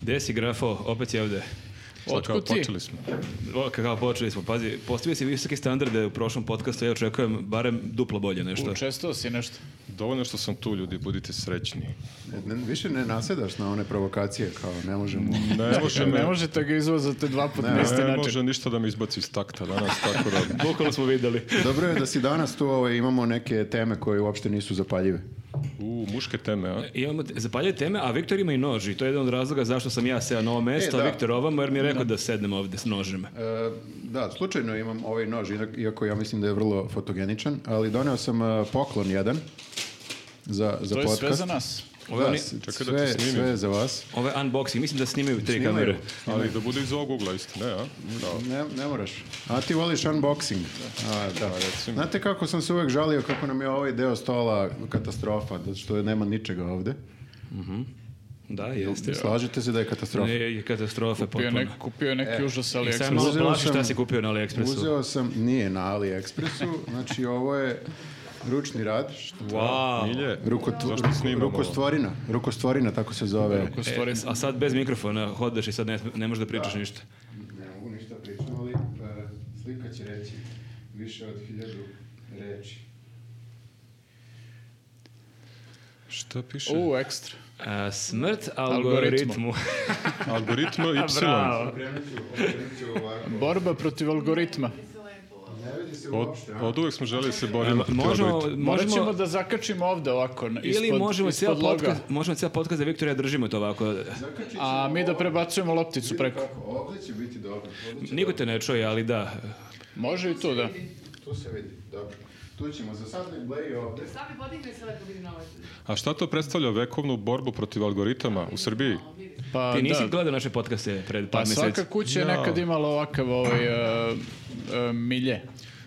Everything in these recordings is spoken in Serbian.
Gde si grafo? Opet si ovde. Sad kao Otkud ti? počeli smo. O, kako počeli smo. Pazi, postavio si visoke standarde u prošlom podcastu, ja očekujem barem duplo bolje nešto. Učestvovao si nešto. Dovoljno što sam tu, ljudi, budite srećni. Ne, više ne nasedaš na one provokacije kao ne možemo. Ne može me... Ne možete ga izvozati dva puta Ne, na isti Ne način. može ništa da me izbaci iz takta danas, tako da... Bukvalno smo videli. Dobro je da si danas tu, ovaj, imamo neke teme koje uopšte nisu zapaljive. U, muške teme, a? Imamo te- zapaljuje teme, a Viktor ima i nož i to je jedan od razloga zašto sam ja seo na ovo mesto, E, a da. Viktor ovamo jer mi je rekao da sednem ovde s nožem. E, da, slučajno imam ovaj nož, inak- iako ja mislim da je vrlo fotogeničan, ali doneo sam e, poklon jedan za, za To je podcast. sve za nas. Ovo je Da, oni- s- Čekaj da sve, te snimim. sve je za vas. Ovo je unboxing, mislim da snimaju tri Snimaju. kamere. Ali da bude iz ovog ugla, isto, ne, a? Da. Ne, ne moraš. A ti voliš unboxing. A, da. recimo. Znate kako sam se uvek žalio kako nam je ovaj deo stola katastrofa, zato što nema ničega ovde. Da, jeste. Slažete se da je katastrofa? Ne, je katastrofa Kupio, potpuno. nek, kupio E, neki užas, ali I sad malo Uzeo plaši šta sam- si kupio na AliExpressu. Uzeo sam, nije na AliExpressu, znači ovo je ručni rad, što- Wow. Milje, Rukot- zašto snimamo? rukostvorina, rukostvorina, tako se zove. Ako E, stvari... a sad bez mikrofona hodaš i sad ne, ne možeš da pričaš ništa. Ne mogu ništa pričati, ali e, slika će reći više od hiljadu reči. Šta piše? U, ekstra. A, E, smrt algoritmu. Algoritmu. Algoritma Y. Bravo. Okrenut ću, okrenut ću ovako. Borba protiv algoritma. Ne vidi se Od, uopšte, a? od uvek smo želeli da se borimo. protiv Možemo, algoritma. Morat ćemo možemo, da zakačimo ovde ovako, na- ispod, ili možemo ispod cijel loga. podcast, možemo cijel podcast za Viktora držimo to ovako. Zakačit ću A mi da prebacujemo lopticu vidi preko. kako, Ovde će biti dobro. ovde će Niko te dobro. ne čuje, ali da. Može i tu, da. Tu se vidi, dobro. Tu ćemo, za sad nek bleji ovde. Sami podigne se lepo vidi na ovaj. A šta to predstavlja vekovnu borbu protiv algoritama u Srbiji? Pa, Ti nisi da. gledao naše podcaste pred par Pa mjeseci. svaka kuća je Ja. nekad imala ovakav ovaj, e, e, milje.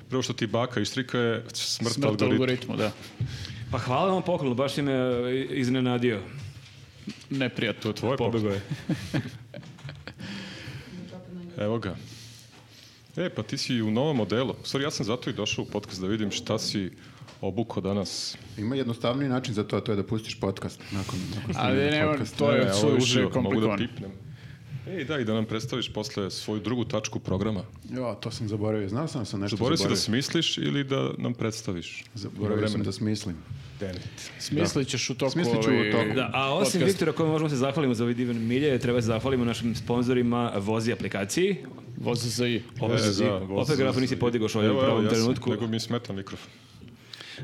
Prvo što ti baka ištrika je smrt, Smrt algoritma. algoritmu, da. Pa hvala vam poklonu, baš si me e, iznenadio. Neprijatno. Tvoje pobego je. Evo ga. E, pa ti si u novom modelu. U stvari, ja sam zato i došao u podcast da vidim šta si obuko danas. Ima jednostavniji način za to, a to je da pustiš podcast nakon, nakon Ali snimanja nema, podcasta. to Ne, je ovo suviše uživo, E, Mogu da komplikovano. pipnem. E, da, i da nam predstaviš posle svoju drugu tačku programa. Jo, to sam zaboravio. Znao sam da sam nešto Zaboravio zaboravio. si da smisliš ili da nam predstaviš? E, Zaboravio sam da smislim. Smislit ćeš u toku. Smislit ću u ovaj, toku. Da, a osim podcast. Viktora kojem možemo se zahvalimo za ovaj divan milje, treba se zahvalimo našim sponzorima Vozi aplikaciji. Voze za i. Opet, E, da, opet grafu nisi podigao što je u Evo, evo, pravom ja sam, trenutku. Nego mi smeta mikrofon.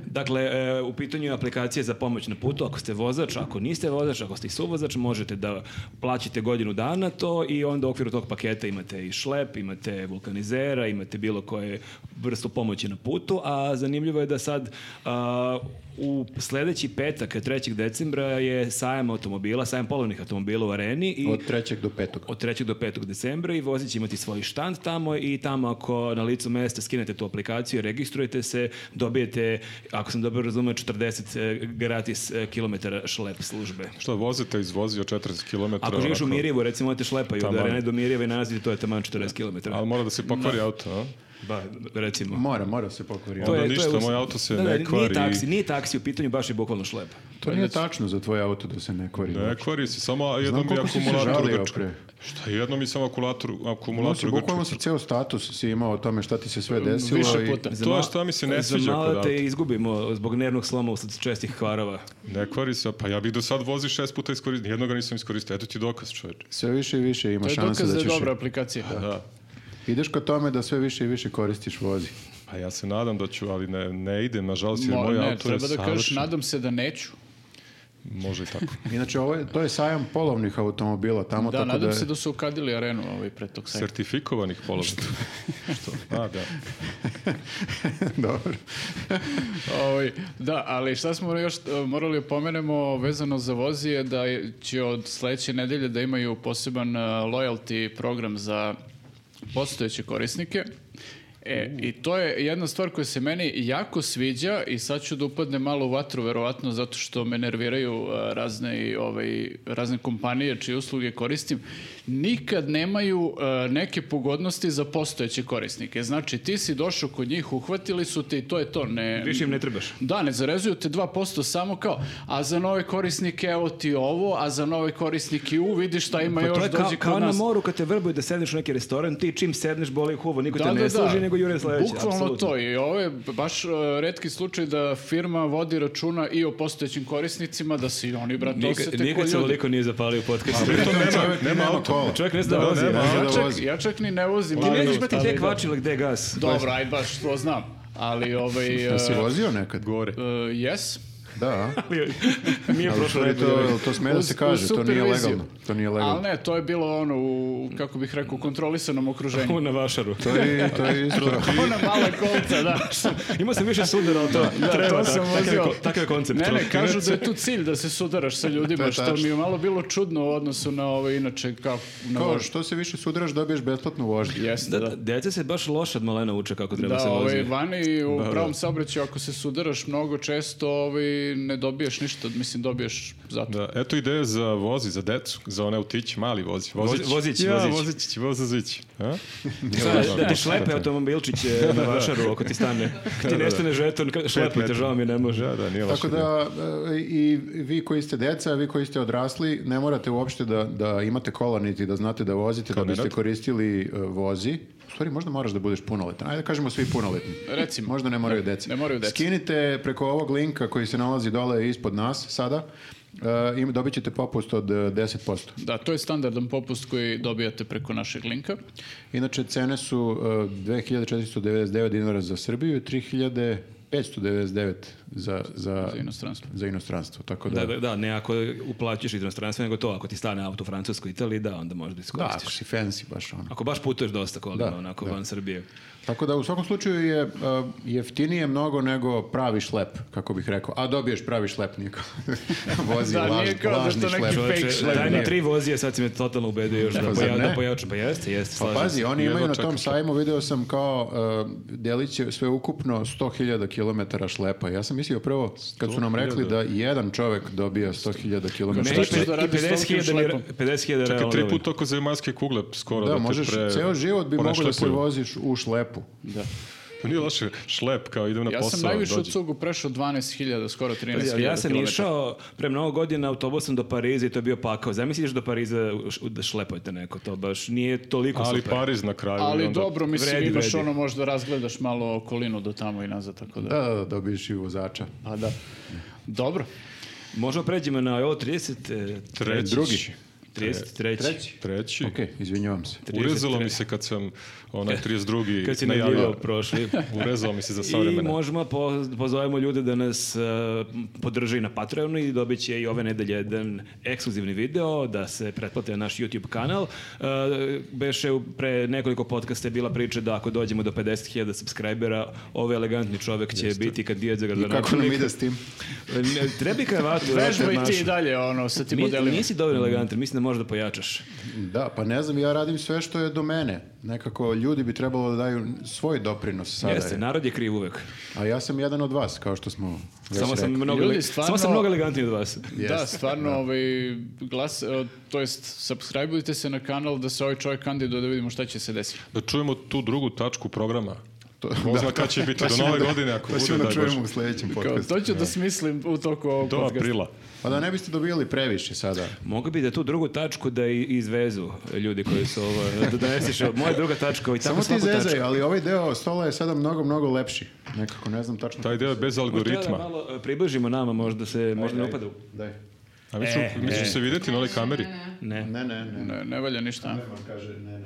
Dakle, e, u pitanju je aplikacija za pomoć na putu. Ako ste vozač, ako niste vozač, ako ste i suvozač, možete da plaćate godinu dana to i onda u okviru tog paketa imate i šlep, imate vulkanizera, imate bilo koje vrstu pomoći na putu, a zanimljivo je da sad a, u sledeći petak, 3. decembra, je sajam automobila, sajam polovnih automobila u areni i Od trećeg do petog. od 3. do 5. decembra i vozić će imati svoj štand tamo i tamo ako na licu mesta skinete tu aplikaciju, registrujete se, dobijete, ako sam dobro razumio, 40 e, gratis e, kilometara šlep službe. Šta vozite iz vozio 40 km? Ako živiš u onako, Mirjevu, recimo, imate šlepaju od Taman. Arene do Mirjeva i nazvite, to je taman 40 km. Ali mora da se pokvari auto, a? Ba, recimo. Mora, mora se pokvariti. To To, je- ništa, moj auto se ne Nije kvari. taksi, nije taksi, u pitanju baš je bukvalno šlep. nije tačno za tvoj auto da se ne kvari. Ne E, kvari se, samo jednom Znam mi koliko si se akumulator žalio grčka. pre. Šta, jednom i samo akumulator, Ono si, akumulator bukvalno grčka. si ceo status si imao o tome šta ti se sve desilo. Više i- puta. Za To je ma- šta mi se ne sviđa Za kod malo auta. te izgubimo zbog nervnog sloma usled čestih kvarova. Ne kvari se, pa ja bih do sad vozi šest puta iskoristio, jednog ga nisam iskoristio, eto ti dokaz čovječ. Sve više i više ima To je šanse dokaz da da je ćeš... dobra aplikacija. Da. Ideš ka tome da sve više i više koristiš vozi. Pa ja se nadam da ću, ali ne, ne idem, nažalost, jer Mo- moj ne, auto je treba da kažeš, savršen. nadam se da neću. Može i tako. Inače, ovo je, to je sajam polovnih automobila tamo, Da, tako da nadam je... se da su ukadili arenu ovaj pre tog sajta. Sertifikovanih polovnika. Što? A, da. Dobro. Ovaj, da, ali šta smo još e, morali opomenemo vezano za vozi je da je- će od sledeće nedelje da imaju poseban e, loyalty program za postojeće korisnike E, I to je jedna stvar koja se meni jako sviđa i sad ću da upadnem malo u vatru, verovatno zato što me nerviraju a, razne, i, ovaj, razne kompanije čije usluge koristim. Nikad nemaju a, neke pogodnosti za postojeće korisnike. Znači, ti si došao kod njih, uhvatili su te i to je to. Ne, Više im ne trebaš. Da, ne zarezuju te 2% samo kao, a za nove korisnike evo ti ovo, a za nove korisnike u, vidi šta ima Pa još to je dođi kao, kod kao na nas. moru kad te vrbuju da sedneš u neki restoran, ti čim sedneš boli huvo, niko te ne služi, nego jure sledeće. Bukvalno to i ovo je baš e, retki slučaj da firma vodi računa i o postojećim korisnicima, da se i oni, brate, Nikad, osete ko nikad se ljudi. ovoliko nije zapalio u podcastu. Pritom nema, Čovjek nema auto. kola. Čovjek ne zna da, vozi. nema. a? Može Ja da čak, vozi. ja čak ni ne vozim. Ti ali- nećeš imati ali gde da. kvačila, gde gas. Dobro, aj baš, to znam. Ali ovaj... Da si e, vozio nekad? Gore. e, Jes? Da. Nije Ali u prošlo stvari najbolje. to, to sme da se Uz- kaže, uz to nije superviziju. legalno. To nije Ali legalno. ne, to je bilo ono u, kako bih rekao, kontrolisanom okruženju. Na vašaru. To je, to je isto. Ona mala kolca, da. Imao sam više sudara, ali to treba. to tako- sam takav je vozio. ko- Takav je koncept. Ne, ne, Čovjek- kažu da je tu cilj da se sudaraš sa To ljudima, je što tačno. mi je malo bilo čudno u odnosu na ovo, inače, kao na Kao vožnju. što se više sudraš, dobiješ besplatnu vožnju. Jeste, Da, da. da, deca se baš loše od malena uče kako treba se Da, vozi. ovaj, vani u pravom saobraćaju ako se sudaraš mnogo često, ovaj, ne dobiješ ništa, mislim, dobiješ zato. Da, eto ideje za vozi, za decu, za one autić, mali vozi. Vozić, Vozi- vozić, ja, vozić. vozić, vozić. A? Da, da ti šlepe automobilčić e, na vašaru ako ti stane. Ti nestane žeton, ka- šlepujte, žao mi ne može. Da, da, nije loša Tako ideja. da e, i vi koji ste deca, vi koji ste odrasli, ne morate uopšte da, da imate kola niti da znate da vozite, da biste Nenad? koristili e, vozi. U stvari možda moraš da budeš punoletan. Ajde da kažemo svi punoletni. Recimo. Možda ne moraju deca. ne moraju deca. Skinite preko ovog linka koji se nalazi dole ispod nas sada e, i dobit ćete popust od e, 10%. Da, to je standardan popust koji dobijate preko našeg linka. Inače, cene su e, 2499 dinara za Srbiju i 3599 za, za, Za inostranstvo. za inostranstvo. Tako da, Da, da, da, ne ako uplaćaš iz inostranstva, nego to ako ti stane auto u Francuskoj i Italiji, da, onda možeš da Da, iskoristiš. ako si fancy baš ono. Ako baš putuješ dosta kolima, Da, onako, da. van Srbije. Tako da u svakom slučaju je uh, jeftinije mnogo nego pravi šlep, kako bih rekao. A dobiješ pravi šlep, niko. Vozi Da, laž, nije kao da lažni što neki šlep. Fake Čoveče, daj šlep, Znači, mi da. tri vozije, sad si me totalno ubedio još da, Pa, zar poja, da ne? pojačam. Pa jeste, jeste, Pa slažem pazi, se. oni jedva imaju na tom čekaš. sajmu, video sam kao uh, delit će sve ukupno 100.000 km šlepa. Ja sam mislio prvo, kad su nam rekli da jedan čovek dobija 100.000 km Ne, Šta i ćeš pe- da i radiš s tolikim 50.000 ni- šlepom? 50.000 Čekaj, realno tri dobiti. puta oko zemaljske kugle skoro da, Da, te možeš, pre- ceo život bi mogao da se ponešlepuju. voziš u šlepu. Pa Nije loše, šlep kao idem Pa na Ja sam posao. najviše u dođem. cugu prešao 12.000, skoro 13.000 Ja sam kilometara. išao pre mnogo godina autobusom do Pariza i to je bio pakao. Zamisliš do Pariza š- da šlepajte neko, to baš nije toliko Ali pa- super. Pariz na kraju. i Ali onda- dobro, mislim, vredi, imaš vredi. ono, možda razgledaš malo okolinu do tamo i nazad, tako da... Da, da, da, dobiješ i vozača. Pa da. Dobro. Možemo pređemo na ovo 30... e, Treći. Drugi. 33. Treći. Ok, izvinjavam se. Urezalo mi se kad sam onaj 32. Kad si najavio. najavio prošli. Urezalo mi se za I savremena. možemo po- pozovemo ljude da nas e, podrže i na Patreonu i dobit će i ove nedelje jedan ekskluzivni video da se pretplate na naš YouTube kanal. E, beše u- pre nekoliko podcasta je bila priča da ako dođemo do 50.000 subscribera, ovaj elegantni čovek će biti kandidat za I kako nam gradonačelnika. ide s tim? Ne, Trebi kravatu. Vežbaj brate, ti i maš. dalje, ono, sa tim Ni- modelima. Nisi dovoljno elegantan, mislim da možeš da pojačaš. Da, pa ne znam, ja radim sve što je do mene. Nekako ljudi bi trebalo da daju svoj doprinos sada. Jeste, narod Pa je kriv uvek. A ja sam jedan od vas, kao što smo već Samo sam, rekli. mnogo, Ljudi, ele- stvarno- samo sam mnogo elegantniji od vas. Da, Jeste, stvarno, ovaj, glas, e, to jest, subscribeujte se na kanal da se ovaj čovjek kandiduje da vidimo šta će se desiti. Da čujemo tu drugu tačku programa. To- Ko zna kad će biti do nove godine ako To bude ćemo da daj Bože. čujemo u sledećem Kao, podcastu. to ću da smislim u toku ovog Do podcasta. aprila. Pa da ne biste dobijali previše sada. Mogu bi da tu drugu tačku da i- izvezu ljudi koji su ovo, da doneseš. ovo. Moja druga tačka i tako Samo ti svaku zezaj, tačku. ali ovaj deo stola je sada mnogo, mnogo lepši. Nekako, ne znam tačno. Taj deo je bez Možda treba da algoritma. malo e, približimo nama, možda se možda ne upada. u- Daj. A mi ćemo, E, mi ćemo e. se vidjeti na ovoj kameri. Ne. E, Ne, ne, ne. Ne, ne valja ništa. a? Nema, kaže, ne, ne.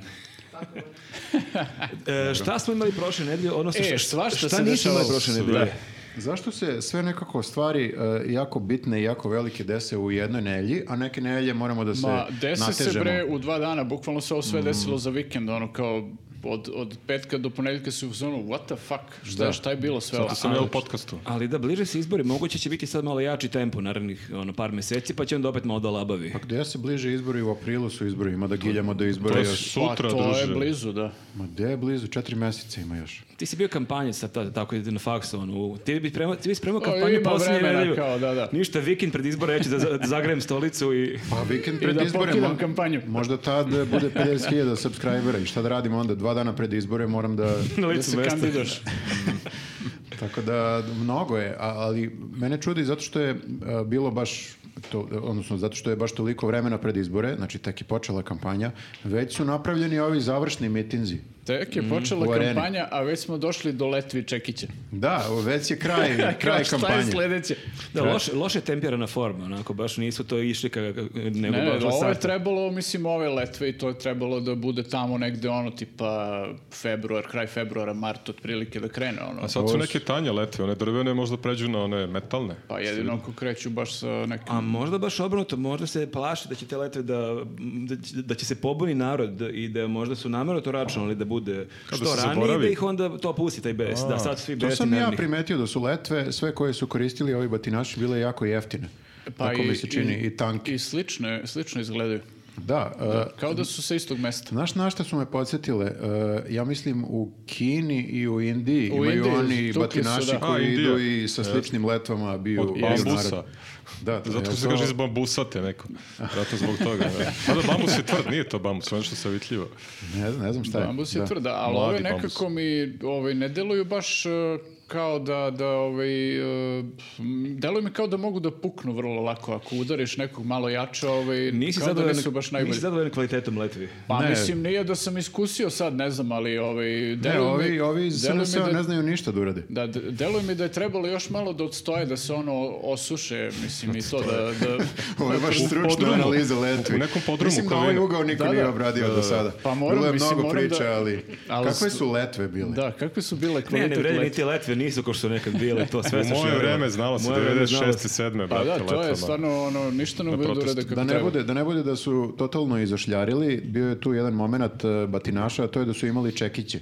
E, šta smo imali prošle nedelje, Ono odnosno E, šta- svašta šta se nismo dešavalo. imali prošle nedelje? Zašto se sve nekako stvari e, jako bitne i jako velike dese u jednoj nelji, a neke nelje moramo da se Ma, desi natežemo? se bre u dva dana, bukvalno se ovo sve desilo za vikend, ono kao od, od petka do ponedjeljka su u zonu, what the fuck, šta, Da. šta je bilo sve ovo? Pa, Zato sam ja u podcastu. Ali da bliže se izbori, moguće će biti sad malo jači tempo narednih ono, par meseci, pa će onda opet malo da labavi. Pa gde se bliže izbori? U aprilu su izbori, ima da giljamo do izbora To je još. pa, sutra, to je druže. blizu, da. Ma gde je blizu? Četiri meseca ima još. Ti si bio kampanje sad tada, tako ide na faksu, ono, u- ti bi spremao, ti bi spremao O, kampanju E, ima posljednje vremena, nedelju. kao, da, da. Ništa, vikend pred izbore, ja ću da, za- da zagrem stolicu i... Pa vikend I pred da izbore. pokidam mo- kampanju. Možda tad e, bude 50.000 subscribera i šta da radimo onda? Dva dana pred izbore moram da... Na Da licu se mesta. kandidaš. Tako da mnogo je, a- ali mene čudi zato što je a, bilo baš to, odnosno zato što je baš toliko vremena pred izbore, znači tek je počela kampanja, već su napravljeni ovi završni mitinzi. Tek je počela Mm, u areni. kampanja, a već smo došli do letvi Čekića. Da, već je kraj, Kao, kraj Šta je kampanje. sledeće? Da, loše, loše tempirana forma, onako, baš nisu to išli ka, ka- nego Ne, baš ne, ovo je lasata. trebalo, mislim, ove letve i to je trebalo da bude tamo negde ono tipa februar, kraj februara, mart otprilike da krene ono. A sad su neke tanje letve, one drvene možda pređu na one metalne. Pa jedino ako kreću baš sa nekim... A možda baš obrnuto, možda se plaši da će te letve da, da, će- da će se pobuni narod i da možda su namjerno to računali da bude Kao što da se ranije zaboravi. da ih onda to pusti taj bes, da sad svi To besi sam ja nervni. primetio da su letve, sve koje su koristili ovi batinaši, bile jako jeftine. Pa tako mi se čini, i, tanki. I slično, slično izgledaju. da, a, Kao da su sa istog mesta. Znaš na šta su me podsjetile? E, ja mislim u Kini i u Indiji U imaju Indiji, oni tukli su, batinaši da. E. koji A, Indija. idu i sa sličnim letvama biju Od biju bambusa. narod. Da, da, Zato jel što se to- kaže iz bambusate neko. Zato zbog toga. Da. Mada bambus je tvrd, nije to bambus, on je što savitljivo. Ne, znam- ne znam šta je. Bambus je Da. tvrda, ali Mladi ove nekako mi ovaj, ne deluju baš e, kao da, da ovaj, e, m, deluju mi kao da mogu da puknu vrlo lako. Ako udariš nekog malo jače, ovaj, Nisi kao da zadovoljan, nisu baš najbolji. nisi zadovoljan kvalitetom letvi. Pa Ne. mislim, nije da sam iskusio sad, ne znam, ali ovaj, Ne, deluju mi... ovi, ovi iz deluju mi SNS-a da- ne znaju ništa da urade. Da, d- deluje mi da je trebalo još malo da odstoje, da se ono osuše, mislim, i to da... da Ovo je baš U stručna podrumu. analiza letvi. U nekom podrumu Mislim da ovaj Kovina. ugao niko Da, nije da. obradio do sada. Pa moram, Bilo je mislim, mnogo moram priča, da- ali... ali Kakve s- su letve bile? da, kakve su bile Ne, ne kvalitet vredi leta? niti letve, nisu kao što nekad bile, to sve U su moje šljive. vreme znalo se Moje vreme 96. znalo se. 7. Pa brate, da, to je letvama. stvarno ono, ništa ne umeju da protest. urade kako Da ne, treba. bude, da ne bude da su totalno izašljarili, bio je tu jedan moment e, batinaša, a to je da su imali čekiće.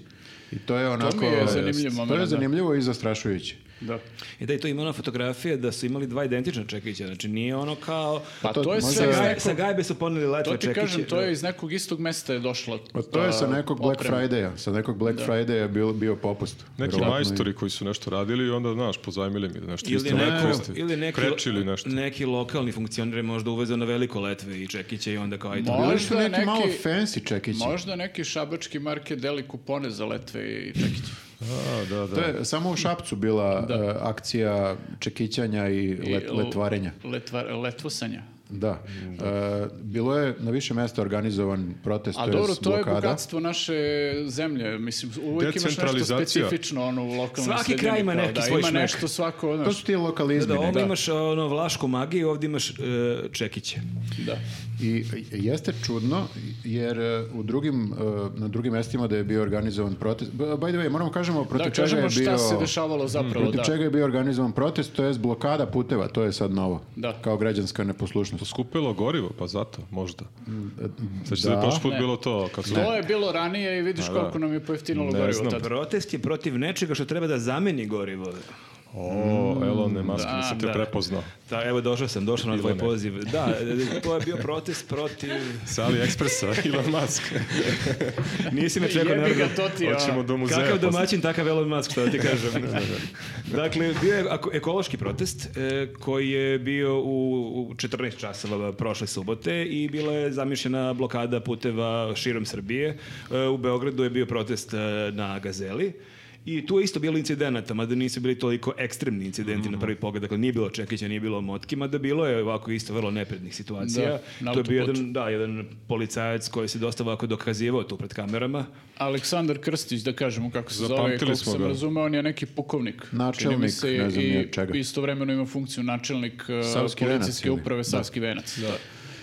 I to je onako... eh, mi je zanimljiv To momenat, je da. zanimljivo i zastrašujuće. Da. I E, da i to ima ona fotografija da su imali dva identična čekića, znači nije ono kao... Pa to to, je možda sve je- iz Sa, nekog- sa gajbe su poneli letve To čekiće. ti kažem, to je iz nekog istog mesta je došla. Pa to je sa a, nekog Black oprema. Friday-a. Sa nekog Black Friday-a bio, bio popust. Neki Verovatno i- majstori koji su nešto radili i onda, znaš, pozajmili mi nešto. Ili, isto neko, koriste. ili neki, Kreč ili nešto. neki lokalni funkcioner je možda uvezao na veliko letve i čekiće i onda kao ajde. Mo- Bili su Možda neki, neki- malo fancy čekići. Možda neki šabački market deli kupone za letve i čekiće. A, da, da. To je samo u Šapcu bila e, akcija čekićanja i, I let- letvarenja. letvar- letvosanja. Da. E, bilo je na više mesta organizovan protest, A to dobro, jest to je blokada. bogatstvo naše zemlje. Mislim, uvijek imaš nešto Decentralizacija. specifično ono, u lokalnom Svaki sredini, kraj ima kao neki da, svoj Ima šmek. nešto svako, ono, To znaš, su ti lokalizmi. Da, neki. ovdje imaš ono vlašku magiju, ovdje imaš e, čekiće. da. I jeste čudno, jer e, u drugim, e, na drugim mestima da je bio organizovan protest, B- by the way, moramo kažemo protiv Da, čega je Dakle, kažemo šta bio... se dešavalo zapravo, Protiv da. čega je bio organizovan protest, to je blokada puteva, to je sad novo. Da. Kao građanska neposlušnost. Skupilo gorivo, pa zato, možda. Znači, da. da je prošli put bilo to, kad su To je bilo ranije i vidiš Pa da. koliko nam je pojeftinilo Ne gorivo znam. tada. Protest je protiv nečega što treba da zameni gorivo. O, Elon Musk, nisam te da. prepoznao. Da, evo došao sam, došao na tvoj Ilone. poziv. Da, e, to je bio protest protiv... Sa AliExpressa, Elon Musk. Nisi me čekao, Jebi naravno. ga, to ti je, Hoćemo ono. do muzeja. Kakav posle. domaćin, takav Elon Musk, što da ti kažem. dakle, bio je ako- ekološki protest e, koji je bio u, u 14 časova prošle subote i bila je zamišljena blokada puteva širom Srbije. E, u Beogradu je bio protest e, na Gazeli. I tu je isto bilo incidenata, mada nisu bili toliko ekstremni incidenti Mhm. na prvi pogled. Dakle, nije bilo čekića, nije bilo motki, mada bilo je ovako isto vrlo neprednih situacija. na to je bio autoputu. jedan, da, jedan policajac koji se dosta ovako dokazivao tu pred kamerama. Aleksandar Krstić, da kažemo kako se zove, Zapamtili koliko smo sam ga. razumeo, on je neki pukovnik. Načelnik, Čini mi se, ne znam i ni ja čega. Istovremeno ima funkciju načelnik uh, Savski venac policijske ili? uprave Savski Venac. Da.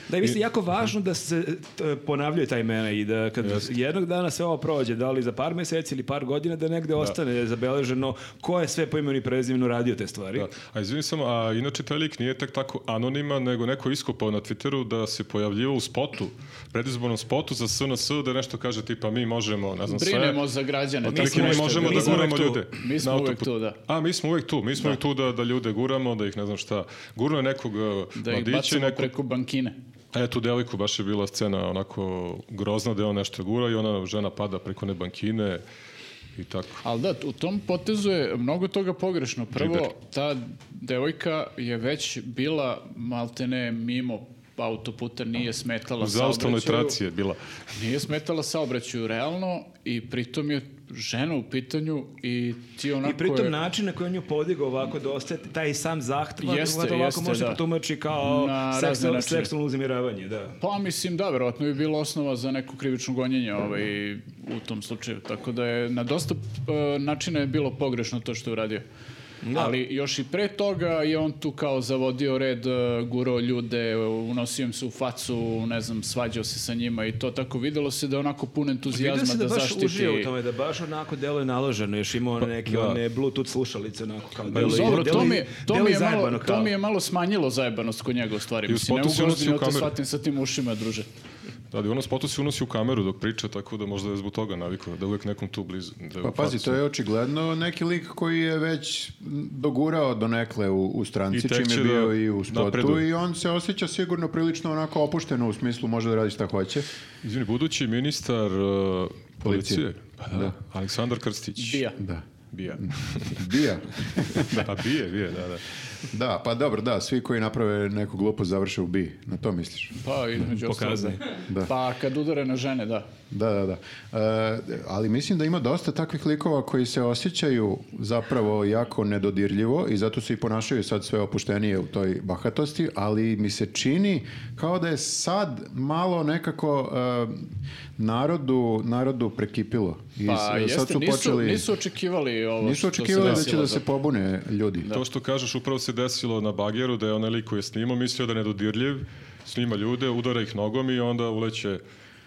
Da, i mislim, jako važno da se t- ponavljaju ta imena i da kad jednog dana sve ovo prođe, da li za par meseci ili par godina, da negde ostane zabeleženo ko je sve po imenu i prezimenu radio te stvari. Da. A izvini samo, a inače taj lik nije tek tako anoniman, nego neko je iskopao na Twitteru da se pojavljivao u spotu, predizbornom spotu za SNS, da nešto kaže tipa mi možemo, ne znam Brinemo Pa sve. Pa za građane. nismo Otprilike, mi ništa možemo da drugo. uvek guramo tu. ljude. Mi smo na uvek autoput. tu, da. A, mi smo uvek tu, mi smo uvek tu da, da ljude guramo, da ih ne znam šta, gurne nekog eh, Da ih mladića i bacimo neku preko bankine. E, tu devojku baš je bila scena onako grozna da je on nešto gura i ona žena pada preko ne bankine i tako. Ali da, u tom potezu je mnogo toga pogrešno. Džiber. Prvo, ta devojka je već bila maltene mimo autoputa, nije smetala U zaustavnoj saobraćaju. traci je bila. Nije smetala saobraćaju realno i pritom je žena u pitanju i ti onako I pritom je... način na koji on nju podigao ovako dosta, taj sam zahtjev, Jeste, jeste, ovako jeste, može da. potumači kao Na razne seksualno, načine. seksualno uznemiravanje, da. Pa mislim da, verovatno bi bilo osnova za neko krivično gonjenje ovaj, u tom slučaju. Tako da je na dosta e, načina je bilo pogrešno to što je uradio. Ali još i pre toga je on tu kao zavodio red, e, gurao ljude, unosio im se u facu, ne znam, svađao se sa njima i to tako videlo se da je onako pun Vidio entuzijazma se da, da, baš zaštiti. uživa u tome, da baš onako deluje naloženo, još imao neke da. one Bluetooth slušalice, onako kao Pa, Dobro, deluje, to, deluje- mi, je- to, mi deluje je malo, zajebano to kao. mi je malo smanjilo zajebanost kod njega u stvari. I u Mislim, ne spotu si mogu unosio ozbiljno to kameru. shvatim sa tim ušima, druže. Da, ali ono spotu se unosi u kameru dok priča, tako da možda je zbog toga navikao, da je uvek nekom tu blizu. Da je Pa u pazi, facu. to je očigledno neki lik koji je već dogurao donekle u, u I stranci, tek čim će je da bio i u spotu napreduje. i on se osjeća sigurno prilično onako opušteno u smislu može da radi šta hoće. Izvini, budući ministar uh, Policije. policije, pa da, Aleksandar Krstić. Bija. Da. Bija. Bija. Pa bije, bije, da, da. Da, pa dobro, da, svi koji naprave neku glupost završe u bi. Na to misliš? Pa, između Pokazaj. ostalog. Da. Pa kad udare na žene, da. Da, da, da. E, ali mislim da ima dosta takvih likova koji se osjećaju zapravo jako nedodirljivo i zato se i ponašaju sad sve opuštenije u toj bahatosti, ali mi se čini kao da je sad malo nekako e, narodu, narodu prekipilo. I s- Pa jeste, nisu, nisu očekivali ovo nisu što se očekivali da će desilo da se zapravo. pobune ljudi. To što kažeš upravo se desilo na bageru da je onaj lik koji je snimao mislio da je nedodirljiv, snima ljude, udara ih nogom i onda uleće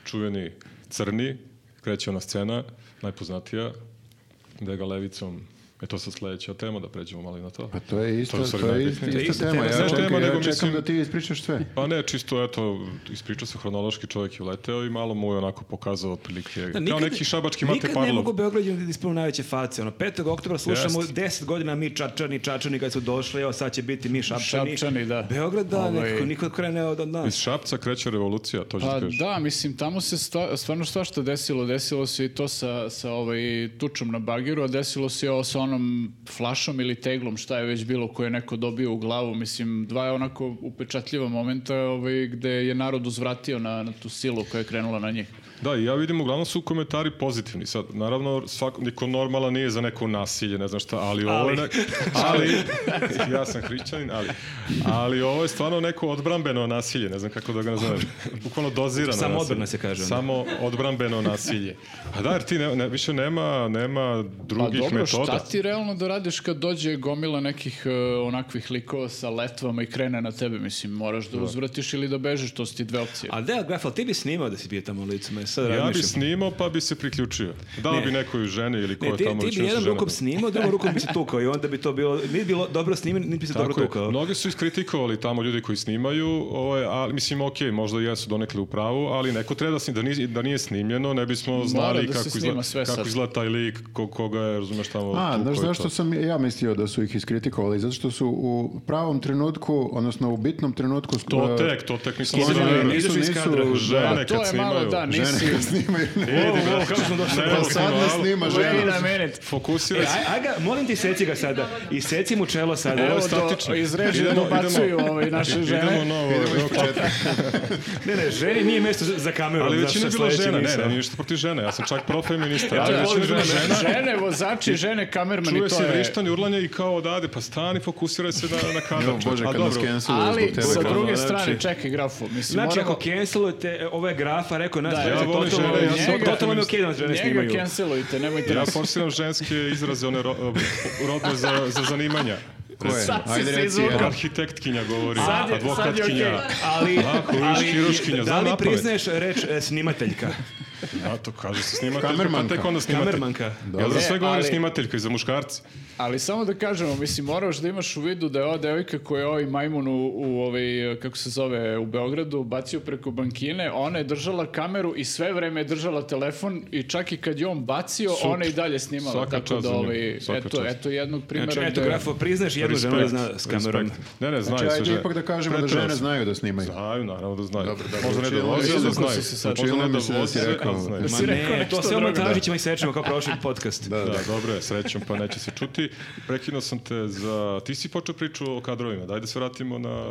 čuveni crni, kreće ona scena, najpoznatija, da ga levicom, e to sad sledeća tema, da pređemo malo i na to. Pa to je isto, u to, stvari je isto, najbitnije. To je isto isto tema. tema, Ja ne čekam, tema, ja nego čekam mislim- da ti ispričaš sve. Pa ne, čisto, eto, ispričao se hronološki, čovjek je uleteo i malo mu je onako pokazao otprilike, Da, kao neki šabački Mate nikad ne Parlov. mogu Beograđani da ispravu najveće face. Ono, 5. oktobra slušamo Jeste. 10 godina mi čačani, čačani kad su došli, evo sad će biti mi šapčani. Šapčani, da. Beograda, Ovaj- nekako, niko krene od od Iz nas. Šapca kreće revolucija, to ću Pa ti kažem. da, mislim, tamo se sta, stvarno svašta desilo. Desilo se i to sa, sa ovaj, tučom na bagiru, a desilo se i ovo sa onom flašom ili teglom, šta je već bilo, koje je neko dobio u glavu. Mislim, dva je onako upečatljiva momenta ovaj, gde je narod uzvratio na, na tu silu koja je krenula na njih. Da, i ja vidim, uglavnom su komentari pozitivni. Sad, naravno, svako, niko normalan nije za neko nasilje, ne znam šta, ali, ovo Ali. je... Ne, ali, ja sam hrišćanin, ali... Ali ovo je stvarno neko odbrambeno nasilje, ne znam kako da ga nazovem. Bukvalno dozirano Samo nasilje. odbrana se kaže, onda. Samo odbrambeno nasilje. A da, jer ti ne, ne- više nema, nema Pa drugih dobro, metoda. šta ti realno da radiš kad dođe gomila nekih e, onakvih likova sa letvama i krene na tebe? Mislim, moraš da uzvratiš ili da bežiš, to su ti dve opcije. A Deo Graf, ali ti bi snimao da si bio tamo u licu, me sad Ja bi razmišljam. snimao pa bi se priključio. Dao Ne. bi nekoj ženi ili ko Ne, je ti, tamo ti već bi nešto jednom žena rukom bila. snimao, drugom rukom bi se tukao i onda bi to bilo, nije bi bilo dobro snimljeno, niti bi se dobro Tako je. tukao. Dakle, Mnogi su iskritikovali tamo ljudi koji snimaju, ovaj, ali mislim, ok, možda i jesu donekle u pravu, ali neko treba da, sni- da, nije, da nije snimljeno, ne bismo znali da se kako, snima izgleda, sve kako sad. izgleda taj lik, ko, koga je, razumeš tamo... A, tu znaš koji je zašto to. sam ja mislio da su ih iskritikovali? Zato što su u pravom trenutku, odnosno u bitnom trenutku... To e, tek, to tek nisam Skinuli me, znao. nisu- nisu, izašli iz kadra. nisu- Žene Pa kad to je malo, snimaju. da, žene nisi... kad snimaju. E, Idi, brate, kako smo došli do Pa sad ovoga? ne snima Wait žena. a minute. E, Fokusiraj se. aj, aj ga, molim ti, seci ga sada. I seci mu čelo sada. Ovo Evo, je to- statično. iz režije Idemo- dobacuju idemo- ove naše žene. Idemo novo. novo- Ne, ne, ženi nije mjesto za kameru. pa, Ali većina je bila žena, ne, ne, ništa protiv žena, ja sam čak profeminista. Ja ali većina je volim bila žene, žena. žene, vozači, žene, kamermani, Čuje to se je... vrištanje, urlanje i kao odade, pa stani, fokusiraj se na, na kadar. Jo, Bože, A kad nas dobro, canceluju zbog Ali tebe. sa kao, druge znači, strane, čekaj grafu, mislim, Znači, moramo... ako cancelujete, e, ovo je grafa, rekao nas, Da, da, ja ja volim totalno, žene, ja ja sam totalno optimist. ok da nas žene snimaju. Njega cancelujte, nemojte Ja nas. forsiram ženske izraze, one ro, rodne za, za zanimanja. Ko je? Sad si Ajde se reci izvukao. jedan. Arhitektkinja govori, Sad je- sad je advokatkinja. okej. Ali, Aha, huruš- hiruškinja, da znam li napamet. priznaješ reč e, snimateljka, Ja, to kaže se snimateljka, pa Kamermanka. tek onda snimatelj. kamermanka? Ja za E, sve govorim ali- snimateljka i za muškarci. Ali samo da kažemo, mislim, moraš da imaš u vidu da je ova devojka koja je ovaj majmun u, u ovaj, kako se zove, u Beogradu bacio preko bankine, ona je držala kameru i sve vreme je držala telefon i čak i kad je on bacio, Super. ona je i dalje snimala. Svaka Tako čast da, za nju, ovaj, svaka eto, čast. eto jednog primjera. Znači, eto, gde- grafo, priznaš jednu ženu da zna s respekt. kamerom. Ne, ne, znaju Znači, sve žene. ajde Znači- ipak da kažemo da Preterao žene sam. znaju da snimaju. Znaju, naravno da znaju. Dobro, dobro, Možda ne da učinilo voze, mi se ali da da si znaju. se sad- Možda učinilo ne mi da se da si voze, rekao. ali znaju. Ma Ma si rekao ne, nešto to sve ono drugo, da. tražit ćemo i sečemo kao prošli podcast. Da, da. Da, dobro je, srećom, pa neće se čuti. Prekinuo sam te za... Ti si počeo priču o kadrovima, dajde se vratimo na... na...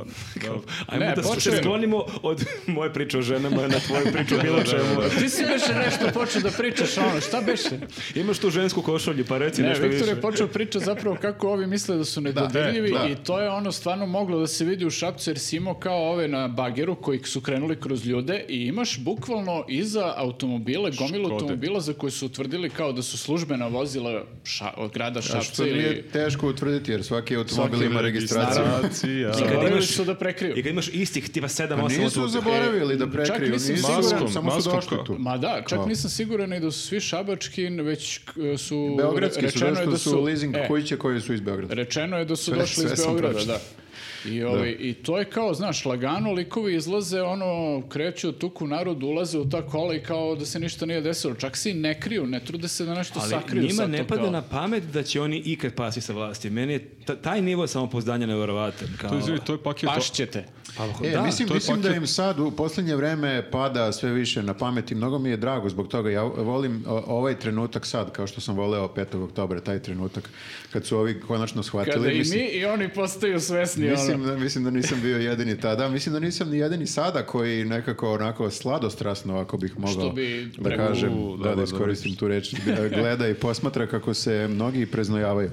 Ajmo Ne, da se počeli. sklonimo od moje priče o ženama na tvoju priču o bilo čemu. Ti si beše nešto počeo da pričaš ono, šta beše? Imaš tu žensku košulju, pa reci Ne, nešto Viktor više. je počeo priča zapravo kako ovi misle da su nedodirljivi da. i to je ono stvarno moglo da se vidi u Šapcu jer si imao kao ove na bageru koji su krenuli kroz ljude i imaš bukvalno iza automobile, gomilu Škode. automobila za koje su utvrdili kao da su službena vozila ša, od grada Što Šapca ili... nije teško utvrditi, jer svaki automobil Svaki ima registraciju. registracija. Kad Zaboravili imaš- su da prekriju. I kad imaš istih, tipa 7-8 Pa nisu zaboravili da prekriju, nisam nisu siguran, siguran, samo E, su maskom došli kao- tu. Ma da, čak Kao? nisam siguran i da su svi šabački, već k- su... Beogradski su, rečeno je zato što su leasing E, kuće koje su iz Beograda. Rečeno je da su Sve- došli sve iz sam Beograda, pročitao. da. I, ovaj, I to je kao, znaš, lagano likovi izlaze, ono, kreću tuku narod, ulaze u ta kola i kao da se ništa nije desilo. Čak se i ne kriju, ne trude se da nešto Ali sakriju. njima sad to ne pada kao. na pamet da će oni ikad pasti sa vlasti. Meni je ta- taj nivo samopozdanja nevjerovatan. Kao... To je, izvini, to je paket... Pašćete. Pa, ako- E, da, mislim, to je mislim da paket. im sad u posljednje vreme pada sve više na pamet i mnogo mi je drago zbog toga. Ja volim o- ovaj trenutak sad, kao što sam voleo 5. oktobra, taj trenutak kad su ovi konačno shvatili. Kada i mislim- mi i oni postaju svesni, Mislim ono. da, mislim da nisam bio jedini tada, mislim da nisam ni jedini sada koji nekako onako sladostrasno, ako bih mogao bi da rekao- U, kažem, da, dobar, da dobar. iskoristim tu reč, gleda i posmatra kako se mnogi preznojavaju.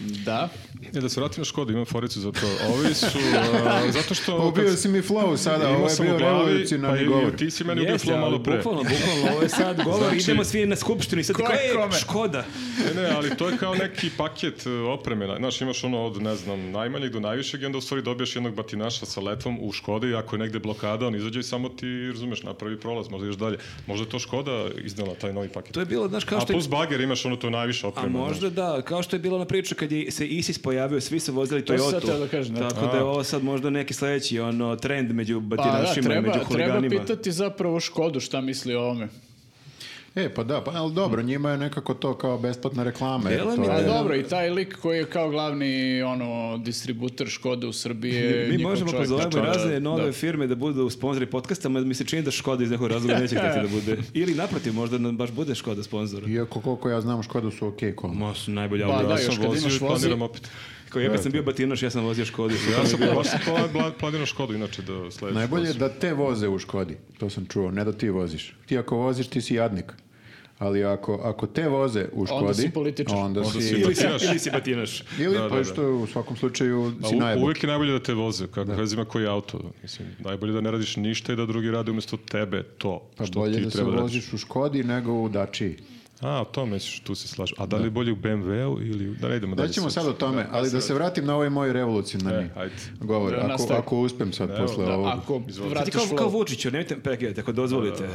Da. E, da se vratim na Škodu, imam foricu za to. Ovi su... a, zato što... Ubio si mi flow sada, Imao ovo je sam bio u glavi, pa revolucionarni i- govor. i Ti si meni ubio Jeste, flow malo ali pre. Bukvalno, bukvalno, ovo je sad govor, Znači- idemo svi na skupštinu i sad ti Ko je kao, "E, kome?" škoda. Ne, ne, ali to je kao neki paket e, opreme. na- Znaš, imaš ono od, ne znam, najmanjeg do najvišeg i onda u stvari dobiješ jednog batinaša sa letvom u Škodi. Ako je negde blokada, on izađe i samo ti, razumeš, napravi prolaz, možda još dalje. Možda je to Škoda iznala taj novi paket. To je bilo, znaš, kao A što je plus bager imaš ono to najviše A opreme. možda da, kao što je bilo na priču kad je se ISIS pojavio, svi su vozili To sam sad Toyota. teo da kažem, da. Tako da je ovo sad možda neki sledeći ono, trend među Pa da, batinašima, i treba, među treba huliganima. pitati zapravo Škodu šta misli o ovome. E, pa da, pa ali dobro, njima je nekako to kao besplatna reklama. jer Delo mi to da- je- Ali Pa dobro, i taj lik koji je kao glavni ono, distributer Škode u Srbiji je Mi njihov možemo čovjek. pozovemo Znači, razne da, nove da. firme da budu sponzori podcasta, ma mi se čini da Škoda iz nekog razloga neće htjeti da bude. Ili naprotiv, možda nam baš bude Škoda sponzor. Iako koliko ja znam Škodu su okej okay Ma su najbolja Pa auto. da, Ja još sam kad vozio imaš i vozi- planiram opet. E, Kao ja kad sam bio batinaš, ja sam vozio Škodu. Ja sam baš sam pla- pla- planirao Škodu inače da sledeću. Najbolje je da te voze u Škodi, to sam čuo, ne da ti voziš. Ti ako voziš, ti si jadnik. Ali ako, ako te voze u Škodi... si političar. Onda, Onda si... si- Ili si, batinaš. ili si batinaš. Ili, Da, da, pa da. što je u svakom slučaju A si u- najbolji. uvijek je najbolje da te voze, kako da. ima koji auto. Mislim, najbolje da ne radiš ništa i da drugi radi umjesto tebe to Pa što bolje ti da se treba da radiš. voziš u Škodi nego u Dačiji. A, o tome misliš, tu se slažem. A da li je bolje u BMW-u ili... u- Da ne idemo dalje. Da ćemo sad sad. o tome, ali da se vratim na ovaj moj revolucionarni E, ajde. govor. Da, Ako, nastavi. ako uspem sad posle Da, ovog. ako Ti vratiš Znači, kao, flow. kao Vučić, nemojte me prekidati, ako dozvolite.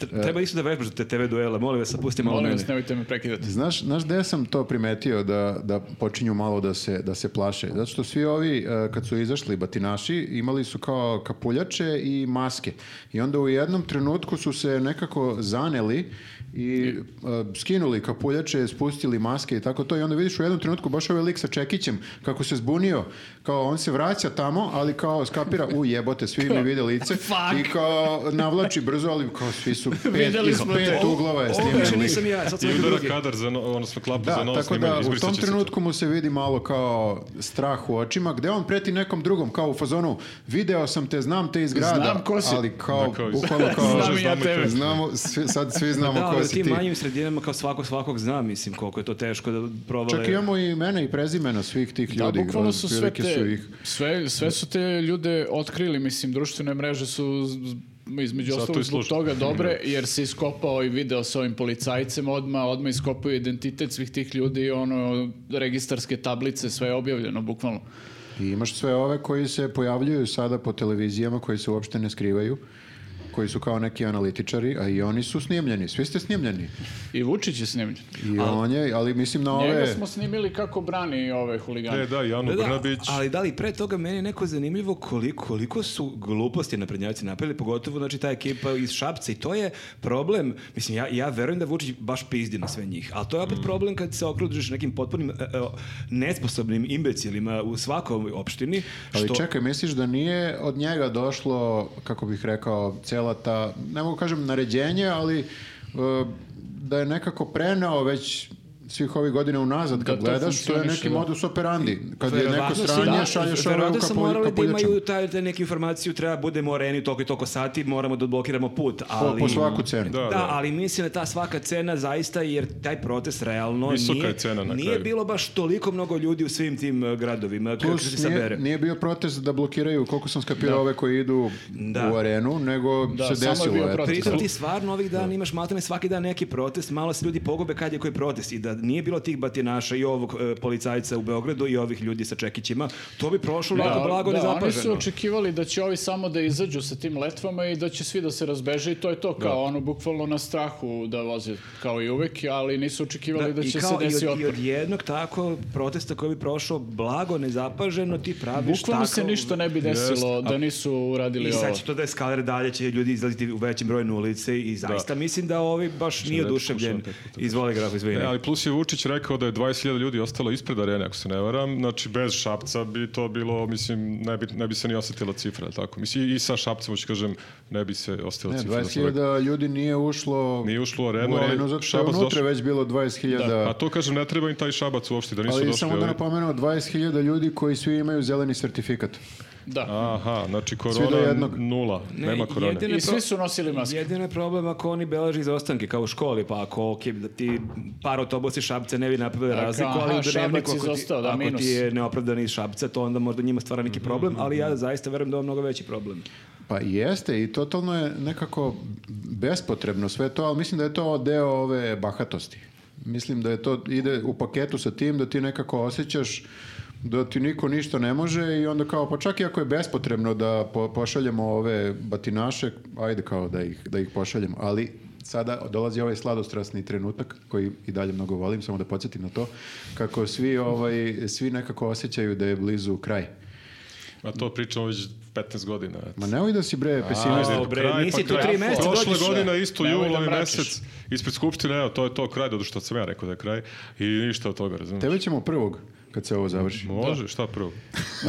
Tre- Treba isto da vežbaš za te TV duela, molim vas, pusti malo Molim mene. vas, nemojte me prekidati. Znaš, znaš gde sam to primetio da, da počinju malo da se, da se plaše? Zato što svi ovi, e, kad su izašli batinaši, imali su kao kapuljače i maske. I onda u jednom trenutku su se nekako zaneli i e, skinuli kapuljače, spustili maske i tako to. I onda vidiš u jednom trenutku baš ovaj lik sa Čekićem kako se zbunio. Kao on se vraća tamo, ali kao skapira, u jebote, svi mi vide lice. Fuck. I kao navlači brzo, ali kao svi su pet, Videli iz smo te. pet uglova je Ovo više snimljen lik. nisam ja, sad sam I neki udara drugi. kadar, za no, odnosno klapu za Da, novo tako snimanje. da u izbrisat tom će se to. trenutku mu se vidi malo kao strah u očima, gde on preti nekom drugom, kao u fazonu, video sam te, znam te iz grada, Znam ko si. ali kao, Da, kao iz- bukvalno kao, Znam i ja Znamo i to. tebe. znamo, svi- sad svi znamo Da, ko ali u si tim ti. manjim sredinama kao svako svakog zna, mislim, koliko je to teško da provale. Čak imamo i imena i prezimena svih tih Da, ljudi. ono, bukvalno su sve otprilike te, su ih- sve, sve su te ljude otkrili, mislim, društvene mreže su z- između Zato ostalog i zbog slušam. toga dobre, jer se iskopao i video sa ovim policajcem odma, odma iskopao identitet svih tih ljudi i ono, registarske tablice, sve je objavljeno, bukvalno. I imaš sve ove koji se pojavljuju sada po televizijama, koji se uopšte ne skrivaju, koji su kao neki analitičari, a i oni su snimljeni, svi ste snimljeni. I Vučić je snimljen. I on je, ali mislim na Njega ove... smo snimili kako brani ove huligane. E, da, i Anu Da, da, Brnabić. ali da li pre toga meni je neko zanimljivo koliko, koliko su gluposti naprednjaci napravili, pogotovo znači, ta ekipa iz Šapca i to je problem, mislim ja, ja verujem da Vučić baš pizdi na sve njih, ali to je opet problem kad se okružiš nekim potpunim e, e, nesposobnim imbecilima u svakoj opštini, što... Ali čekaj, misliš da nije od njega došlo, kako bih rekao, cijela ta, ne mogu kažem naređenje, ali e, da je nekako preneo već svih ovih godina unazad Da, kad to gledaš, to je funkcioniše, neki da. modus operandi. Kad je neko Verovatno su- sranje, da, šalješ ove u verovatno su kapulj- morali da kapuljačama. imaju taj, taj neku informaciju, treba budemo u areni toliko i toliko sati, moramo da odblokiramo put. Ali, po svaku cenu. Da, Da, da. ali mislim da ta svaka cena zaista, jer taj protest realno Visoka je nije, cena na nije kraju. bilo baš toliko mnogo ljudi u svim tim eh, gradovima. Kako se Plus nije, sabere? nije bio protest da blokiraju, koliko sam skapirao ove koji idu Da. u arenu, nego Da, se samo je desilo. bio eto. protest. Pritom ti stvarno ovih dana imaš maltene svaki dan neki protest, malo se ljudi pogobe kad je koji protest i da nije bilo tih batinaša i ovog eh, policajca u Beogradu i ovih ljudi sa čekićima, to bi prošlo lako blago da, oni su nezapaženo. očekivali da će ovi samo da izađu sa tim letvama i da će svi da se razbeže i to je to, kao ono bukvalno na strahu da voze kao i uvek, ali nisu očekivali da, i će se kao desiti i od, i otpor. od jednog tako protesta koji bi prošao blago nezapaženo ti praviš Bukvalno se tako- ništa ne bi desilo da nisu uradili I ovo. sad će to da eskalira dalje, će ljudi izlaziti u većem broju na ulici i zaista mislim da ovi baš nije reći, oduševljen. slušam pet puta. Izvoli graf, izvini. E, ali plus je Vučić rekao da je 20.000 ljudi ostalo ispred arene, ako se ne varam. Znači, bez Šapca bi to bilo, mislim, ne bi, ne bi se ni osetila cifra, tako. Mislim, i- i sa Šapcem, hoću kažem, ne bi se osetila Ne, cifra. da sam rekao. 20.000 ljudi nije ušlo Nije ušlo u arenu, u ali arenu zato što je Šabac unutra došao. već bilo 20.000 A to kažem, ne treba im taj Šabac uopšte, da nisu Ali došli. samo da ovi. napomenuo, 20.000 ljudi koji svi imaju zeleni sertifikat. Da. Aha, znači do korona jednog. nula, Ne, nema korone. jedino- I svi su nosili maske. Jedino je problem ako oni beleži izostanke kao u školi, pa ako ok, da ti par autobusi šapce ne bi napravili Dakle, razliku, aha, ali u dnevniku Šabac ako, ti, izostao, da, ako minus. Mhm, ti je neopravdan iz šapca, to onda možda njima stvara neki problem, ali ja zaista verujem da je ovo mnogo veći problem. Pa jeste i totalno je nekako bespotrebno sve to, ali mislim da je to deo ove bahatosti. Mislim da je to ide u paketu sa tim da ti nekako osjećaš da ti niko ništa ne može i onda kao, pa čak i ako je bespotrebno da po- pošaljemo ove batinaše, ajde kao da ih, da ih pošaljemo, ali sada dolazi ovaj sladostrasni trenutak koji i dalje mnogo volim, samo da podsjetim na to, kako svi, ovaj, svi nekako osjećaju da je blizu kraj. A to pričamo već 15 godina. eto. pa Ma nemoj da si bre pesimist. Jao, bre, nisi tu tri meseca, Prošle dođeš, godine isto Nemoj jul, da ovaj mračiš. mesec, ispred Skupštine, evo, to je to kraj, dodo što sam ja rekao da je kraj. I ništa od toga, razumiješ? Tebe ćemo prvog kad se ovo završi. Može, šta prvo?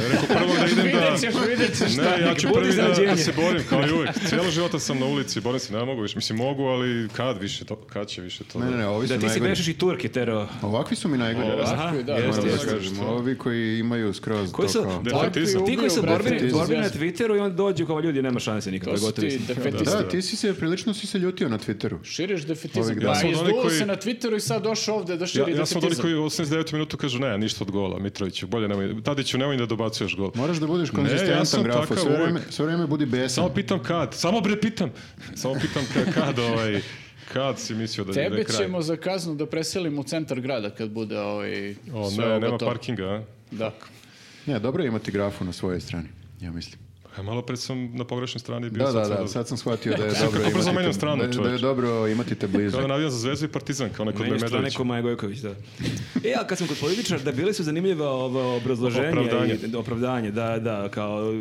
Ja rekao prvo da idem da... Vidjet ćeš, vidjet ćeš. Ne, ja nek ću bude prvi da, iznenađenje. da se borim, kao i uvek. Cijelo života sam na ulici, borim se, ne mogu više. Mislim, mogu, ali kad više to, kad će više to? Ne, ne, ne, ovi Da su ti si najgori. bešiš i Turke terao. Ovakvi su mi najgori. Ovakvi, Aha, da, jeste, moram da jeste. kažem. Ovi koji imaju skroz Koji to su- kao- Defetizam. Ti koji su Ubio borbeni, defetizam. borbeni na Twitteru i onda dođu kao ljudi, nema šanse nikada, To su gotovi ti smo. defetisti. Da, ti si se, prilično si se ljutio na Twitteru. Širiš defetizam. Ovih Pa Ja dana. sam od onih izduo koji- se na Twitteru i sad došao ovde da širi Ja, ja sam od onih defetizam. koji u 89. minutu kažu ne, ništa od gola, Mitroviću, bolje nemoj, Tadiću nemoj da dobacuješ gol. Moraš da budeš Ne, ja konzistentan sam grafo. takav Sve vreme, uvek. sve vreme budi besan. Samo pitam kad, samo bre pitam, samo pitam kad, kad ovaj, kad si mislio da je da Tebe je kraj. ćemo za kaznu da preselimo u centar grada kad bude ovaj... O, sve ne, ovo nema to. parkinga, a? Da. Ne, dobro je imati grafu na svojoj strani. Ja mislim. A E, malo pre sam na pogrešnoj strani bio. Da, da, sad sam da, sad sam shvatio da je dobro brzo imati menjam te, stranu, da, je- da je čoveče. dobro imati te blizu. Kao da navijam za Zvezdu i Partizan, kao neko Meni je strane Medvedović. ko Maja Gojković, da. E, a kad sam kod političara, da bili su zanimljiva ova obrazloženja Opravdanje. i opravdanje, da, da, kao,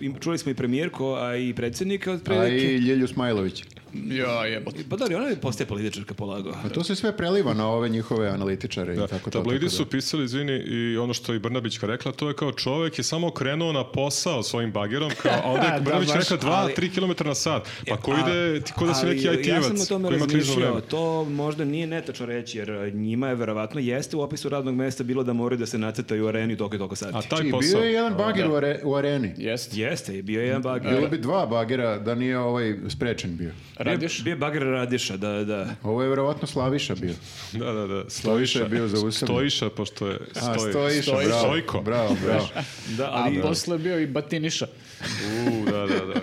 im- čuli smo i premijerku, a i predsjednika od A prilike. i Ljilju Smajlović. Ja jebote. Pa dobro, ona je postaje političarka polago. Pa to se sve preliva na ove njihove analitičare i Da, tako to. tabloidi tako da. su pisali, izvini, i ono što je i Brnabićka rekla, to je kao čovek je samo krenuo na posao svojim bagerom, kao, a onda je Da, Brnabić baš, rekao 2-3 ali- km na sat. Pa ko A- ide, ti ko da si ali neki Ja sam o IT-evac tome koji ima krizno vreme. razmišljao, to možda nije netačno reći, jer njima je verovatno jeste u opisu radnog mesta bilo da moraju da se nacrtaju u areni toliko i toliko A sati. taj Čiji, posao... bio je jedan bager u, are- u areni. Jeste. Jeste, bio je jedan E, bager. Bilo bi dva bagera da nije ovaj sprečen bio. Radiš? Bio je bager radiša, da, da. Ovo je verovatno Slaviša bio. Da, da, da. Stojiša je bio zaustavljen. Stojiša, pošto je... A, stoji. stojiš, Stojiš. bravo. Stojko. Bravo, bravo. Da, A ali... posle bio i Batiniša. U, da, da, da.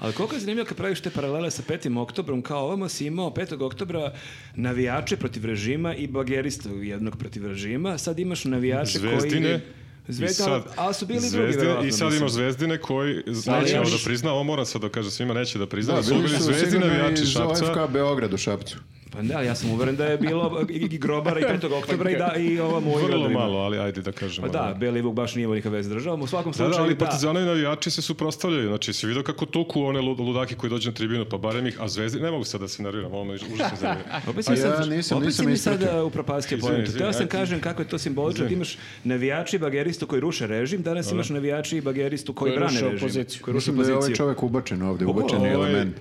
Ali koliko je zanimljivo kad praviš te paralele sa 5. oktobrom, kao ovamo si imao 5. oktobra navijače protiv režima i bagerista jednog protiv režima, sad imaš navijače Zvezdine. koji... Zvezdine, ali- ali su bili i drugi, zvezdine, verovatno, I sad mislim. Znači, imaš zvezdine koji Ali neće ja ovo da mislim- prizna, ovo moram sad da kažem svima, neće da prizna. Da, su bili bili su zvezdine sigurno navijači iz Šapca. OFK Beograd u Šapcu. Pa da, ja sam uveren da je bilo i grobara i 5. oktobra i, da, i ova moja Vrlo malo, ali ajde da kažemo. Pa da, Beli Vuk baš nije imao nikakve veze s državom. U svakom Da, slučaju, da, ali da. partizanovi navijači se suprostavljaju. Znači, si vidio kako tuku one lud- ludake koji dođu na tribinu, pa barem ih, a zvezdi, ne mogu sad da se nerviram, ovo me užasno zanima. Opet si mi Pa Ja sad, nisam- opet nisam si mi sad ispratio. uh, upropastio Izvini, pojentu. izvini, Teo sam ajde. kažem kako je to simbolično. Ti Izvini. imaš navijači i bageristu koji ruše režim, danas imaš navijači i bageristu koji Koji brane ruše režim. opoziciju. Koji ruše Mislim da je ovaj opoziciju. čovjek ubačen ovde, ubačen Ovo je je- element.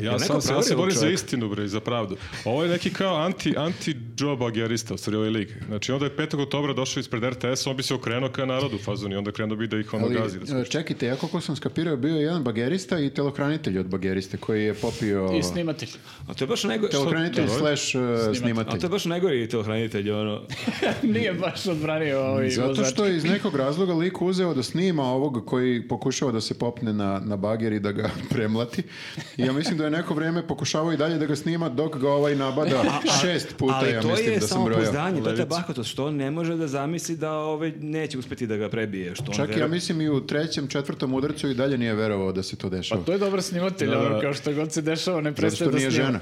neko Ja, sam, se- ja se provjerio borim za čovjek? istinu, bre, i za pravdu. Ovo je neki kao anti, anti Joe Baggerista, u stvari ovaj lik. Znači, onda je 5. oktobra došao ispred RTS, on bi se okrenuo ka narodu fazon i onda krenuo bi da ih ono Ali, gazi. Da se- e, čekajte, ja koliko sam skapirao, bio je jedan bagerista i telohranitelj od bageriste koji je popio... I snimatelj. A to je baš najgori... Telohranitelj Dobro. slash e, A snimatelj. to je baš najgori telohranitelj, ono... Nije baš odbranio ovaj Zato vozač. što je iz nekog razloga lik uzeo da snima ovog koji pokušava da se popne na, na bager i da ga premlati. I ja mislim da je neko vrijeme pokušavao i dalje da ga snima dok ga ovaj nabada šest puta, Ali ja to mislim je da sam samo brojao. pouzdanje, to je ta bahatost, što on ne može da zamisli da ovaj neće uspeti da ga prebije. Što on Čak i ja veruje- mislim i u trećem, četvrtom udarcu i dalje nije verovao da se to dešava. Pa Pa To je dobar snimatelj, Da, ono, da. kao što god se dešava, ne Zato prestaje što da nije snima. žena.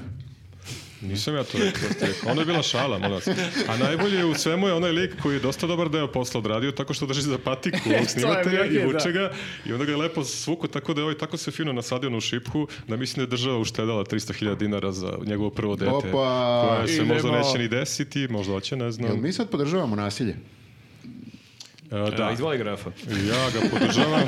Nisam ja to rekao, to ste rekao. Ono je bila šala, molim vas. A najbolje je u svemu je onaj lik koji je dosta dobar deo posla odradio tako što drži za patiku ovog bio snimatelja je, i da. vuče ga i onda ga je lepo svuku tako da je ovaj tako se fino nasadio na šipku da mislim da je država uštedala 300.000 dinara za njegovo prvo dete. Opa! Koje se Idemo. možda neće ni desiti, možda hoće, ne Jel znam. mi sad podržavamo nasilje? E, Da, da, izvoli grafa. Ja ga podržavam.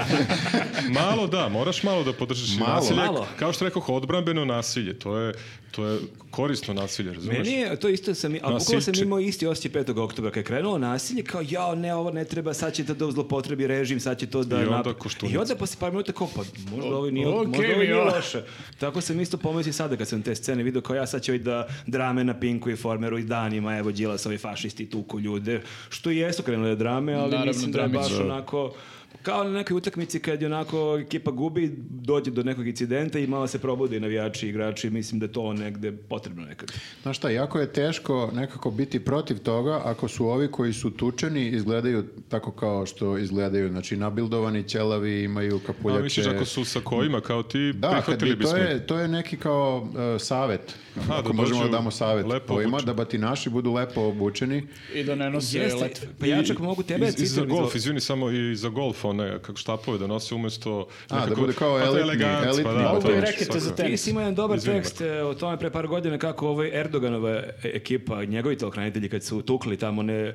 malo da, moraš malo da podržiš i Malo. nasilje. Malo. Kao što rekoh, odbrambeno nasilje. To je, to je korisno nasilje, razumeš? Meni je, to isto sam, a bukvalo sam Nasilče. imao isti osjećaj 5. oktobra, kad je krenulo nasilje, kao jao, ne, ovo ne treba, sad će to da zlopotrebi režim, sad će to da... I onda nap- koštunica. I onda posle par minuta kao, pa možda ovo nije, Okej, možda ovo nije ja. loše. Tako sam isto pomislio sada kad sam te scene vidio, kao ja sad će ovaj da drame na Pinku i Formeru i danima, evo, Đilas, ovi fašisti tuku ljude, što i jesu krenule drame, ali Naravno, mislim da je dramić. baš Da. onako kao na nekoj utakmici kad je onako ekipa gubi, dođe do nekog incidenta i malo se probude i navijači i igrači, mislim da je to negde potrebno nekad. Znaš šta, jako je teško nekako biti protiv toga ako su ovi koji su tučeni izgledaju tako kao što izgledaju. Znači, nabildovani ćelavi imaju kapuljače. A Pa misliš ako su sa kojima kao ti, Da, kad prihvatili bi, to, bismo. ih. je, to je neki kao e, savet. Aha, ako da možemo da dođu damo savet lepo ovima, obučeni. da batinaši budu lepo obučeni. I da ne nosi Jeste, letve. pa ja čak mogu tebe I, i za citirati. golf, izvini, samo i za golf, one, kako štapove da nose umjesto... A, da bude kao to je elitni, eleganc, elitni Pa da, golf. to je Mogu i rekete svakako. za te- Ti si imao jedan dobar Izvini, tekst e, o tome pre par godina kako ovaj Erdoganova e- ekipa, njegovi telohranitelji kad su tukli tamo ne, e,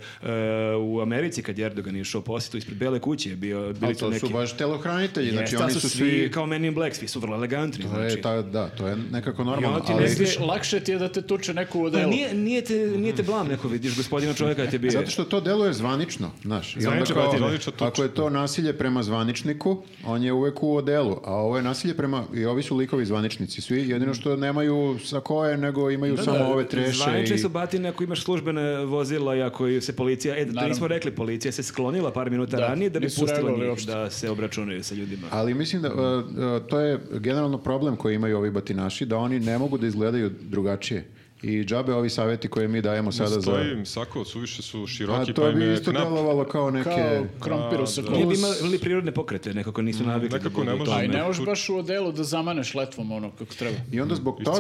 u Americi kad je Erdogan išao u posjetu ispred Bele kuće je bio, bili Ali tu to neki... su baš telohranitelji, znači Jeste, a oni su svi kao Men in Black, svi su vrlo elegantni. To je, znači. E, ta, da, to je nekako I normalno. onda ti ali- negdje- Misliš, lakše ti je da te tuče neko u Pa delu. nije, nije, te, nije te blam neko vidiš, gospodina čovjeka da te bije. Zato što to deluje zvanično, znaš. I onda Zvanično kao, batina. Zvanično tuče. ako je to nasilje prema zvaničniku, on je uvek u odelu, a ovo je nasilje prema, i ovi su likovi zvaničnici, svi, jedino što nemaju sakoje, nego imaju samo ove treše Zvanične i... su batine ako imaš službene vozila i ako ju se policija, e, da, to Naravno. nismo rekli, policija se sklonila par minuta Da, ranije da bi nisu pustila reagovali njih uopšte. da se obračunaju sa ljudima. Ali mislim da e, e, to je generalno problem koji imaju ovi batinaši, da oni ne mogu da izgledaju drugačije. I džabe ovi savjeti koje mi dajemo sada za... Stoji im sako, suviše su Pa A široki, to pa im bi je isto knap. delovalo kao neke... Kao krompiru sa Nije bi kolus. imali prirodne pokrete, nekako nisu navikli. da nekako budu ne u može. tome. A i ne možeš baš u odelu da zamaneš letvom ono kako treba. I onda zbog Iscepaš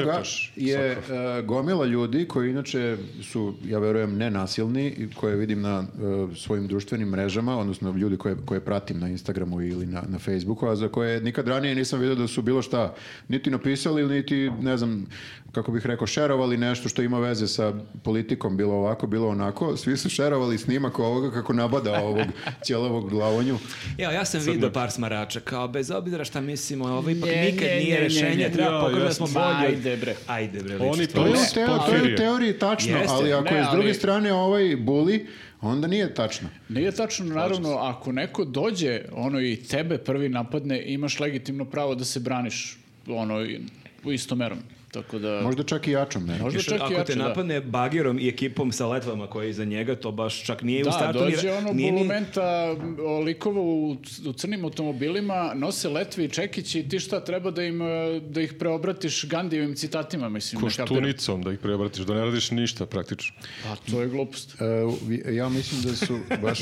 toga je e, gomila ljudi koji inače su, ja verujem, nenasilni i koje vidim na e, svojim društvenim mrežama, odnosno ljudi koje, koje pratim na Instagramu ili na, na Facebooku, a za koje nikad ranije nisam vidio da su bilo šta niti napisali, niti, ne znam, kako bih rekao, šerovali nešto što ima veze sa politikom, bilo ovako, bilo onako. Svi su šerovali snimak ovoga kako nabada ovog ćelovog glavonju. Evo, ja sam vidio par smarača, kao bez obzira šta mislimo, ovo ipak Nje, nikad nje, nije nje, rješenje, nje, nje. treba Ja, pokazati da smo jasno. bolji. od- Ajde, bre. Ajde bre, Oni liči to- To je, to. u teo- to je u Porfirije. teoriji tačno, Jeste. ali ako Ne, je s druge ali- strane ovaj buli, onda nije tačno. Nije tačno, naravno, ako neko dođe ono i tebe prvi napadne, imaš legitimno pravo da se braniš ono i- istomerom. Tako da... Možda čak i jačom, ne? Možda Još čak i ako jače, te da. napadne bagerom i ekipom sa letvama koja je iza njega, to baš čak nije u Da, startu. ni- dođe ono nije ni- bulumenta o, likova u, u crnim automobilima, nose letve i čekići i ti šta treba da im e, da ih preobratiš Gandijevim citatima, mislim, ne kapiram. Koštunicom da ih preobratiš, da ne radiš ništa praktično. Pa to je glupost. E, vi- ja mislim da su baš...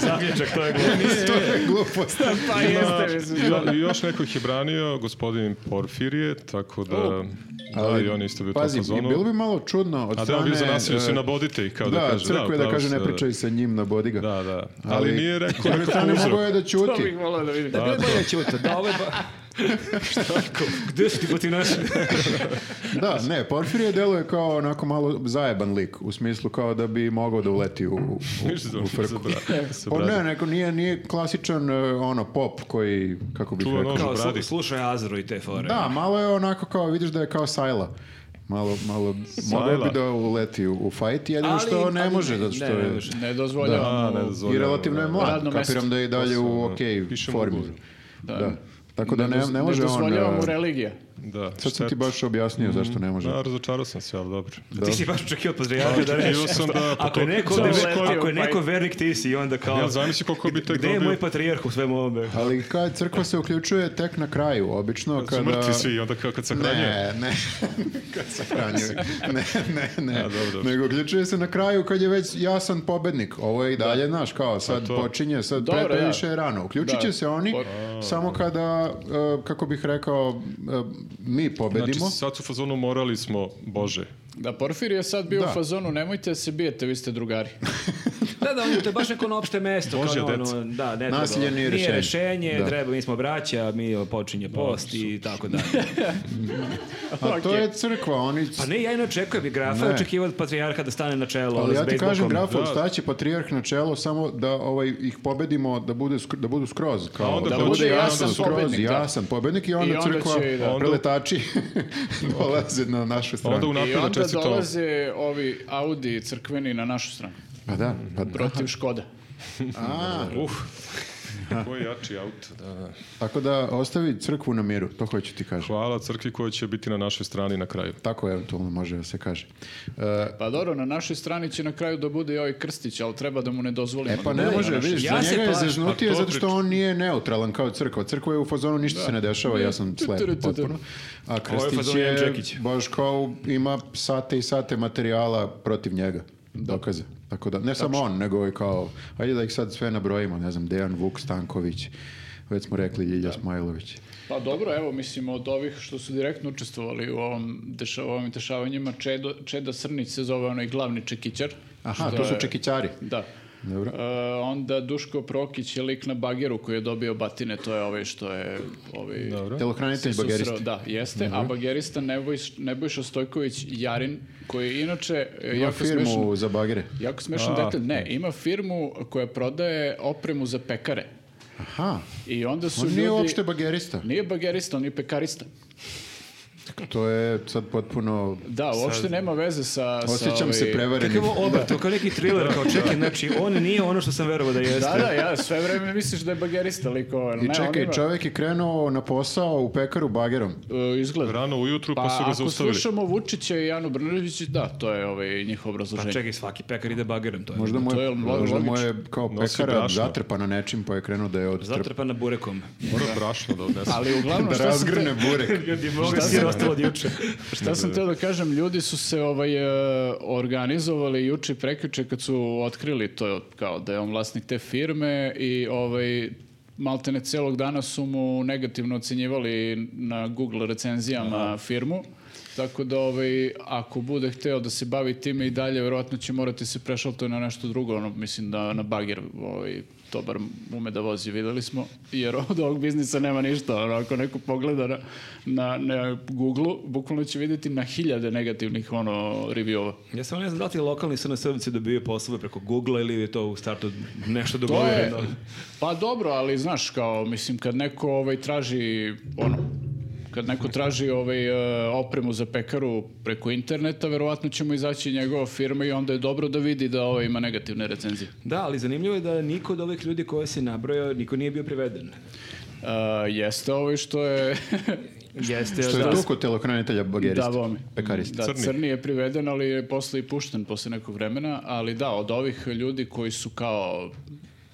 Zaključak, to je glupo. to je glupost. Pa jeste, mislim. Jo- I još neko ih je branio, gospodin Porfirije, tako da... da, i on je isto bio u tom Oh, Pazi, fazonu. bilo bi malo čudno od A da, strane... on bio za nasilje, e, se nabodite ih, kao da, da, kaže. crkve da, pravo kaže si, ne pričaj sa njim na bodiga. Da, da. Ali, nije rekao S druge strane nekakav mogo uzrok. je da To bih ćuti. volao da vidim. Da bilo je bolje ćuta, da. Da, ovo je ba... Šta ako? Gde su ti poti našli? Da, ne, Porfirije deluje kao onako malo zajeban lik, u smislu kao da bi mogao da uleti u, u, u, u frku. O ne, neko nije, nije klasičan e, ono pop koji, kako bih Čuva rekao. nož. Kao, bradi. slu- slušaj Azro i te fore. Da, malo je onako kao, vidiš da je kao Sajla. Malo, malo, mogao bi da uleti u, u fight, jedino Ali- što ne ali može, zato ne, što ne je... e, može. Ne dozvoljavam. mu- I relativno je mlad, Radno mesto. kapiram da je i dalje u Posebno, ok piše mu formi. ugovor. Da. Tako da ne, doz- ne može ne on... dozvoljavam mu e, religija. Da, Sad sam šteta. ti baš objasnio zašto ne može. Da, razočarao sam se, ali dobro. Ti si baš očekio od Patrijarha da Očekivao nešto. sam da- Ako je neko, Samo ovde- skolio, Pa ako je pa- neko vernik, ti si i onda kao... Ja zamisli koliko bi tek Gde je dobio. moj patrijarh u svemu ovome? Ali kad crkva se uključuje tek na kraju, obično Su kada... mrtvi svi, onda kao kad sahranjuje. Ne, ne, kad sahranjuje. Ne, ne, ne. A, dobro, dobro. Nego uključuje se na kraju kad je već jasan pobednik. Ovo je i dalje, znaš, kao sad to- počinje, sad Dobro, pre- previše da. je rano. Uključit će Da. se oni Pot- samo kada, e, kako bih rekao, e, mi Znači, pobedimo. sad su u fazonu morali smo, Bože. Da, Porfir je sad bio Da. u fazonu, nemojte da se bijete, vi ste drugari. Da, da, on- to je baš neko na opšte mesto. Božja kao ono, deca. da, ne treba. Nasilje nije rešenje. rešenje, Da. treba, mi smo braća, mi počinje post i tako dalje. A to je crkva, oni... Pa ne, ja i ne očekujem i grafa, Ne. očekivao od patrijarha da stane na čelo. Ali ono, s pa ja ti bejsbolkom. kažem, grafo, Da. staće patrijarh na čelo samo da ovaj, ih pobedimo, da, bude skr- da budu skroz. Kao, onda da hoće- bude i onda jasan, su- skroz, pobednik, da. jasan pobednik i onda, I onda crkva, će i da. Onda- preletači dolaze na našu stranu. Onda I unapred da onda čestitamo. dolaze ovi Audi crkveni na našu stranu. Pa da, pa da. Protiv Škoda. A, Uf, koji jači auto. Da, da. tako da ostavi crkvu na miru, to hoću ti kažem. Hvala crkvi koja će biti na našoj strani na kraju. Tako eventualno može da se kaže. E, Pa dobro, na našoj strani će na kraju da bude i ovaj Krstić, ali treba da mu ne dozvolimo. E pa da ne bude na može, našoj vidiš, Ja za se njega je plašim. zeznutije Pa to zato što on nije neutralan kao crkva. Crkva je u fazonu ništa se ne dešava, ja sam slep potpuno. A Krstić fazon Ivan je Čekić. baš kao ima sate i sate materijala protiv njega. Dokaze. Tako da, ne samo on, nego i kao, ajde da ih sad sve nabrojimo, ne znam, Dejan Vuk Stanković, već smo rekli Ljilja Smajlović. Pa dobro, evo, mislim, od ovih što su direktno učestvovali u ovom deša, ovim dešavanjima, Čedo, Čeda Srnić se zove onaj glavni čekićar. Aha, što to su je- čekićari. Da. Dobro. E, onda Duško Prokić je lik na bageru koji je dobio batine, to je ovaj što je... Ovaj, Dobro. Telohranitelj se susreo, bageristi. Da, jeste, a Mhm. bagerista Nebojš, Nebojša Stojković Jarin, koji je inače e, Ima jako smešan, firmu za bagere. jako smešan A. detalj. Ne, ima firmu koja prodaje opremu za pekare. Aha, I onda su on ljudi... nije uopšte bagerista. Nije bagerista, on je pekarista. To je sad potpuno... Da, uopšte nema veze sa... sa Osjećam se ovaj- prevarenim. Kakav je ovo obrt, to kao neki thriller, kao čekaj, znači on nije ono što sam verovao da jeste. Da, da, ja sve vreme misliš da je bagerista lik ovaj. I ne, on čekaj, ima, čovjek je krenuo na posao u pekaru bagerom. e, izgled. Rano ujutru pa, Pa su ga ako zaustavili. slušamo Vučića i Janu Brnović, da, to je ovaj, njihov Pa obrazloženje. čekaj, svaki pekar ide bagerom, to je. Možda mu To je, je lo- možda mu logično. je kao Nosi pekara brašno. zatrpana nečim pa je krenuo da je odtrpa. Zatrpana burekom. Moram brašno da odnesem. Ali uglavnom Da šta sam te- razgrne burek. Ljudi, mogu si ostalo od juče. Šta sam teo da kažem, ljudi su se ovaj, e, organizovali juče i prekjuče kad su otkrili to kao da je on vlasnik te firme i ovaj, maltene celog dana su mu negativno ocenjivali na Google recenzijama firmu. Tako da ovaj, ako bude hteo da se bavi time i dalje, verovatno će morati se prešaltuje na nešto drugo, ono, mislim da na bagir ovaj, to bar ume da vozi, videli smo, jer od ovog biznisa nema ništa. Ono, ako neko pogleda na, na, na Google-u, bukvalno će vidjeti na hiljade negativnih ono, review-ova. Ja samo ne znam da li ti lokalni SNS-ovci dobiju poslove preko Google-a ili je to u startu nešto To je, dogovoreno. pa dobro, ali znaš, kao, mislim, kad neko ovaj, traži, ono, kad neko traži ovaj, e, opremu za pekaru preko interneta, verovatno će mu izaći njegova firma i onda je dobro da vidi da ovaj, ima negativne recenzije. Da, ali zanimljivo je da niko od ovih ljudi koje si nabrojao, niko nije bio priveden. E, jeste ovaj što je Jeste, Što je da. tu kod telokranitelja bagerista? Da, vomi. Pekarista. Da, Crni. crni. je priveden, ali je posle i pušten posle nekog vremena, ali da, od ovih ljudi koji su kao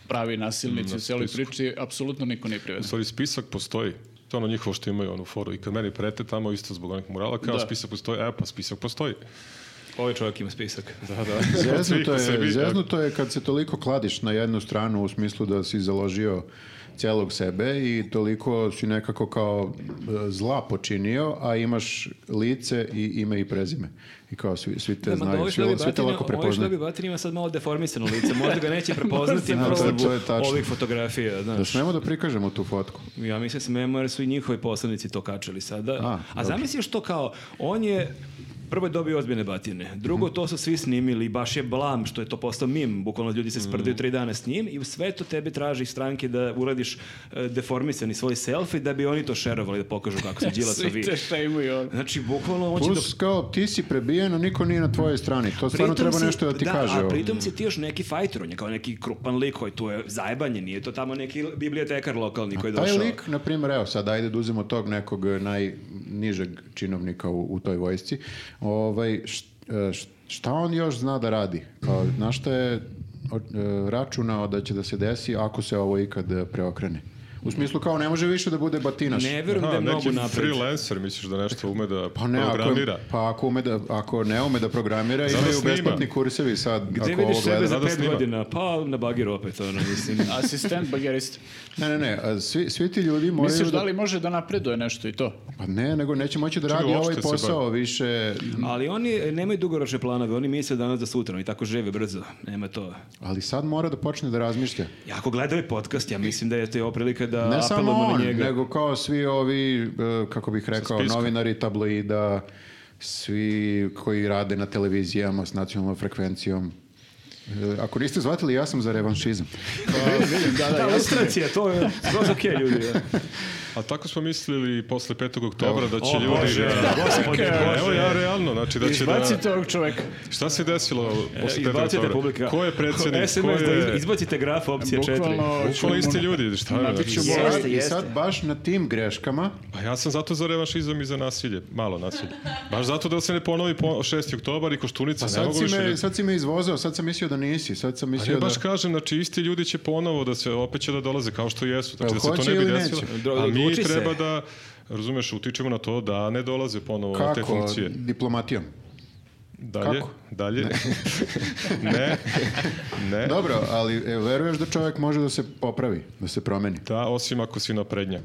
pravi nasilnici u cijeloj priči, apsolutno niko nije U priveden. stvari, spisak postoji. To je ono njihovo što imaju onu foru. I kad meni prete tamo, isto zbog onih murala, kao Da. spisak postoji, e pa spisak postoji. Ovaj čovjek ima spisak. Da, da. Zeznuto Od svih u sebi, je, da. zeznuto je kad se toliko kladiš na jednu stranu u smislu da si založio cijelog sebe i toliko si nekako kao e, zla počinio, a imaš lice i ime i prezime. I kao svi, svi te Da, znaju, ovi svi, šlebi svi te batina- lako Ovi prepoznaju. šlebi batina ima sad malo deformisano lice, možda ga neće prepoznati Možda. Da, to je probu tačno. ovih fotografija. Da Znaš. smemo da prikažemo tu fotku. Ja mislim smemo jer su i njihovi poslanici to kačali sada. A, A, dobro. zamisliš to kao, on je prvo je dobio ozbiljne batine, drugo Mhm. to su svi snimili i baš je blam što je to postao mim, bukvalno ljudi se Mhm. sprdaju tri dana s njim i u sve to tebi traži stranke da uradiš e, deformisani svoj selfie da bi oni to šerovali da pokažu kako se Svi Đilasovi. te šta imaju ono. Znači, bukvalno on će do- Plus, kao, ti si prebijen, a niko nije na tvojoj strani. To stvarno Pritom treba si- nešto da ti da, kaže. ono. A ovo. pritom si ti još neki fajter, on je kao neki krupan lik koji tu je zajebanje, nije to tamo neki bibliotekar lokalni koji je Taj došao. lik, na primjer, evo sad, ajde da uzmemo tog nekog e, najnižeg činovnika u, u toj vojsci, ovaj, š- e, š- šta on još zna da radi? Kao, na šta je o- e, računao da će da se desi ako se ovo ikad e, preokrene? U smislu kao ne može više da bude batinaš. Ne verujem da Aha, je mnogo neki napred. freelancer, misliš da nešto ume da Pa ne, ako, programira. pa ako, ume da, ako ne ume da programira, Zada imaju snima. besplatni kursevi sad. Gde ako vidiš ovo sebe gleda- za Rado pet snima. godina? Pa na bagiru opet, ono, mislim. Asistent bagerist. Ne, ne, ne, a svi, svi ti ljudi moraju Misliš da da... li može da napreduje nešto i to? Pa ne, nego neće moći da Čega radi ovaj uopšte se posao više, Ali oni e, nemaju dugoročne planove, oni misle danas za sutra, oni tako žive brzo, nema to. ali sad mora da počne da razmišlja. Ja ako gledaju ovaj podcast, ja mislim da je to je prilika da Ne samo apelujemo on, na njega. nego kao svi ovi, e, kako bih rekao, spiska. novinari tabloida, svi koji rade na televizijama s nacionalnom frekvencijom. E, Ako niste shvatili, ja sam za revanšizam. Da, da, Da, jasno. ilustracija, to je skroz okej ljudi. ja. A tako smo mislili posle 5. oktobra da će O, ljudi... Bože, da- gospode, E, Evo Bože. ja realno, znači da će da... Izbacite ovog čoveka. Šta se desilo posle 5. E, Izbacite oktobra? publika. Ko je predsjednik? SMS, ko da je... izbacite graf opcije 4. Bukvalno ćemo Bukvalno isti ljudi, šta je? Nabiću znači? mu- Jeste, ovaj, I jeste. sad baš na tim greškama, Pa ja sam zato za revanšizam i za nasilje, malo nasilje. Baš zato da se ne ponovi po 6. oktobar i Koštunica, pa ne sad mogu si, više... me, ljudi. sad si me izvozao, sad sam mislio da nisi, sad sam Pa mislio Ja da... baš kažem, znači isti ljudi će ponovo da se opet će da dolaze kao što jesu, znači Jel da se to hoće ne bi ili desilo. neće? Dro- A mi odluči se. treba da razumeš, utičemo na to da ne dolaze ponovo na te Kako? funkcije. Diplomatijom. Dalje, Kako? dalje. Ne. ne. Dobro, ali e, veruješ da čovjek može da se popravi, da se promeni. Da, osim ako si naprednjak.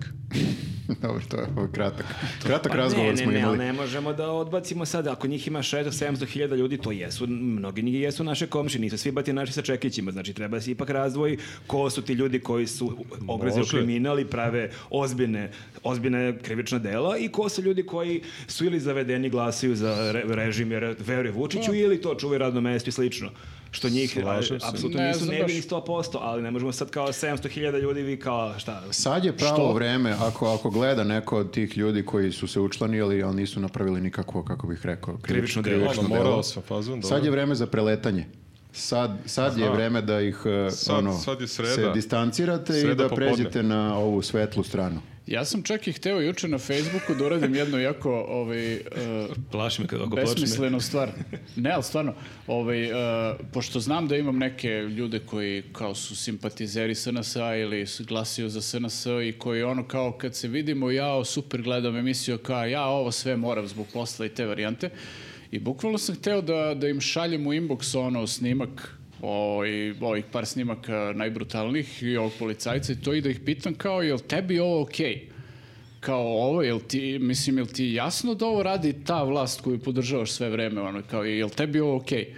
Dobro, to je ovo kratak. Kratak Pa razgovor ne, ne, smo ne, imali. ali ne možemo da odbacimo sad. Ako njih ima 600-700 hiljada ljudi, to jesu, mnogi njih jesu naše komši, nisu svi bati naši sa čekićima. Znači, treba se ipak razdvoji ko su ti ljudi koji su ogrezili Može. kriminal i prave ozbiljne, ozbiljne krivična dela i ko su ljudi koji su ili zavedeni glasaju za re- režim jer veruje Vučiću ili to čuvaju radno mesto i slično. Što njih a, Slažem se. apsolutno Ne nisu znam nevini baš. 100%, ali ne možemo sad kao 700 hiljada ljudi vi kao šta, Sad je pravo vreme, ako, ako gleda neko od tih ljudi koji su se učlanili, ali nisu napravili nikakvo, kako bih rekao, krivič- Krivično delo. krivično Ono, delo. morao sam fazon, dobro. Sad je vreme za preletanje. Sad, sad je vreme da ih eh, Sad- ono, sad je sreda. se distancirate i Sreda da popodne. pređete na ovu svetlu stranu. Ja sam čak i hteo juče na Facebooku da uradim jednu jako ovaj, e, plaši me kad ako počne. besmislenu stvar. Ne, ali stvarno, ovaj, e, pošto znam da imam neke ljude koji kao su simpatizeri SNS-a ili su- glasaju za SNS i koji ono kao kad se vidimo ja super gledam emisiju kao ja ovo sve moram zbog posla i te varijante. I bukvalno sam hteo da, da im šaljem u inbox ono snimak ovaj, ovih par snimaka najbrutalnijih i ovog policajca i to i da ih pitam kao jel tebi ovo okej? kao ovo, jel ti, mislim, jel ti jasno da ovo radi ta vlast koju podržavaš sve vreme, ono, kao, jel tebi ovo okej?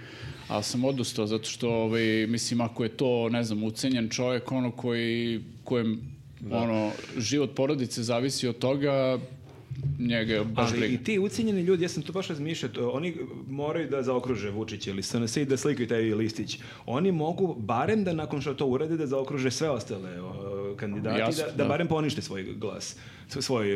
Ali sam odustao, zato što, ovaj, mislim, ako je to, ne znam, ucenjen čovjek, ono, koji, kojem, ono, život porodice zavisi od toga, njega je baš Ali briga. i ti ucijenjeni ljudi, ja sam to baš razmišljao, to- oni moraju da zaokruže Vučića ili SNS i da slikaju taj listić. Oni mogu barem da nakon što to urade da zaokruže sve ostale o, kandidati Jasno, da, da, da. barem ponište svoj glas, s- svoj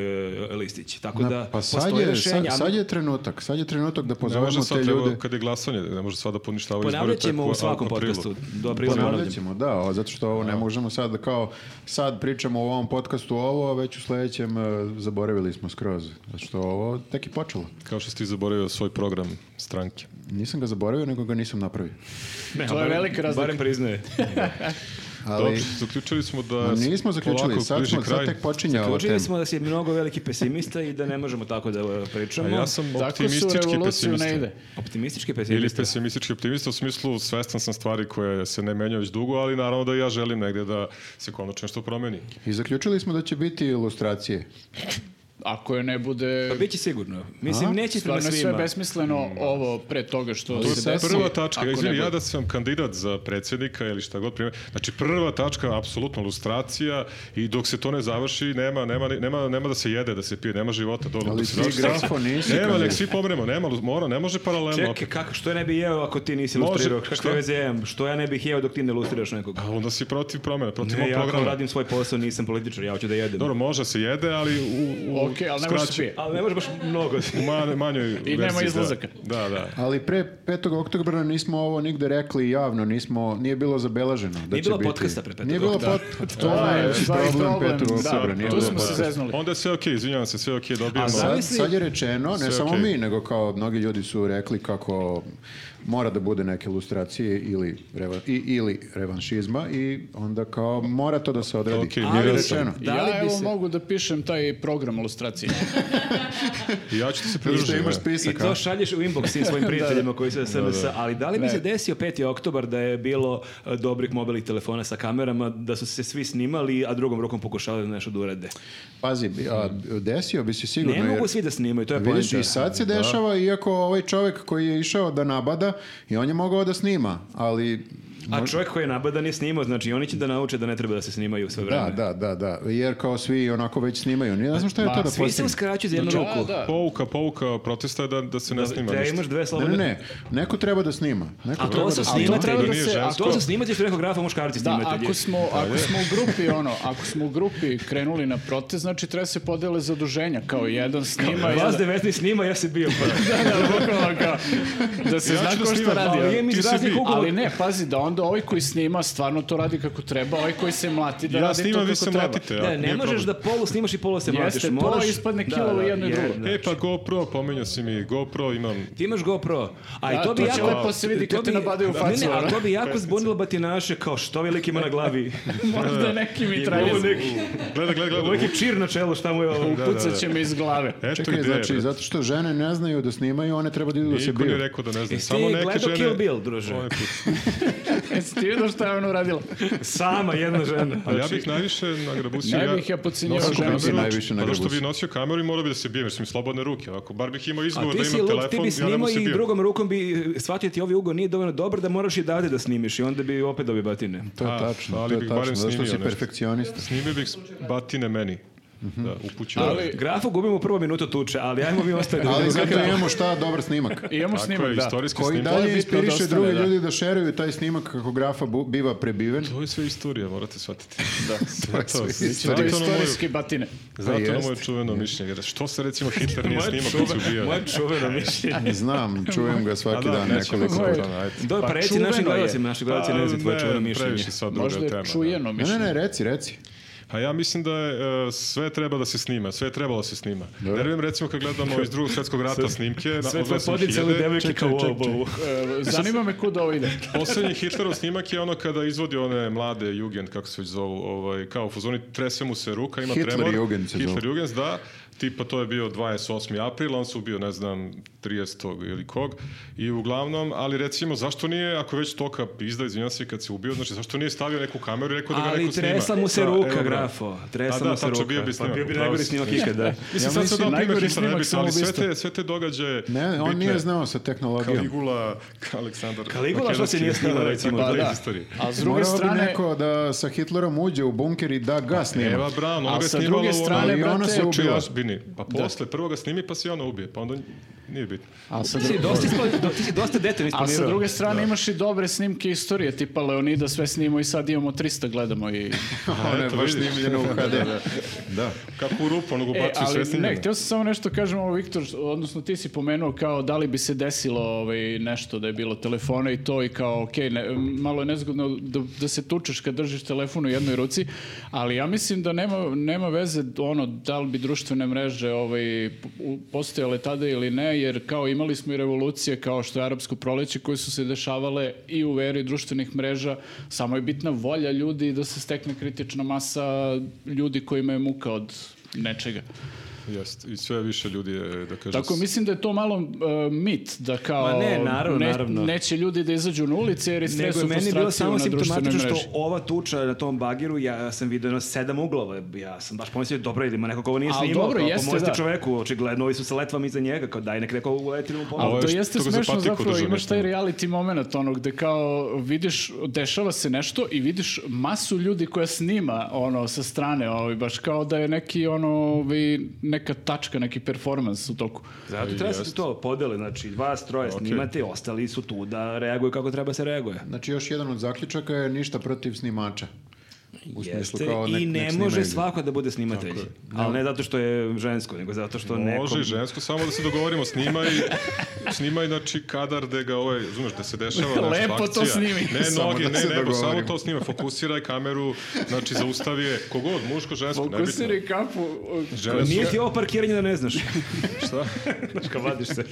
e, listić. Tako da pa sad postoje je, rešenja. sad, sad je trenutak, sad je trenutak da Ne može pozovemo te sad, treba, ljude. kad je glasanje, ne može sad da poništavaju izbore. Ponavljat ćemo tek u svakom aprilu. podcastu. Do aprila Ponavljat ponavljam. ćemo, da, o, zato što ovo ne možemo sad da kao sad pričamo u ovom podcastu ovo, a već u sledećem e, zaboravili smo skroz, zato što ovo tek je počelo. Kao što si ti zaboravio svoj program stranke. Nisam ga zaboravio, nego ga nisam napravio. Ne, To je barem- velika razlika. Barem priznaje. Ali, Dobro, zaključili smo da... Ma nismo zaključili, polako sad, bliži smo, sad kraj. tek počinje ova tema. Učili smo da si mnogo veliki pesimista i da ne možemo tako da e, A pričamo. Pa ja sam Tako su optimistički revoluciju pesimista. ne ide. Optimistički Ili pesimista. pesimistički optimista u smislu svestan sam stvari koje se ne menjaju već dugo, ali naravno da i ja želim negde da se konačno nešto promeni. I zaključili smo da će biti ilustracije. Ako je ne bude... Pa biće sigurno. Mislim, neće to na Stvarno je sve svima. Mm, besmisleno ovo pre toga što To je se sad desi. Prva tačka, Ako ne ja, izvini, bude. ja da sam kandidat za predsjednika ili šta god primjer. Znači prva tačka, apsolutno ilustracija i dok se to ne završi, nema, nema, nema, nema da se jede, da se pije, nema života. Dobro, Ali dok se ti završi- grafo nisi Nema, nek kandidat. svi pomremo, nema, mora, ne može paralelno. Čekaj, opet. kako, što ja ne bi jeo ako ti nisi Može, ilustrirao? šta? Kakve veze ja imam? Što ja ne bih jeo dok ti ne ilustriraš nekog? A onda si protiv promjena, protiv Ne, ovog ja kao programa. radim svoj posao, nisam političar, ja hoću da jedem. Dobro, može se jede, ali u, u Ok, ali ne može se skraćen- pije. Ali ne možeš baš mnogo. U man, manjoj verziji. nema da. izlazaka. Da, da. Ali pre 5. oktobra nismo ovo nigde rekli javno, nismo, nije bilo zabeleženo. Da Nije će bilo biti. podcasta pre 5. Nije bilo oktobra. pod- To je stvarno problem problem, 5. da. oktobra. nije Tu bilo smo se podcasta. zeznuli. pa, Onda je sve okej, izvinjavam se, sve je okej, dobijemo. A Sad, Zamisli- sad je rečeno, ne Sve samo okej. mi, nego kao mnogi ljudi su rekli kako mora da bude neke ilustracije ili, reva, i, ili revanšizma i onda kao mora to da se odradi. Okej, Nije mirio li sam. rečeno. Da li ja bi evo se- mogu da pišem taj program ilustracije. Ja ću ti se I što pridružiti. imaš da. spisak, I a? to šalješ u inbox svim svojim prijateljima koji su SNS, ali da li bi Ne. se desio 5. oktobar da je bilo e, dobrih mobilnih telefona sa kamerama, da su se svi snimali, a drugom rokom pokušavali nešto da urade? Pazi, bi- a, desio bi se sigurno. Ne jer- mogu svi da snimaju, to je Vidiš, poenta. i sad se dešava, iako ovaj čovjek koji je išao da nabada, i on je mogao da snima, ali... A mož- čovjek koji je nabadan je snimao, znači oni će da nauče da ne treba da se snimaju sve vreme. Da, da, da, da, jer kao svi onako već snimaju. Ne znam što je Ma, to da Pa, Svi se postigne. uskraćuju za jednu Da, ruku. Znači- da. Pouka, pouka protesta je da, da se ne snima Da ništa. imaš dve Ne, slobodne... ne, ne, neko treba da snima. Neko A treba to da su snima. snima. snimatelji. Ali To, to nije žensko. su snimatelji što je rekao grafa muškarci Da, snimatelji. ako smo, ako smo u grupi ono, ako smo u grupi krenuli na protest, znači treba se podele zaduženja, kao jedan snima, Vas jedan... 19 snima, ja se bio. Pa. Da, da, bukvalno kao, da se Ja zna ću da ko šta snimam, radi. ali ono. je mi ti iz si raznih bi- uglova. Ali ne, pazi da onda ovaj koji snima stvarno to radi kako treba, ovaj koji se mlati da Ja radi snimam, to vi kako se treba. mlatite. Ne, ja, ne nije možeš problem. da polu snimaš i polu se Jeste, mlatiš. to Moraš... ispadne kilo i jedno i je, drugo. da. E pa GoPro, pominjao si mi, GoPro imam... Ti imaš GoPro, a i Da, to bi to će jako... lepo se vidi to kad te bi- nabadaju u facu, Ne, ne, a ono. to bi jako zbunilo batinaše, kao što ovaj lik ima na glavi. Možda neki mi Ovo trajez neki, Gleda, gleda, gleda. ovo neki čir na čelu, šta mu je ovo? pucat će me iz glave. Eto Čekaj, ideje, znači, brate. zato što žene ne znaju da snimaju, one treba da idu da se Niko nije biju. rekao da ne znam. Jesi Samo E, ti neke gledao žene... Kill Bill, druže? Ovaj put. Jesi ti vidio E, šta je ono ona uradila? Sama jedna žena. Ali ja Znači, bih najviše nagrabusio... Ne bih ja podcenjivao Nosio ženu. kameru, Najviše Zato što nagrabusio. bi nosio kameru i morao bi da se bijem, jer su mi slobodne ruke. Ovako, bar bih imao A izgovor da ti si imam lud, ti telefon, bi ja ne mogu snimao se i bijem. drugom rukom bi eh, shvatio ti ovaj ugo nije dovoljno dobar da moraš i dade da snimiš i onda bi opet dobio batine. To je A, tačno, ali to je bih barem tačno, zato što snimio si nešto. perfekcionista. Snimio bih s- batine meni. Mhm. Da, upućio. Ali- Grafu gubimo prvu minutu tuče, ali ajmo mi ostaviti. Ali zato imamo šta, dobar snimak. Imamo Tako snimak, je, da. istorijski Koji snimak. To je dalje bitno da inspiriše ostane, druge da. ljudi da šeruju taj snimak kako grafa bu- biva prebiven. To je sve istorija, morate shvatiti. Da, sve to. sve Znači, Pa To je Zato na moje, istorijske batine. zato na jest. moje čuveno mišljenje. Jer Što se recimo Hitler nije snimao kad Pa se ubijao? Moje čuveno mišljenje. Znam, čujem ga A svaki da, dan nećemo nekoliko to Moje- dana, ajde. Do, Pa pa reci čuveno našim je. gledalcima, naši gledalci ne znaju tvoje Pa ne, čuveno mišljenje. Previše sad druga Možda tema. je da. čujeno Ne, mišljenje. ne, ne, reci, reci. A Pa ja mislim da je e, sve treba da se snima, sve je trebalo da se snima. Nervim recimo kad gledamo iz drugog svjetskog rata snimke, na Sve tvoje odlasim podicale hiljade. devojke kao čekaj, ovo. ovo. E, Zanima me kuda ovo ide. Poslednji Hitlerov snimak je ono kada izvodi one mlade Jugend, kako se već zovu, ovaj, kao u fuzoni, trese mu se ruka, ima Hitler tremor. Jugend se Hitler zovu. Jugend, da. Tipa to je bio 28. april, on se ubio, ne znam, 30. ili kog. I uglavnom, ali recimo, zašto nije, ako je već toka pizda, izvinjam se, kad se ubio, znači zašto nije stavio neku kameru i rekao da ga Ali neko snima? tresa mu se Da, ruka, evo ga. grafo. A Tresa da, mu se tačno, ruka. bio bi Pa snimak, bio bi upravo najgori si. snimak ikada. Mislim, Ja sad mislim, sam dao primjer najgori Hitlera, ne snimak bi, ali sve samoubistva. te, sve te događaje Ne, on bitne. nije znao sa tehnologijom. Kaligula, Aleksandar. Kaligula što se nije Makedonski, snimao, recimo, tako to je je Pa iz Da. istorije. A s druge Morao bi strane, neko da sa Hitlerom uđe u bunker i da ga snima. Eva Braun, ona a Ono ga je sa snimala druge u Znači, strane, ali ona brate, se onoj ubila. čujašbini. Pa posle, prvo ga snimi, pa se i ona ubije. Pa onda Nije bitno. A sa, Ti si dru- dosta, ispla- ti si dosta detaljno a sa isplanirao. druge strane imaš i dobre snimke istorije, tipa Leonida sve snimo i sad imamo 300 gledamo i... Ono je eto, baš vidiš. snimljeno u HD. da. Kako u rupu, ono ga E, ubacuju sve ali ne, snimljeno. htio sam samo nešto kažem ovo, Viktor, odnosno ti si pomenuo kao da li bi se desilo ovaj, nešto da je bilo telefona i to i kao, ok, malo je nezgodno da, da se tučeš kad držiš telefon u jednoj ruci, ali ja mislim da nema, nema veze ono, da li bi društvene mreže ovaj, u- postojale tada ili ne, jer kao imali smo i revolucije kao što je arapsko proleće koje su se dešavale i u veri društvenih mreža, samo je bitna volja ljudi da se stekne kritična masa ljudi kojima je muka od nečega. Jest, i sve više ljudi je, da kažem... Tako mislim da je to malo e, mit da kao Ma ne, naravno, naravno. neće ljudi da izađu na ulice jer je stres Nego je u meni bilo samo frustraciju na društvenoj simptomatično što mreži. ova tuča na tom bagiru, ja sam vidio na sedam uglova, ja sam baš pomislio, dobro, ili ima neko ko ovo nije Ali snimao, dobro, kao jeste, pomozi da. čoveku, očigledno, ovi su sa letvam iza njega, kao daj nek neko uleti da mu pomoći. Ovo Ali je to što- jeste što ga za smešno patiku zapravo, drže imaš taj nekome. reality moment ono gde kao vidiš, dešava se nešto i vidiš masu ljudi koja snima ono sa strane, ovaj, baš kao da je neki ono, ovaj, neka tačka, neki performans u toku. Zato treba se jest. to podele, znači vas troje snimate, ostali su tu da reaguju kako treba se reaguje. Znači još jedan od zaključaka je ništa protiv snimača. U smislu Jeste, kao nek, i ne nek može snimaju. svako da bude snimatelj. Ali ne zato što je žensko, nego zato što Može nekom... i žensko, samo da se dogovorimo, snimaj, snimaj znači kadar da ga ovaj, razumeš, da se dešava nešto Lepo to akcija. snimi. Ne Samo noge, da ne, se nego samo dogovorimo. to snimaj, fokusiraj kameru, znači zaustavi je, kogod, muško, žensko, nebitno. Fokusiri kapu. o, Žene Nije su, ti ovo parkiranje da ne znaš. šta? Znaš, kao vadiš se.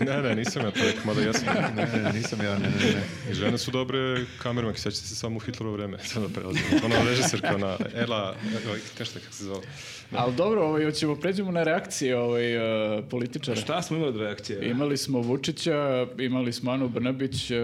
Ne, ne, nisam ja to, mada jesam. Ne, ne, nisam ja, ne, ne, ne. I žene su dobre kamermake, sjećate se samo u Hitlerovo vreme. Sada prelazimo. Ona režiserka, ona Ela, evo, nešto kako se zove. Ali dobro, ovaj, hoćemo pređemo na reakcije ovaj, e, političara. Šta smo imali od reakcije? Imali smo Vučića, imali smo Anu Brnabić, e,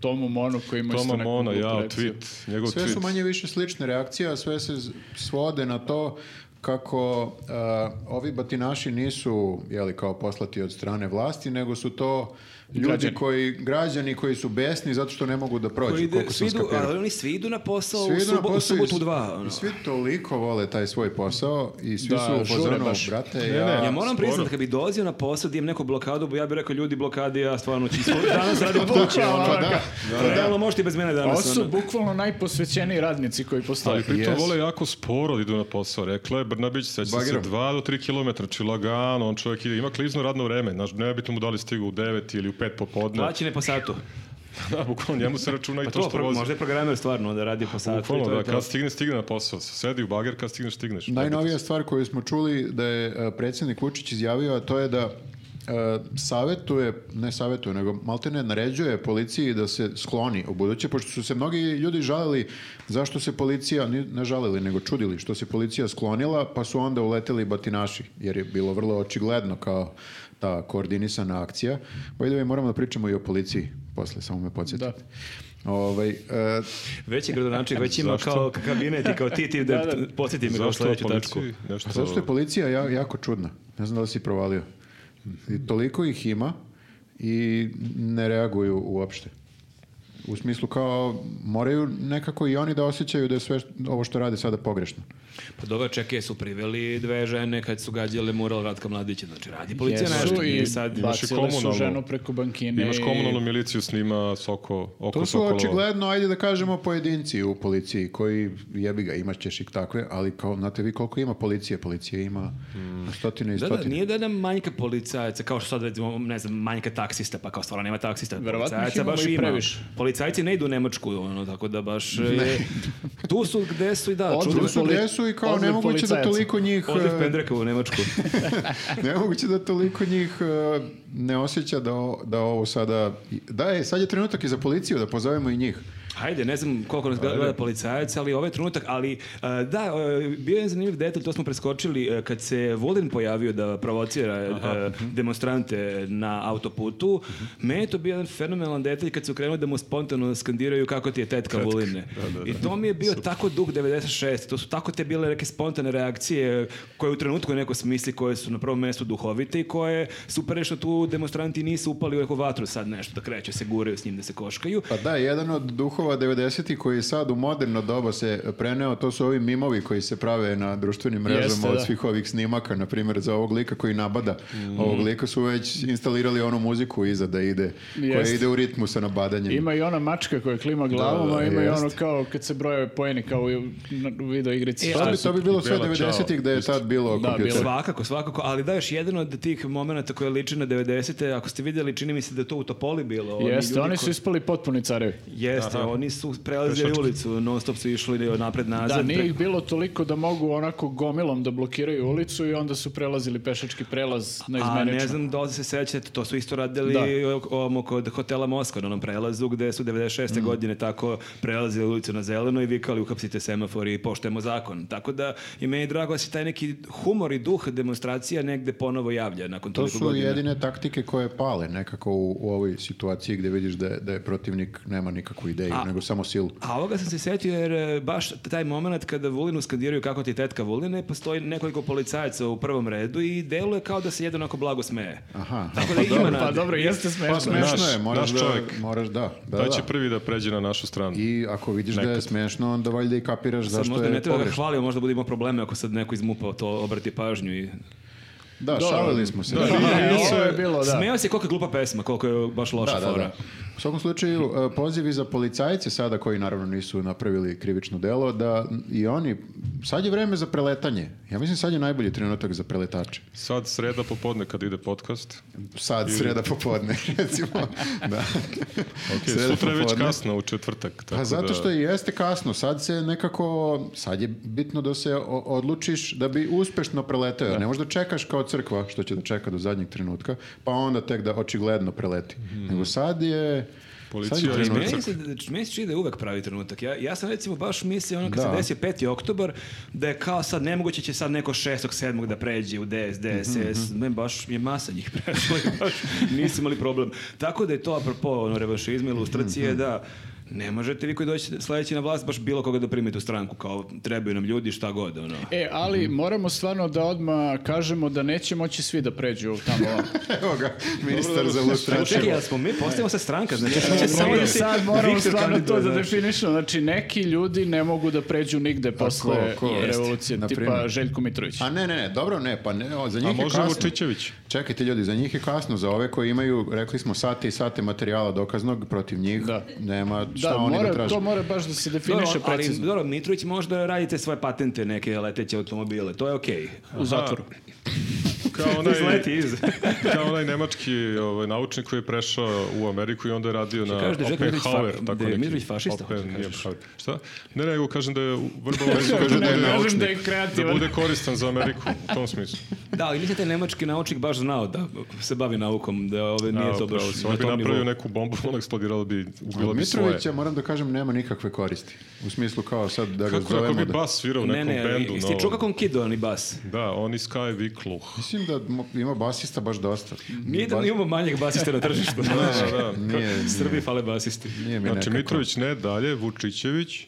Tomu Monu koji ima isto Toma neku Mona, glupu ja, reakciju. tweet, njegov Sve su tweet. manje više slične reakcije, a sve se z- svode na to kako a, ovi batinaši nisu jeli, kao poslati od strane vlasti, nego su to ljudi Građani. koji, građani koji su besni zato što ne mogu da Koji prođu, ide- koliko svi sam idu- skapirao. ali oni svi idu na posao Svi u, idu na subo, u posao i subotu s- dva. ono. i Svi toliko vole taj svoj posao i svi Da, su u žure fazonu, baš. brate, Ne, ja- ne, Ja moram Sporo. priznati, kad bi dolazio na posao da imam neku blokadu, bo ja bih rekao, ljudi, blokadi, ja stvarno ću svoj danas radim od kuće. Bukvalno, ono. Pa da, Da, Realno možete i bez mene Ovo danas. su ono. bukvalno najposvećeniji radnici koji postoje. Ali pritom Yes. vole jako sporo da idu na posao. Rekla je Brnabić, seća se Bagirom. 2 do 3 km, znači lagano, on čovjek ide, ima klizno radno vreme, znaš, nebitno mu da li stigu u 9 ili u 5 popodne. Plaćene po satu. Pa Da, bukvalno njemu se računa i Pa to to, što pro- vozi. možda je programer stvarno da radi po satu. i Bukvalno, to je da, to. kad stigne, stigne na posao. Sedi u bager, kad stigneš, stigneš. Najnovija stvar koju smo čuli da je e, predsjednik Vučić izjavio, a to je da e, savetuje, ne savetuje, nego maltene naređuje policiji da se skloni u buduće, pošto su se mnogi ljudi žalili zašto se policija, ni- ne žalili, nego čudili što se policija sklonila, pa su onda uleteli batinaši, jer je bilo vrlo očigledno kao ta koordinisana akcija. Pa ide, moramo da pričamo i o policiji posle, samo me podsjetite. Ovaj, e, Već je gradonačelnik, već ima Zašto? kao kabinet i kao ti, ti da, Da, da. podsjeti me kao Zašto sledeću tačku. policiji nešto... A zašto je policija ja- jako čudna? Ne znam da li si provalio. I toliko ih ima i ne reaguju uopšte. U smislu kao moraju nekako i oni da osjećaju da je sve što- ovo što rade sada pogrešno. Pa dobro, čekaj, su priveli dve žene kad su gađale mural Ratka Mladića. Znači, radi policija nešto. Jesu i nije sad... imaš i bacile su komunalnu. ženu preko bankine. Imaš i- komunalnu miliciju, snima Soko, oko To su Sokolova. očigledno, ajde da kažemo, pojedinci u policiji koji jebi ga, imaš ćeš ih takve, ali kao, znate vi koliko ima policije, policije ima stotine i Hmm. Da, da, stotine. nije da nam manjka policajaca, kao što sad recimo, ne znam, manjka taksista, pa kao stvarno nema taksista. Verovatno ih Policajaca imamo baš i ima. previše. Policajci ne idu u Nemačku, ono, tako da baš... je- tu su gde su i da, Odliv Tu čudno. su poli- gde su i kao odliv nemoguće da policajaca. toliko njih... Odliv e, pendreka u Nemačku. Nemoguće da toliko njih e, ne osjeća da, o- da ovo sada... Da, je, sad je trenutak i za policiju, da pozovemo i njih. Hajde, ne znam koliko nas gleda policajac, ali ovaj trenutak, ali e, da, e, bio je zanimljiv detalj, to smo preskočili, e, kad se Vulin pojavio da provocira e, demonstrante na autoputu, me je to bio jedan fenomenalan detalj kad su krenuli da mu spontano skandiraju kako ti je tetka Vuline. I to mi je bio tako dug 96, to su tako te bile neke spontane reakcije koje u trenutku neko smisli, koje su na prvom mjestu duhovite i koje super je što tu demonstranti nisu upali u neku vatru sad nešto da kreću, se guraju s njim da se koškaju. Pa da, jedan od duhova trikova 90-ih koji je sad u moderno doba se preneo, to su ovi mimovi koji se prave na društvenim mrežama Jeste, od da. Mhm. svih ovih snimaka, na primjer za ovog lika koji nabada. Ovog lika su već instalirali onu muziku iza da ide, koja Jeste. ide u ritmu sa nabadanjem. Ima i ona mačka koja klima glavom, da, a ima i ono jeste. kao kad se broje pojeni kao u u video igrici. E, To bi, to bi bilo I sve Bela Ćao. 90-ih da je tad bilo Da, kompjuter. bilo Svakako, svakako, ali da još jedan od tih momenata koje liči na 90-te, ako ste vidjeli, čini mi se da je to u Topoli bilo. Oni Jeste, ljudi oni koji- su ispali potpuni carevi. Jeste, oni su prelazili ulicu, non stop su išli napred nazad. Da, nije Pre- ih bilo toliko da mogu onako gomilom da blokiraju ulicu i onda su prelazili pešački prelaz na A izmenično. ne znam da li se sećate, to su isto radili Da. o- o- kod hotela Moskva na onom prelazu gde su Mm. 96. godine tako prelazili ulicu na zeleno i vikali uhapsite semafor i poštujemo zakon. Tako da je meni drago da se taj neki humor i duh demonstracija negde ponovo javlja nakon To toliko su godina. jedine taktike koje pale nekako u, u ovoj situaciji gdje vidiš da je, da je protivnik nema nikakvu ideju, nego samo silu. A ovoga sam se setio jer e, baš taj moment kada Vulinu skandiraju kako ti tetka Vuline, postoji nekoliko policajaca u prvom redu i deluje kao da se jedan onako blago smeje. Aha. Tako da ima Pa nade. dobro, jeste smešno. Pa smešno je, Naš- moraš naš da, čovjek. moraš da, da, Taj će da. prvi da pređe na našu stranu. I ako vidiš da je smešno, onda valjda i kapiraš Sad zašto možda ne je treba da ga pogrešno. hvalio, možda budemo probleme ako sad neko iz MUP-a to obrati pažnju. I... Da, šalili smo se. Da, Da. nije- E, nisu- ovo je bilo, da. Smejao se koliko je glupa pesma, koliko je baš loša Da, da, fora. da. U svakom slučaju, e, pozivi za policajce sada, koji naravno nisu napravili krivično delo, da i oni, sad je vreme za preletanje. Ja mislim sad je najbolji trenutak za preletače. Sad sreda popodne kad ide podcast. Sad, sreda popodne, recimo. da. Ok, Sreda sutra je već popodne. kasno u četvrtak. Tako Pa zato da- što i jeste kasno, sad se nekako, sad je bitno da se o- odlučiš da bi uspešno preleteo. Ne možda čekaš kao crkva, što će da čeka do zadnjeg trenutka, pa onda tek da očigledno preleti. Nego sad je... Mhm. Policija sad je je trenutak. Meni se, znači, meni se čini da je uvek pravi trenutak. Ja, ja sam recimo baš mislio ono kad Da. se desio 5. oktobar da je kao sad nemoguće će sad neko 6. 7. da pređe u DS, DSS. Ne, baš je masa njih prešla i baš nisu imali problem. Tako da je to apropo ono, revanšizma, ilustracije da ne možete vi koji dođete sledeći na vlast baš bilo koga da primite u stranku kao trebaju nam ljudi šta god ono. E, ali moramo stvarno da odmah kažemo da neće moći svi da pređu tamo. ovamo. Evo ga, ministar za lustraciju. Čekaj, jel smo mi postajemo sa stranka, znači E, će samo da se sad moramo Viktor stvarno to kandiduje, da znaš. definišemo. Znači, neki ljudi ne mogu da pređu nigde posle ko? Jeste. revolucije, Na tipa primjer. Željko Mitrović. A ne, ne, ne, dobro ne, pa ne, o, za njih A je može kasno. Vučićević. Čekajte ljudi, za njih je kasno, za ove koji imaju, rekli smo, sate i sate materijala dokaznog protiv njih, Da. nema šta Da, oni mora, da traže. to mora baš da se Dobro, definiše ali precizno. dobro, Mitrović možda radite svoje patente neke leteće automobile, to je okej. U zatvoru. Kao onaj, Izleti iz. kao onaj nemački ovaj, naučnik koji je prešao u Ameriku i onda je radio na kažeš da je Željko Mitrović Oppenhauer. fa- tako da je neki. Mitrović fašista, hoćeš da Oppenhauer. kažeš? Šta? Ne, nego kažem da je u- vrlo Kaže da je Ne kažem naučnik. da je da kreativan. bude koristan za Ameriku u tom smislu. Da, ali mislim da je nemački naučnik baš znao da se bavi naukom, da ove A, nije to baš upravo si. na On bi tom napravio nivou. neku bombu, ona eksplodirala bi, ubila Od bi svoje. Mitrovića, moram da kažem, nema nikakve koristi. U smislu kao sad da ga Kako, kako zovemo bi da... bas svirao u Ne, nekom ne, bendu? jesi novom? ti čuo kako on kida oni bas? Da, oni Sky Vikluh. Mislim da mo- ima basista baš dosta. Mi da Bas- imamo manjeg basiste na tržištu. znaš. Da, da. Nije, nije, Srbi fale basisti. nije mi Znači, nekako. Mitrović ne, dalje, Vučićević.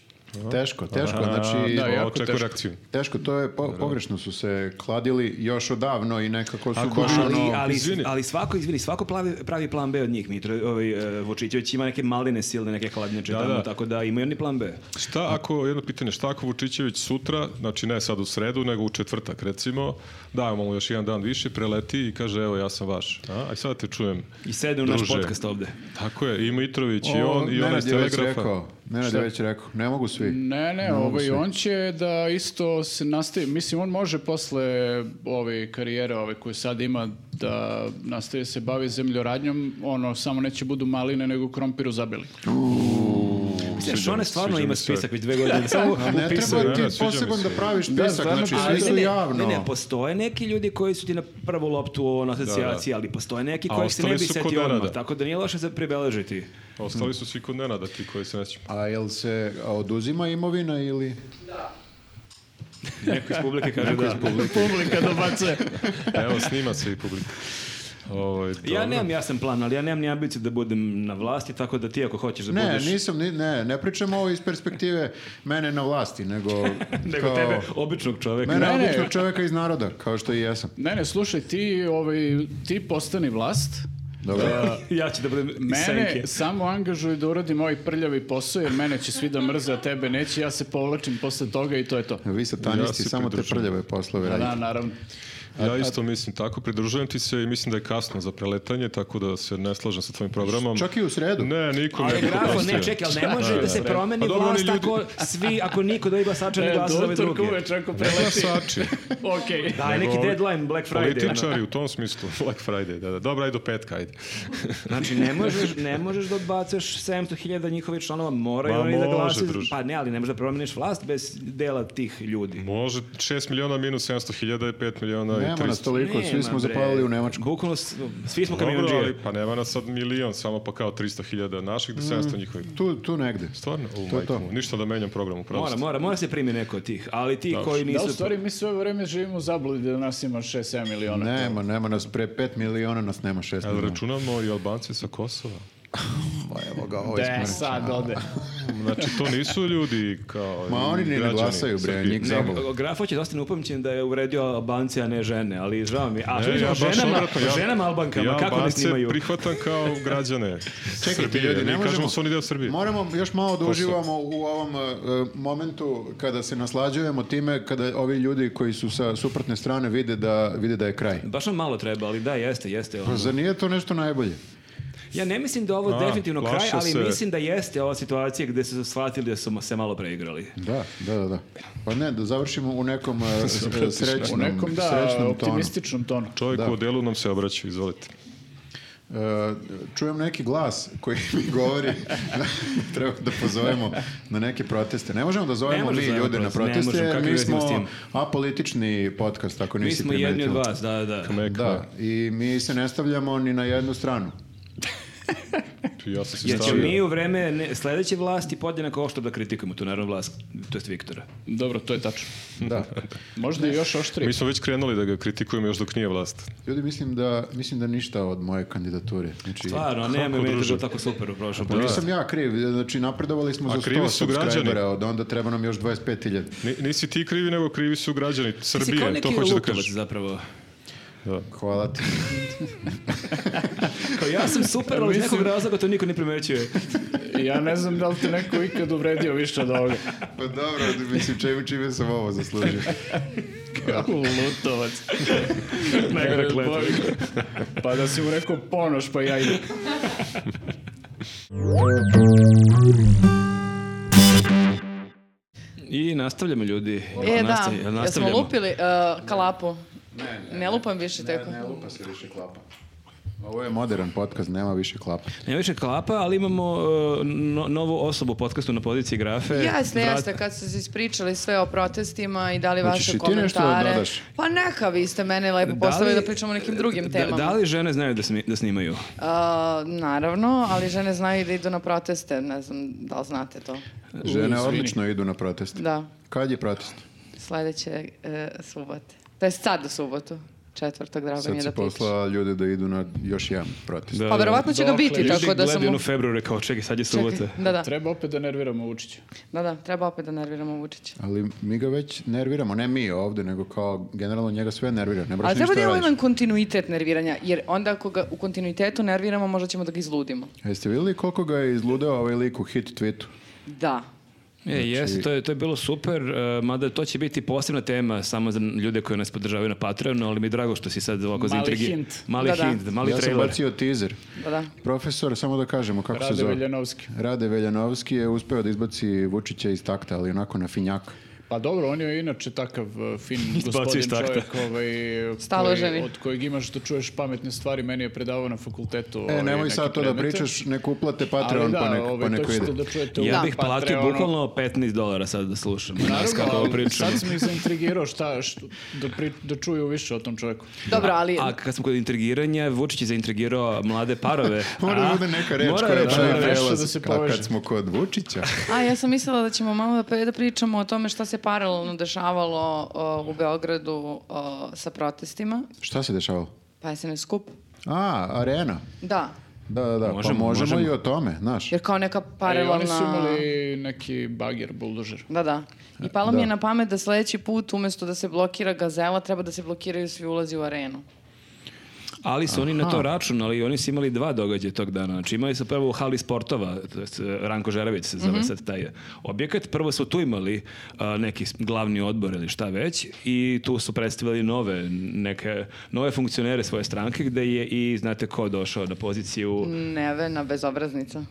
Teško, teško, znači... ovaj, Da, jako očekuj teško. reakciju. Teško, to je, po- pogrešno su se kladili još odavno i nekako su Ako baš bi- Ali, ono- ali, izvini. ali svako, izvini, svako plavi, pravi plan B od njih, Mitro, ovaj, e, Vučićević ima neke maline silne, neke hladnjače Da, tamo, da. tako da imaju oni plan B. Šta ako, jedno pitanje, šta ako Vučićević sutra, znači ne sad u sredu, nego u četvrtak recimo, dajemo mu još jedan dan više, preleti i kaže evo ja sam vaš. A, aj sad te čujem. I sedem u naš Druže. podcast ovde. Tako je, i Mitrović, i O, Znači, on, i on Nenad iz je već Telegrafa. rekao, Nenad je već rekao, ne mogu svi. Ne, ne, ovaj, on će da isto se nastavi, mislim, on može posle ove karijere ove koje sad ima da nastavi se bavi zemljoradnjom, ono, samo neće budu maline nego krompiru zabili. Misliš, sviđa mi ona se, stvarno sviđa mi ima se. spisak već dve godine. Samo Ne upisuje. treba ti Nenad, sviđa mi poseban se. da praviš Da, spisak, stvarno znači Ali svi su ne, Ne, javno. ne, postoje neki ljudi koji su ti na prvu loptu ono, asocijaciji, ali postoje neki A kojih se ne ostali bi su kod setio odmah, Nenada. tako da nije loše za pribeležiti. A Ostali su svi kod Nenada, ti koji se nećemo. A jel se a, oduzima imovina ili... Neko iz publike kaže da. Publika dobacuje. Evo, snima se i publika. Ovaj, Ja dobro. nemam jasan plan, ali ja nemam ni ambiciju da budem na vlasti, tako da ti ako hoćeš da Ne, budeš... nisam, ni- ne, ne pričam ovo iz perspektive mene na vlasti, nego... Nego kao- tebe, običnog čoveka. Mene Ne, ne. običnog čoveka iz naroda, kao što i jesam. Ne, ne, slušaj, ti, ovaj, ti postani vlast, Dobro. ja ću da budem iz senke. Mene samo angažuj da uradim ovaj prljavi posao, jer mene će svi da mrze, a tebe neće, ja se povlačim posle toga i to je to. Vi satanisti Ja se samo te pridružujem. prljave poslove Da, radite. naravno. Ja isto mislim tako, pridružujem ti se i mislim da je kasno za preletanje, tako da se ne slažem sa tvojim programom. Čak i u sredu. Ne, nikom ne Ali bi grafo, oprostio. ne, čekaj, ali ne može da se promeni Pa dobro, oni vlast ljudi- ako svi, ako niko dobi glasača ne E, glasa za ove doktor druge. Kuveč, ako Ne preleti. glasači, Okej. Da, je neki Nego ovi- deadline Black Friday. ono. političari u tom smislu, Black Friday, da, da. Dobra, ajde do petka, ajde. Znači, ne možeš, ne možeš da odbacuješ 700.000 njihovih članova, moraju Ma, oni da može, glasaju. druže. Pa ne, ali ne možeš da promeniš vlast bez dela tih ljudi. Može 6 miliona minus 700 hiljada je 5 miliona i 300. Nema nas toliko, svi Nema, smo bre. zapalili u Nemačku. Bukvalno, s- svi smo Dobro, ali kamionđije. pa nema nas sad milion, samo pa kao 300 hiljada naših, da 700 njihovih. Tu, tu negde. Stvarno, u Mm. To je to. majku, mu, ništa da menjam program u Mora, pravosti. mora, mora se primi neko od tih, ali ti koji Da, nisu... u stvari, mi sve vreme živimo u zabludi da nas ima 6-7 miliona. Nema, nema nas pre 5 miliona, nas nema 6 Jel miliona. računamo i Albanci sa Kosova? Pa evo ga, ovo je Da, smreć. sad ode. Znači, to nisu ljudi kao... Ma oni ni ne građani glasaju, bre, Srbije. njih Ne, zabole. Grafo će dosta neupamćen da je uvredio Albance, a ne žene, ali žao mi. je. A Ne, što ćemo ja o baš ženama, obratno, o ja- ženama Albankama, ja kako ne Albance snimaju? prihvatam kao građane Čekajte, Srbije. ljudi, ne Mi možemo. kažemo su oni deo Srbije. Moramo još malo da uživamo u ovom e, e, momentu kada se naslađujemo time kada ovi ljudi koji su sa suprotne strane vide da, vide da je kraj. Baš nam malo treba, ali da, jeste, jeste. ono. Pa zar nije to nešto najbolje? Ja ne mislim da je ovo A, definitivno kraj, plaše ali se. mislim da jeste ova situacija gde su shvatili da su se malo preigrali. Da, da, da. da. Pa ne, da završimo u nekom e, s- e, U srećnom, nekom, da, srećnom tonu. optimističnom tonu. Čovjek Da. u odelu nam se obraća, izvolite. E, čujem neki glas koji mi govori da treba da pozovemo na neke proteste. Ne možemo da Ne zovemo mi možemo da zovemo ljude na proteste, ne proteste, možemo, jer kakve mi veze ima s smo tim? apolitični podcast, ako Mi nisi smo primetio. jedni od vas, da, da. Da, i mi se ne stavljamo ni na jednu stranu. Znači, Ja sam se Jer ćemo stavio. mi u vreme ne, sledeće vlasti podjednako oštro da kritikujemo tu naravno vlast, to jest Viktora. Dobro, to je tačno. Da. Možda i još oštrije. Mi smo već krenuli da ga kritikujemo još dok nije vlast. Ljudi, mislim da, mislim da ništa od moje kandidature. Znači, Stvarno, nema Kako, mi to druže? bilo tako super u prošlom pa da. nisam ja kriv, znači napredovali smo A za krivi 100 su građani. subscribera, od onda treba nam još 25.000. Ni- nisi ti krivi, nego krivi su građani Srbije, to neki hoću da Lutovac kažem. zapravo. Hvala ti. Kao ja sam super, ali iz Mislim- nekog razloga to niko ne primećuje. Ja ne znam da li te neko ikad uvredio više od ovoga. Pa dobro, mislim, čime, čime sam ovo zaslužio. Lutovac. Negde kletva. Pa da si mu rekao ponoš, pa ja idem. I nastavljamo ljudi. E, da, Nastavlj- jesmo nastavljamo. lupili uh, kalapu. Ne, lupam više tako. Ne lupa se više klapa. Ovo je modern podcast, nema više klapa. Nema više klapa, ali imamo e, no- novu osobu u podcastu na poziciji grafe. Jasno, Vrat- jasno, kad ste se ispričali sve o protestima i dali Hoćeš i vaše ti komentare. nešto da dodaš? Pa neka, vi ste mene lepo li- postavili da pričamo o nekim drugim Da, temama. da li žene znaju da, smi- da snimaju? Uh, naravno, ali žene znaju da idu na proteste, ne znam da li znate to. Žene odlično idu na proteste. Da, Kad je protest? sledeće e, subote. To je sad u subotu, četvrtog, drago mi Sad je si da pričaš. poslala ljude da idu na još jedan protest. Da, Pa da. verovatno e, će ga Dokle biti, tako da sam... Ljudi mu- u februare kao čekaj, sad je Čekaj, subota. Da, da, Treba opet da nerviramo Vučića. da, da, treba opet da nerviramo Vučića. Ali mi ga već nerviramo, ne mi ovde, nego kao generalno njega sve nervira. Ne moraš Ali treba ništa da da imamo jedan radiš. kontinuitet nerviranja, jer onda ako ga u kontinuitetu nerviramo, možda ćemo da ga izludimo. Jeste vidjeli koliko ga je izludeo ovaj lik u hit tweetu? Da. E, Znači- jeste, to je, to je bilo super, e, mada to će biti posebna tema samo za ljude koji nas podržavaju na Patreonu, ali mi je drago što si sad ovako Mali zaintrigi- hint. Mali Da, da. hint, da, mali ja sam trailer. bacio teaser. Da, da. Profesor, samo da kažemo kako se Rade zove. Veljanovski. Rade Veljanovski je uspeo da izbaci Vučića iz takta, ali onako na finjak. Pa dobro, on je inače takav uh, fin Izbacio gospodin iz takta. čovjek ovaj, Staloženi. koji- od kojeg imaš da čuješ pametne stvari. Meni je predavao na fakultetu. E, ovaj, nemoj neke sad to da predmete. pričaš, neko uplate Ali Patreon da, pa, nek, ovaj, pa to neko ćete ide. Da čujete u Ja bih platio Patreonu. bukvalno 15 dolara sad da slušam. Nas kako Naravno, ovo ali pričamo. sad sam ih zaintrigirao šta, što, da, pri, da čuju više o tom čovjeku. Dobro, ali... A kad smo kod intrigiranja, Vučić je zaintrigirao mlade parove. Mora da A? bude neka reč Mora koja da- čini da, da. nešto prelaz, da se a poveže. kad smo kod Vučića. A, ja sam mislila da ćemo malo da, pe- da pričamo o tome šta se paralelno dešavalo o, u Beogradu o, sa protestima. Šta se dešavalo? Pa je se ne skup. A, arena. Da, Da, da, da. Možemo, pa možemo, možemo. i o tome, znaš. jer kao neka E, paralelna... oni su imali neki bagjer, buldožer. Da, da. I palo mi je Da. na pamet da sledeći put, umesto da se blokira gazela, treba da se blokiraju svi ulazi u arenu. Ali su oni na to računali, oni su imali dva događaja tog dana. Znači imali su prvo u hali sportova, to jest, eh, Ranko Žerević se Mhm. zove sad taj objekat. Prvo su tu imali a, neki s- glavni odbor ili šta već i tu su predstavili nove, neke, nove funkcionere svoje stranke gde je i znate ko došao na poziciju Nevena bezobraznica.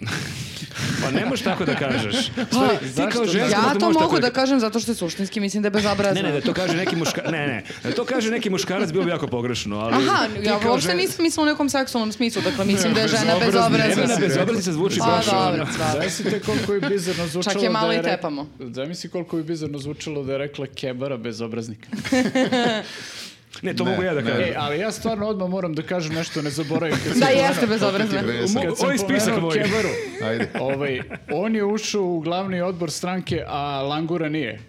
Pa ne možeš tako da kažeš. Pa, Stvari, ti kao ženska, ja možda to možeš mogu tako da kažem zato što je suštinski mislim da je Ne, bezobrazna. ne, da to kaže neki muška... Ne, ne, da to kaže neki muškarac bilo bi jako pogrešno, ali... Aha, ti ja kao uopšte žen- nisam mislila u nekom seksualnom smislu, dakle mislim da je žena bezobrazna. Nevena bezobrazna. Bezobrazna. bezobraznica zvuči Pa baš... ono. dobro, stvarno. Zamislite koliko je bizarno zvučalo Čak je malo da je i tepamo. Re... Zamisli koliko je bizarno zvučalo da je rekla kebara bezobraznika. Ne, to mogu ja da kažem. E, ali ja stvarno odmah moram da kažem nešto, ne zaboravim. Kad sam- Da, jeste bezobrazna. Vesa. Mogu- kad sam Ovo je ovaj spisak pomenuo moj. kebaru, Ajde. ovaj, on je ušao u glavni odbor stranke, a Langura nije.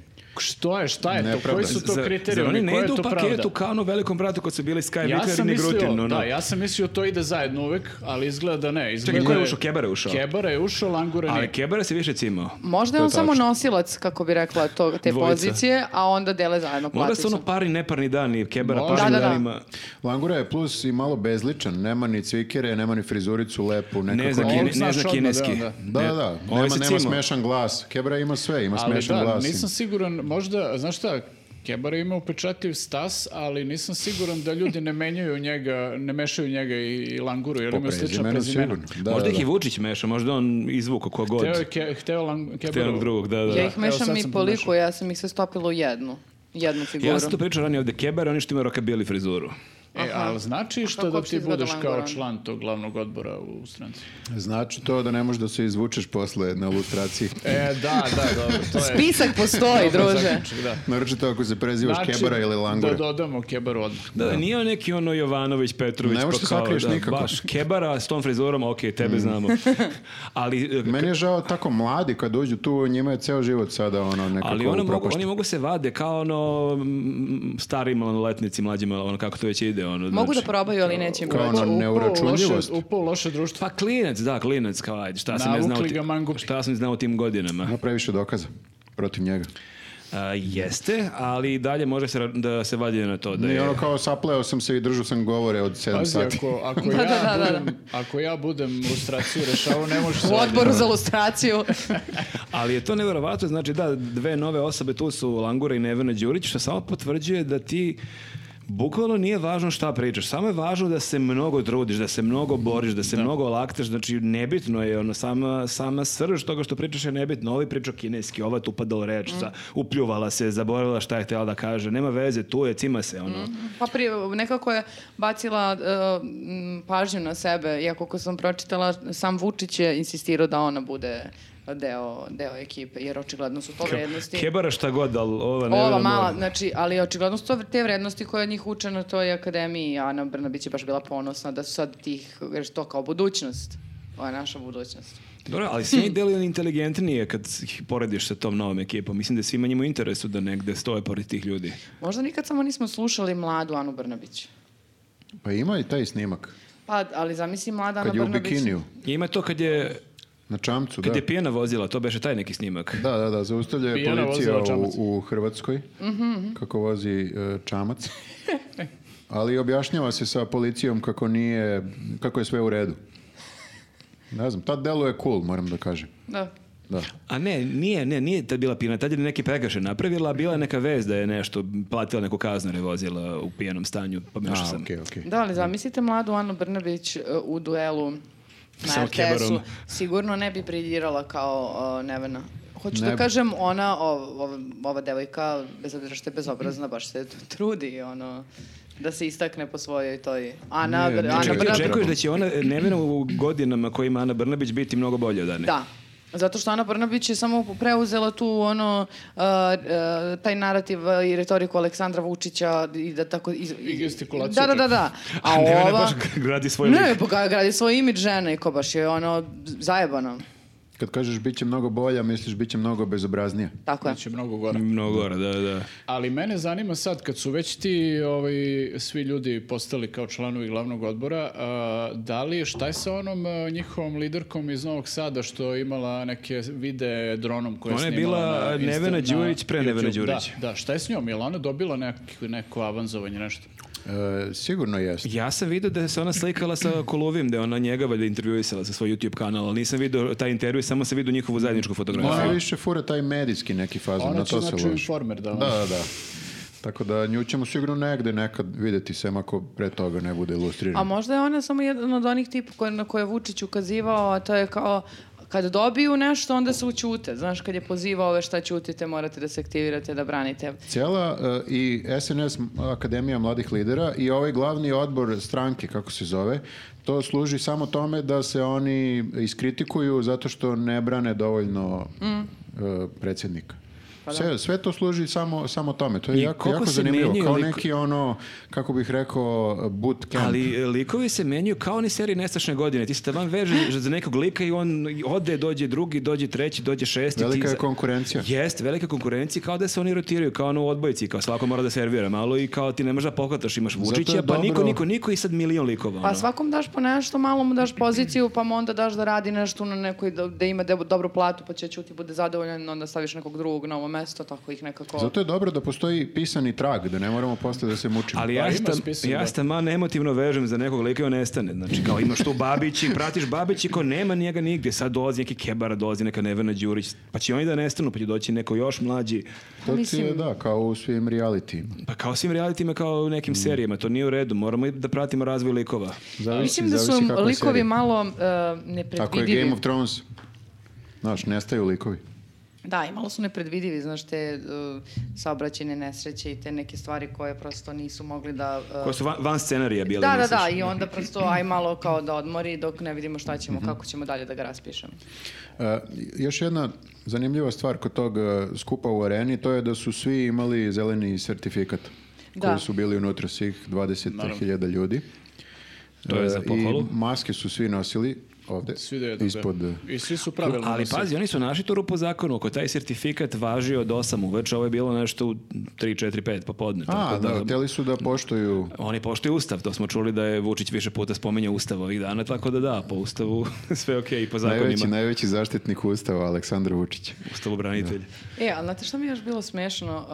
Što je, šta je to? Nepravda. Koji su to Zar- zar kriterijumi? oni ne Koja je idu to u pravda? paketu kao ono velikom bratu kad su bili Sky Ja Wickler i sam mislio, Negrutin, ono. da, ja sam mislio to ide zajedno uvek, ali izgleda da ne. Izgleda Čekaj, ko je ušao? Kebara je ušao? Kebara je ušao, Langura Ali nije. Kebara se više cimao. Možda je on samo nosilac, kako bi rekla, tog, te Dvojica. pozicije, a onda dele zajedno Možda su platicu. ono parni, neparni dani, Kebara Možda. parni Da, da, da. danima. Langura je plus i malo bezličan, nema ni cvikere, nema ni frizuricu lepu, nekako... ono- Ne zna, Ovog kine, ne znaš zna odmah, kineski. da, Da, da, da. Ovaj Nema, se nema cimao. smešan glas. Kebra ima sve, ima Ali smešan da, glas. nisam siguran, možda, znaš šta, Kebara ima upečatljiv stas, ali nisam siguran da ljudi ne menjaju njega, ne mešaju njega i, i Languru, jer Po imaju slična prezimenu prezimena. sigurno. Da, možda da, ih i da. Vučić meša, možda on izvuko ko god. Hteo je ke, hteo Lang, Te Kebaru. onog drugog, da, da. Ja ih Evo, sad mešam i sam po liku, pomešao. ja sam ih sve stopila u jednu. Jednu figuru. Ja sam to pričao ranije ovde, Kebara, oni što imaju rockabilly frizuru. E, ali znači što Kako da uopšte ti izgleda budeš kao Langura? član tog glavnog odbora u stranci? Znači to da ne možeš da se izvučeš posle na lustraciji. E, da, da, dobro, to je... Spisak postoji, dobar druže. zaključak, Da. Naročito ako se prezivaš Kebara ili Langura. Znači Da dodamo Kebaru odmah. Da, da, nije on neki ono Jovanović, Petrović, Ne možeš pa da kao, sakriješ da, nikako. baš Kebara s tom frizurom, ok, tebe znamo. Ali, e, Meni je žao tako mladi kad dođu tu, njima je ceo život sada ono Pa nekako ali ono mogu, upropašten. oni mogu se vade kao ono m, stari maloletnici, mlađi malo, ono kako to već ide. Ono, Mogu da znači- probaju, ali neće im Kao proći. ono Upao u neuračunljivost. loše- Upao u loše društvo. Pa klinec, da, klinec, kao ajde, šta sam ne znao, Navukli ti- ga mangupi. šta sam znao u tim godinama. Ima previše dokaza protiv njega. A, jeste, ali i dalje može se ra- da se vadi na to. Da I je, ono kao sapleo sam se i držao sam govore od 7 Pazi, sati. ako, ako, ja da, da, da. budem, ako ja budem lustraciju rešavao, ne može se... U raditi. odboru za lustraciju. Ali je to nevjerovatno, znači da, dve nove osobe tu su Langura i Nevena Đurić, što samo potvrđuje da ti Bukvalno nije važno šta pričaš, samo je važno da se mnogo trudiš, da se mnogo boriš, da se mnogo laktaš, znači nebitno je ono, sama, sama srž toga što pričaš je nebitno, ovi pričao kineski, ova tu upadala u reč, za- upljuvala se, zaboravila šta je htjela da kaže, nema veze, tu je, cima se, ono. Pa prije, nekako je bacila e, m, pažnju na sebe, iako ko sam pročitala, sam Vučić je insistirao da ona bude deo, deo ekipe, jer očigledno su to vrednosti. Kebara šta god, ali ova Nevena Ova mora. mala, znači, ali očigledno su to te vrednosti koje njih uče na toj akademiji. Ana Brnabić je baš bila ponosna da su sad tih, jer to kao budućnost. Ova naša budućnost. Dobro, ali svi deluju inteligentnije kad ih porediš sa tom novom ekipom. Mislim da je svima njima u interesu da negde stoje pored tih ljudi. Možda nikad samo nismo slušali mladu Anu Brnabić. Pa ima i taj snimak. Pa, ali zamisli mlada Ana Kad je u Brnabić. bikiniju. Ima to kad je, Na čamcu, kad da. je pijena vozila, to beše taj neki snimak. Da, da, da, zaustavlja je Pijana policija vozila u, čamac. u Hrvatskoj, kako vozi e, čamac. Ali objašnjava se sa policijom kako nije, kako je sve u redu. Ne znam, tad deluje cool, moram da kažem. Da. Da. A ne, nije, ne, nije tad bila pijena, tad je neki prekršaj napravila, a bila je neka vez da je nešto, platila neku kaznu jer je vozila u pijenom stanju, pomešao A, sam. okej, okej. Da, ali zamislite mladu Anu Brnabić e, u duelu Sa na RTS-u. Kebarom. Sigurno ne bi briljirala kao e, Nevena. Hoću Ne da bi. kažem, ona, o- ova, ova devojka, bez obzira što je bezobrazna, baš se trudi, ono, da se istakne po svojoj toj... Ana, Nije, Br- nije. Ana Čekaj, ti Brnabić... očekuješ Znači, da će ona e, nevena u godinama koje ima Ana Brnabić biti mnogo bolje od Ane? Da. Zato što Ana Brnabić je samo preuzela tu ono, e, e, taj narativ i retoriku Aleksandra Vučića i da tako... Iz, I gestikulaciju Da, da, da, čak. da. A, A Nevena ova... baš gradi svoj Ne, lik. pa ga- gradi svoj imidž žene i ko baš je ono zajebano. Kad kažeš bit će mnogo bolja, misliš bit će mnogo bezobraznija. Tako je. Znači, Biće mnogo gore. Mnogo gore, da, da. Ali mene zanima sad, kad su već ti ovaj, svi ljudi postali kao članovi glavnog odbora, a, da li, šta je sa onom a, njihovom liderkom iz Novog Sada što je imala neke vide dronom koje Ona je snimala bila na Insta- Nevena na Đurić pre Nevena YouTube? Đurić. Da, da, šta je s njom? Je li ona dobila nek, neko avanzovanje, nešto? E, sigurno jeste. Ja sam vidio da se ona slikala sa Kolovim, da je ona njega valjda intervjuisala sa svoj YouTube kanal, ali nisam vidio taj intervju, samo sam vidio njihovu zajedničku Ona fotografiju. više fura taj medijski neki fazon, Ona na će to se znači loži. informer da, Da, da, da. Tako da nju ćemo sigurno negde nekad videti, sem ako pre toga ne bude ilustrirana. A možda je ona samo jedan od onih tipa koje, na koje je Vučić ukazivao, a to je kao kad dobiju nešto, onda se učute. Znaš, kad je pozivao ove šta ćutite, morate da se aktivirate, da branite. Cijela e, i SNS Akademija mladih lidera i ovaj glavni odbor stranke, kako se zove, to služi samo tome da se oni iskritikuju zato što ne brane dovoljno e, predsjednika. Sve, sve to služi samo, samo tome. To je I jako, koliko jako se zanimljivo. menjaju Kao lik- neki ono, kako bih rekao, bootcamp. Ali e, likovi se menjaju kao oni seriji nestašne godine. Ti se taman vežeš za nekog lika i on ode, dođe drugi, dođe treći, dođe šesti. Velika ti... je konkurencija. Jeste, velika konkurencija, kao da se oni rotiraju, kao ono u odbojici, kao svako mora da servira malo i kao ti ne možeš da pohvataš, imaš je Vučića, pa dobro- niko, niko, niko i sad milion likova. Pa ono. svakom daš po nešto, malo mu daš poziciju, pa mu onda daš da radi nešto na nekoj, da, da ima debo- dobru platu, pa će čuti, bude zadovoljan, onda staviš nekog drugog na ovo mesto, tako ih nekako... Zato je dobro da postoji pisani trag, da ne moramo posle da se mučimo. Ali Pa ja, ima stam, spisak, ja da. staman emotivno vežem za nekog lika i on nestane. Znači, kao imaš tu Babić i pratiš Babić i ko nema njega nigdje. Sad dolazi neki Kebara, dolazi neka Nevena Đurić. Pa će oni da nestanu, pa će doći neko još mlađi. to ti je, Pa mislim- da, kao u svim realitima. Pa kao svim realitima, kao u nekim serijama. To nije u redu. Moramo i da pratimo razvoj likova. Zavisi, Mislim da su zavisi kako je likovi serija. malo uh, Ako je nepredvidivi. Game of Thrones, znaš, nestaju likovi. Da, i malo su nepredvidivi, znaš, te uh, saobraćene nesreće i te neke stvari koje prosto nisu mogli da... uh, Koje su van, van scenarija bile. da, da, misliš? da, i onda prosto aj malo kao da odmori dok ne vidimo šta ćemo, Mhm. kako ćemo dalje da ga raspišemo. E, još jedna zanimljiva stvar kod tog e, skupa u areni, to je da su svi imali zeleni sertifikat Da. koji su bili unutra svih 20.000 ljudi. To je za E, pohvalu. I maske su svi nosili ovde, Svi do jednog, da. ispod... e, I svi su pravilno. Ali nosili. pazi, oni su našli tu rupu u zakonu. Ako taj sertifikat važi od 8 uveče, ovo je bilo nešto u 3, 4, 5 popodne. A, Tako da, hteli su da poštuju... Oni poštuju ustav, to smo čuli da je Vučić više puta spomenja ustav ovih dana, tako da da, po ustavu sve ok i po zakonima. Najveći, najveći zaštitnik ustava, Aleksandar Vučić. Ustavu branitelj. E, ali znate što mi je još bilo smešno?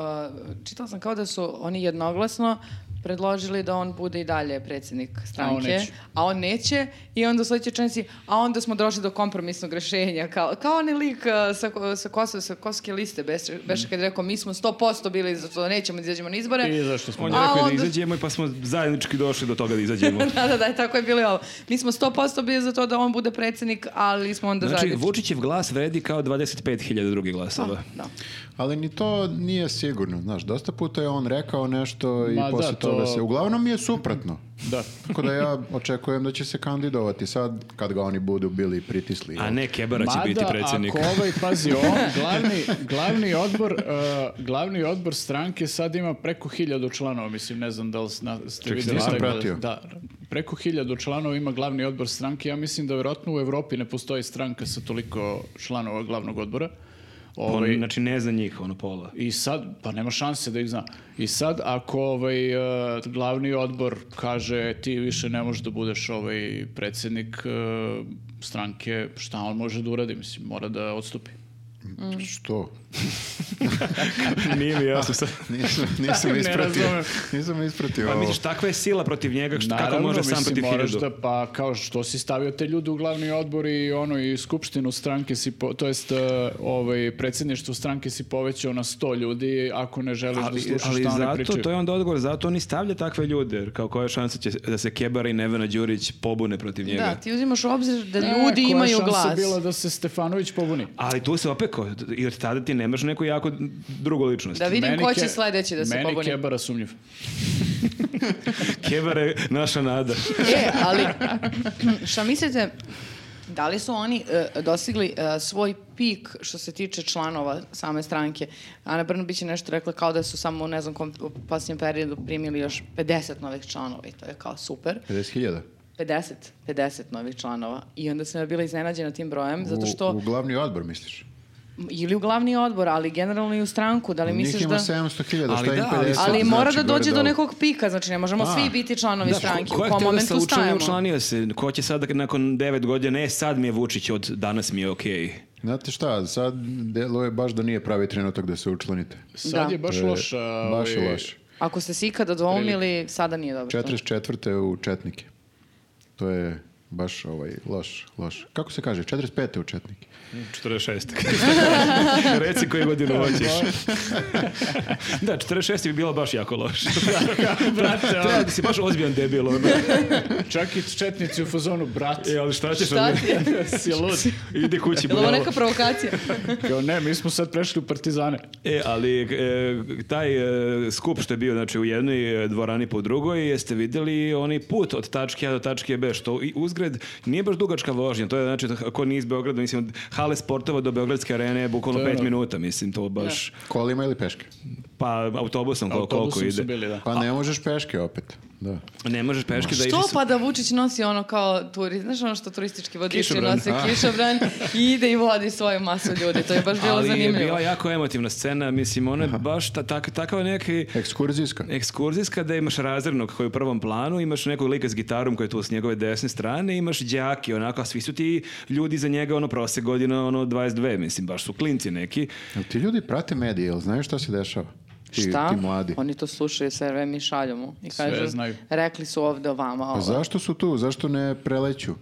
Uh, čitala sam kao da su oni jednoglasno predložili da on bude i dalje predsjednik stranke. neće. A on neće. I onda u sledećoj rečenici, a onda smo došli do kompromisnog rešenja. Kao, kao onaj lik uh, sa, ko- sa, Kosova, sa Kosovske liste, beše, beše kad je rekao, mi smo 100% bili za to, da nećemo da izađemo na izbore. I zašto smo... On je A rekao da onda- izađemo i pa smo zajednički došli do toga da izađemo. Znači, da, da, da, tako je bilo i ovo. Mi smo 100% bili za to da on bude predsjednik, ali smo onda Znači, zajednički. Vučićev glas vredi kao 25.000 drugih glasova. Da. Ali ni to nije sigurno, znaš, dosta puta je on rekao nešto i Ma da, posle to- toga se... Uglavnom je suprotno. Da. Tako da ja očekujem da će se kandidovati sad kad ga oni budu bili pritisli. A ne, Kebara će Mada, biti predsjednik. ako ovaj, pazi, on, glavni, glavni, odbor, eh, glavni odbor stranke sad ima preko hiljadu članova, mislim, ne znam da li sna, ste vidjeli. nisam taj podatak. pratio. Da, preko hiljadu članova ima glavni odbor stranke. Ja mislim da vjerojatno u Evropi ne postoji stranka sa toliko članova glavnog odbora. On, Ovaj, znači, ne za njih, ono, pola. I sad, pa nema šanse da ih zna. I sad, ako ovaj, e, glavni odbor kaže ti više ne možeš da budeš ovaj predsjednik e, stranke, šta on može da uradi? Mislim, mora da odstupi. Što? Nije mi jasno sad. Nisam, nisam Ne ispratio. razumem. nisam ispratio Pa ovo. misliš, takva je sila protiv njega, što, Naravno, Znači, kako može sam mislim, protiv moraš hiljadu. da, pa kao što si stavio te ljude u glavni odbor i ono i skupštinu stranke si, po, to jest e, ovaj, predsjedništvo stranke si povećao na 100 ljudi ako ne želiš da Ali, slušaš ali šta oni zato, pričaju. to je onda odgovor, zato oni stavlja takve ljude, jer kao koja je šansa će da se Kebara i Nevena Đurić pobune protiv njega. Da, ti uzimaš u obzir da E, ljudi koja je imaju šansa glas. bila da se Stefanović pobuni? Ali tu se opet, ko- i od tada ti nemaš neku jako drugu ličnost. Da vidim Meni ko će Ke- sledeći da se meni pobuni. Kebara sumnjiv. Kebar je naša nada. E, ali šta mislite, da li su oni e, dostigli e, svoj pik što se tiče članova same stranke? Ana Brnabić je nešto rekla kao da su samo, ne znam, kom, u posljednjem periodu primili još 50 novih članova i to je kao super. 50.000. 50, 50 novih članova. I onda sam ja bila iznenađena tim brojem, zato što, U, u glavni odbor, misliš? ili u glavni odbor, ali generalno i u stranku, da li Njih misliš ima da... 700.000, Ali šta im da, 50? ali- Ali znači, mora da gore dođe do dole? nekog pika, znači ne možemo A. svi biti članovi stranke. ko je u htio kom da se momentu učlani, stajemo? učlanio se. Ko će sad nakon devet godina, ne, sad mi je Vučić od danas mi je okej. Znate šta, sad deluje baš da nije pravi trenutak da se učlanite. Sad Da. je baš To je loša, baš je ovaj, loše. Ako ste se ikada dvoumili, sada nije dobro. 44. u Četnike. To je baš ovaj, loš, loš. Kako se kaže? 45. u Četnike. 46. Reci koju godinu hoćeš. da, 46 bi bilo baš jako loše. Brate, treba da si baš ozbiljan debil. Ono. Čak i četnici u fazonu, brat, E, ali šta ćeš? Šta ono? ti je? si lud. Idi kući, Je li ovo budalo. neka provokacija? Kao, ne, mi smo sad prešli u partizane. E, ali e, taj e, skup što je bio znači, u jednoj e, dvorani po drugoj, jeste vidjeli onaj put od tačke A do tačke B, što i uzgred nije baš dugačka vožnja. To je, znači, ako nije iz Beograda, mislim, od hale sportova do Beogradske arene je bukvalno To je 5 ono. minuta, mislim, to baš... Kolima ili peške? Pa autobusom, kol- koliko Autobusom ide. su bili, da. Pa ne možeš peške opet. Da. Ne možeš peške da ideš... Što pa da Vučić nosi ono kao turi, znaš ono što turistički vodiči Kišobran. nose kišobran i ide i vodi svoju masu ljudi. To je baš bilo ali je zanimljivo. bila jako emotivna scena, mislim, ona je baš ta, tak, takav neki Ekskurzijska. ekskurzijska da imaš razrednog koji je u prvom planu, imaš nekog lika s gitarom koji je tu s njegove desne strane, imaš đaki onako, a svi su ti ljudi za njega, ono, prose godina, ono, 22, mislim, baš su klinci neki. Jel ti ljudi prate medije, jel znaju šta se dešava? Ti, Šta? ti mladi. Oni to slušaju sve vreme i šalju mu. I Sve kažu, znaju. rekli su ovde o vama. Pa ovo. zašto su tu? Zašto ne preleću?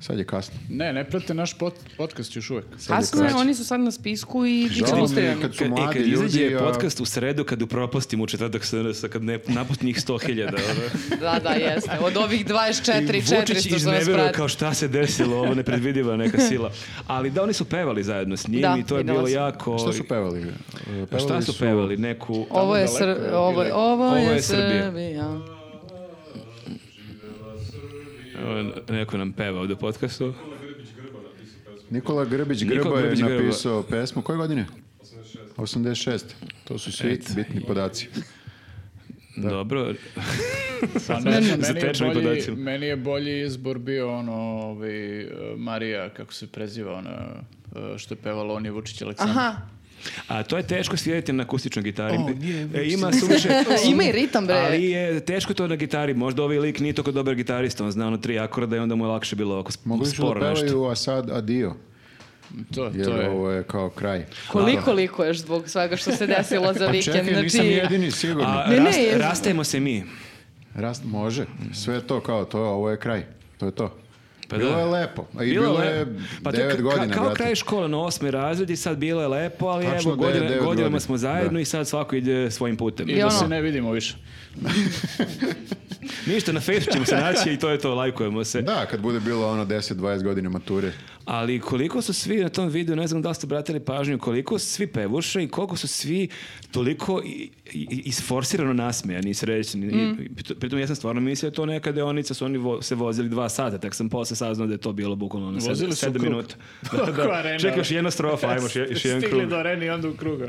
Sad je kasno. Ne, ne prate naš pot- podcast još uvek. Kasno je, oni su sad na spisku i bit Žao mi ćemo je ustrijani. kad su Kad, e, mladi kad izađe ljudi, a- podcast u sredu, kad upropastim u četvrtak SNS, kad ne napusti njih 100.000. ono. Da, da, jeste. Od ovih 24, I 400 Vučić što nas izneveruje prati. kao šta se desilo, ovo nepredvidiva neka sila. Ali da, oni su pevali zajedno s njim Da, i to je videla bilo sam. jako... Šta su pevali? E, A šta su pevali? Neku... Ovo je, daleko je Sr- ovo, bilo. ovo Ovo je je Srbija. Srbija. Evo, Neko nam peva ovdje u podcastu. Nikola Grbić Nikola Grba je Grbić Grba. napisao pesmu. Koje godine? 86. To su svi bitni podaci. Dobro. Pa ne, znam, Za meni, je tečnim bolji, podacima. meni je bolji izbor bio ono, ovaj, eh, Marija, kako se preziva, ona, eh, što je pevala on je Vučić Aleksandar. Aha, A to je teško svirati na akustičnoj gitari. O, nije, E, ima suviše... Ima i ritam, bre. Ali je teško to na gitari. Možda ovaj lik nije toliko dobar gitarista. On zna ono tri akorda i onda mu je lakše bilo ovako sp- Mogli su da sporo nešto. pevaju, a sad adio. To, Jer to je. ovo je kao kraj. koliko likuješ zbog svega što se desilo za vikend. Pa Čekaj, nisam znači, jedini, sigurno. A Ne, ne, rast- je- rastajemo se mi. Rast može. Sve je to kao to, ovo je kraj. To je to. Pa bilo da. je lepo. A i bilo, je le- to je 9 ka- godina. Kao brate. kraj škole na osmi razred i sad bilo je lepo, ali Tačno evo da je godina- devet godina. godinama smo zajedno Da. i sad svako ide svojim putem. I I da ono- se ne vidimo više. Ništa, na Facebooku ćemo se naći i to je to, lajkujemo se. Da, kad bude bilo ono 10-20 godina mature. E, Ali koliko su svi na tom videu, ne znam da li ste obratili pažnju, koliko su svi pevuše i koliko su svi toliko i- i- isforsirano nasmejani i srećni. Mm. I pri- pritom ja sam stvarno mislio da je to neka deonica, su oni vo- se vozili dva sata, tek sam posle saznao da je to bilo bukvalno ono Vozili sedam, su sedam krug. minuta. Oko arene. Čekaj, još jedna strofa, ajmo još, još jedan krug. Stigli do Reni i onda u kruga.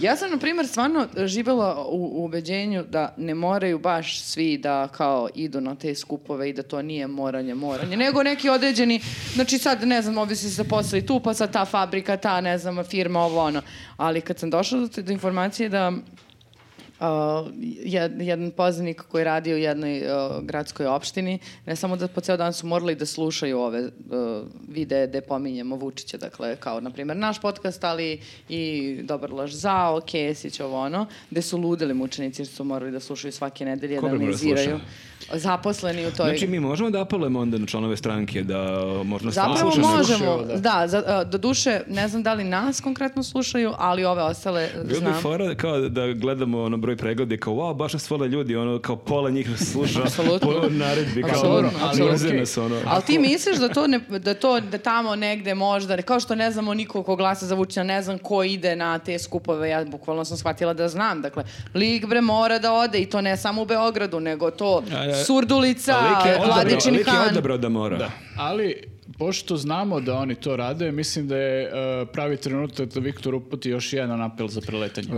Ja sam, na primjer, stvarno živjela u, u ubeđenju da ne moraju baš svi da kao idu na te skupove i da to nije moranje, moranje, nego neki određeni, znači sad, ne znam, ovdje si se zaposlili tu, pa sad ta fabrika, ta, ne znam, firma, ovo, ono. Ali kad sam došla do, te- do informacije da Uh, jed- jedan poznanik koji radi u jednoj uh, gradskoj opštini, ne samo da po ceo dan su morali da slušaju ove uh, videe gde pominjemo Vučića, dakle kao na primjer naš podcast, ali i Dobar laž zao, Kesić, ovo ono, gde su ludili mučenici jer su morali da slušaju svake nedelje, Ko da bi morao analiziraju. Zaposleni u toj... Znači, mi možemo da apelujemo onda na članove stranke da možda stvarno Zapravo slušaju. možemo, slušaju, da, za, do duše, ne znam da li nas konkretno slušaju, ali ove ostale uh, Bilo bi znam. fora kao da gledamo ono broj pregleda i kao wow, baš nas vole ljudi, ono kao pola njih nas sluša Apsolutno. po naredbi, kao Apsolutno, ono, apsolutno. mrze nas ono. Ali ti misliš da to, ne, da to da tamo negde možda, kao što ne znamo niko ko glasa za Vučića, ne znam ko ide na te skupove, ja bukvalno sam shvatila da znam, dakle, lik bre mora da ode i to ne samo u Beogradu, nego to A, a, Surdulica, Lik je odabrao- Vladičin lik je Han. odabrao da mora. Ali, pošto znamo da oni to rade, mislim da je eh, pravi trenutak da Viktor uputi još jedan apel za preletanje. E,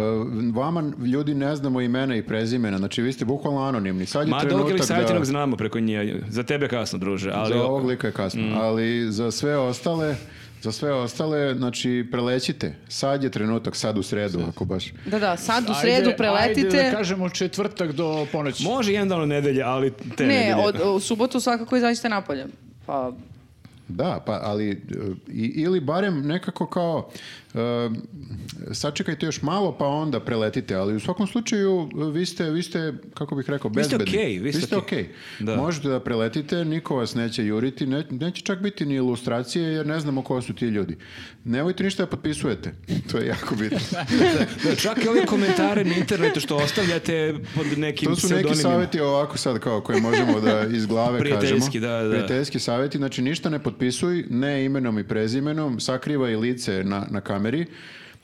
Vama ljudi ne znamo imena i prezimena, znači vi ste bukvalno anonimni. Sad je Ma dok trenutak ili savjetinog da... znamo preko nje, za tebe kasno druže, ali Mm. za ovog lika je kasno, ali za sve ostale, za sve ostale, znači prelećite. Sad je trenutak, sad u sredu, ako baš. Da, da, sad u Ajde- sredu Ajde preletite. da kažemo četvrtak do ponoći. može jedan dan u nedelje, ali te ne, nedelje. od, u subotu svakako izađite napolje. Pa, Da, pa ali e, i- ili barem nekako kao e, sačekajte još malo pa onda preletite, ali u svakom slučaju e, vi ste, vi ste kako bih rekao, ste bezbedni. okej, vi ste okej. okej. Da. Možete da preletite, niko vas neće juriti, ne- neće čak biti ni ilustracije jer ne znamo ko su ti ljudi. Nemojte ništa da potpisujete. To je jako bitno. Da, čak i ove komentare na internetu što ostavljate pod nekim to su neki pseudonimima. savjeti ovako sad kao koje možemo da iz glave Prijateljski, kažemo. da, da. Prijateljski savjeti, znači ništa ne potpisuj, ne imenom i prezimenom, sakrivaj lice na, na kameri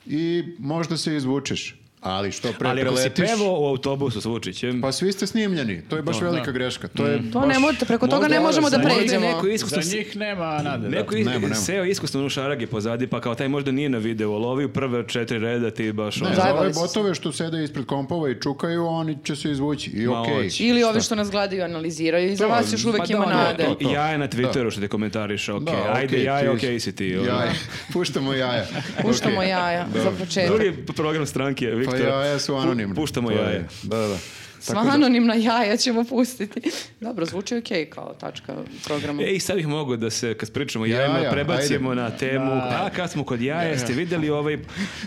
i možda se izvučeš. Ali što pre Ali ako si preletiš, pevo u autobusu s Vučićem, pa svi ste snimljeni, to je baš velika greška. To je Mm. To baš- ne možete, preko toga možda ne možemo za da njih- možda pređemo. neko iskusno Za njih nema nade. da. Neko iz, Nema, nema. seo iskusno u šarage pozadi, pa kao taj možda nije na videu, ali ovi u prve četiri reda ti baš... Ne, ono- za ove Zajebali su se. botove što sede ispred kompova i čukaju, oni će se izvući i Ma, okej. hoće. Ili ovi što nas gledaju i analiziraju i za To, vas još uvek pa ima da, ono, nade. to, to. Jaje na Twitteru što te komentariše, ok, Da, ajde okej, jaje, ti- ok si ti. ono. Jaja. Puštamo jaja. Puštamo Okej. jaja za početak. Drugi program stranke, Pa Viktor. jaja su anonimne. Pu- Puštamo To je- jaje. Da, da. Sva anonimna jaja ćemo pustiti. Dobro, zvuči okej kao tačka programa. E, Ej, E, sad bih mogao da se, kad pričamo o Jaja, jajima, prebacimo na temu, a kad smo kod jaja, ste vidjeli ovaj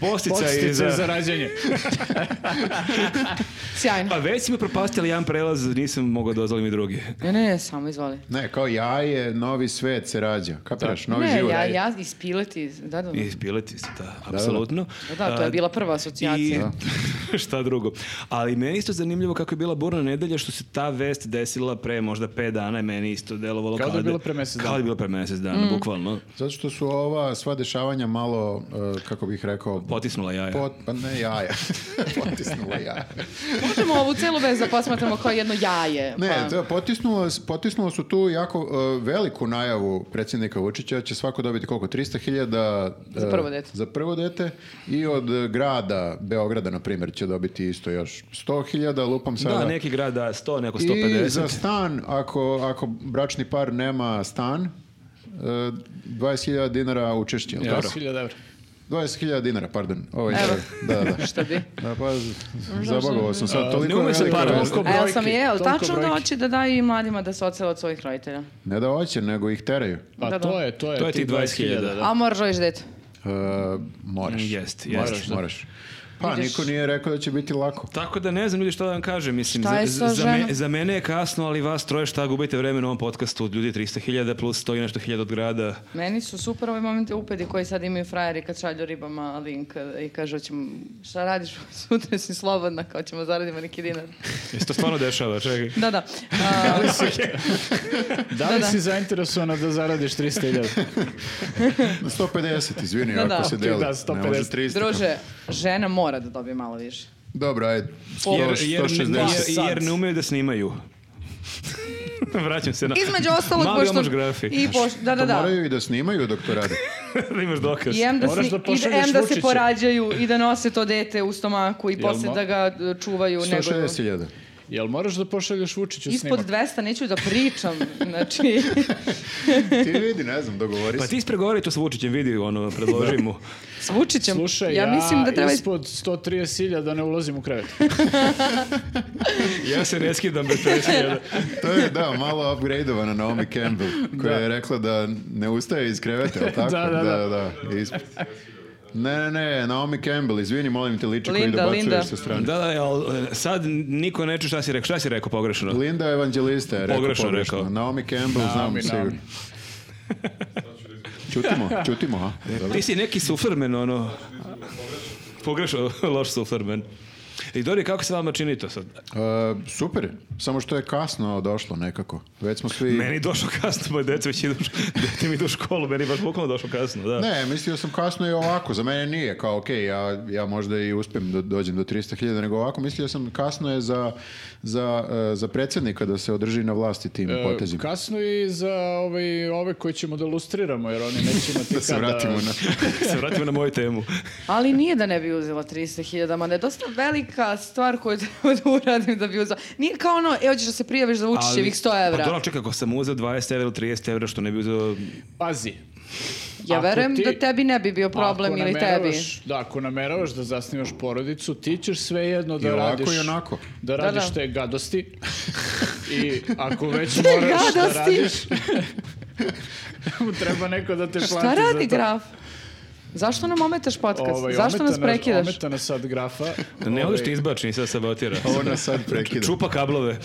posticaj Podstice za... za rađanje. Sjajno. Pa već smo propastili jedan prelaz, nisam mogao da ozvolim i drugi. Ne, ne, ne, samo izvoli. Ne, kao jaje, novi svet se rađa. Kapiraš, novi ne, život. ja, ja ispileti, da, da, da. I pileti se, da, apsolutno. Da, da, to je A, bila prva asocijacija. I šta drugo. Ali meni je isto zanimljivo kako je bila burna nedelja što se ta vest desila pre možda 5 dana i meni isto delovalo Kao da je bilo pre mjesec Kao da dana. je bilo pre mjesec dana, Mm. bukvalno. Zato što su ova sva dešavanja malo, uh, kako bih rekao, Potisnula jaja. pot, pa ne jaja, potisnula jaja. Možemo ovu celu vezu da posmatramo kao jedno jaje. Ne, pa- to potisnulo, potisnulo su tu jako uh, veliku najavu predsjednika Vučića, će svako dobiti koliko, 300.000 uh, Za prvo dete. Za prvo dete i od uh, grada, Beograda na primjer, će dobiti isto još 100.000, lupam sada. Da, neki grad da 100, neko I za 150. stan, ako, ako bračni par nema stan, uh, 20.000 dinara učešće. jel tako? 10.000 evra. 20.000 dinara, pardon. Ovaj Evo. da, da. Šta bi? Da, pa, z- zabogovao sam sad. Toliko ne ume je se velika para. vest. Toliko A jel sam brojki, je, jel toliko tačno da brojki. hoće da daju i mladima da se ocele od svojih roditelja? Ne da hoće, nego ih teraju. Pa Da, da. to je, to je. To je tih tih 20.000, da. A moraš želiš dete. Uh, moraš. Jest, Moraš, jest. moraš. Pa, niko nije rekao da će biti lako. Tako da ne znam ljudi šta da vam kažem, mislim, Šta je za, sa za, me- ženom? za mene je kasno, ali vas troje šta gubite vremena u ovom podcastu, ljudi 300.000 plus 100 i nešto hiljada od grada. Meni su super ovi momenti upedi koji sad imaju frajeri kad šalju ribama link i kažu ćemo, šta radiš, sutra si slobodna, kao ćemo zaradimo neki dinar. Jesi to stvarno dešava, čekaj. Da, da. A, Da li Da, da. si zainteresovana da zaradiš 300.000? 150, izvini, Da, da. ako se Ok, deli. da, Ne može 150. 300. druže, žena mora da dobije malo više. Dobro, ajde. Jer, 100, jer, 160. jer, jer ne umeju da snimaju. Vraćam se na... Između ostalog, Mali pošto... omaš grafi. I pošto, da, da, To da. moraju i da snimaju dok to rade. da imaš dokaz. I em da, Moraš sni- da i da, pošalješ em da se Vučića. porađaju i da nose to dete u stomaku i posle mo- da ga e, čuvaju. nego- 160.000. Jel moraš da pošalješ Vučiću Ispod snimak? 200 neću da pričam, znači... Ti vidi, ne znam, dogovori Pa se. ti ispregovori to s Vučićem, vidi, ono, predloži mu. S Vučićem, Slušaj, ja, ja, mislim da treba... ispod 130.000 ne ulazim u krevet. ja se ne skidam bez 50.000. To je, da, malo upgradeovana Naomi Campbell, koja je rekla da ne ustaje iz kreveta, je li tako? Da, da, da. da, isp- Ne, ne, ne, Naomi Campbell, izvini, molim te liče koji Linda, dobacuješ Linda. sa strane. Da, da, jel, sad niko ne čuje šta si rekao. Šta si rekao pogrešno? Linda Evangelista je rekao pogrešno. Pogrešno rekao. Naomi Campbell, znam Naomi, sigurno. Naomi. Čutimo, čutimo, ha? Dobro. Ti si neki sufrmen, ono... Pogrešno, loš sufrmen. I Dori, kako se vama čini to sad? E, super, samo što je kasno došlo nekako. Već smo svi... Meni je došlo kasno, moje dece već idu, dete mi idu u školu, meni je baš bukvalno došlo kasno, da. Ne, mislio sam kasno i ovako, za mene nije, kao ok, ja, ja možda i uspijem da dođem do 300.000, nego ovako mislio sam kasno je za, za, e, za predsjednika da se održi na vlasti tim Eh, potezima. E, Kasno i za ovaj, ove koje ćemo da lustriramo, jer oni neće imati Da se kada- vratimo na... Se vratimo na moju temu. Ali nije da ne bi uzela 300.000, ma ne, dosta velika stvar koju treba da uradim da bi uzela. Nije kao ono, e, hoćeš da se prijaviš za Vučićevih 100 Pa evra. dobro, čekaj, ako sam uzeo 20 evra ili 30 evra, što ne bi uzeo... Pazi. Ja ako verujem ti- da tebi ne bi bio problem ako ili tebi. nameravaš- Da, ako nameravaš da zasnivaš porodicu, ti ćeš svejedno da I ovako radiš... i onako. Da radiš da. te gadosti. I ako već moraš gadosti? da radiš... treba neko da te plati Šta za radi to. graf? Zašto nam ometaš podcast? Ovaj, Zašto ometa nas naš- prekidaš? Ometa nas sad grafa. Ne Ovaj, odeš ti izbači i sad sabotira. Ovo nas sad prekida. Čupa kablove.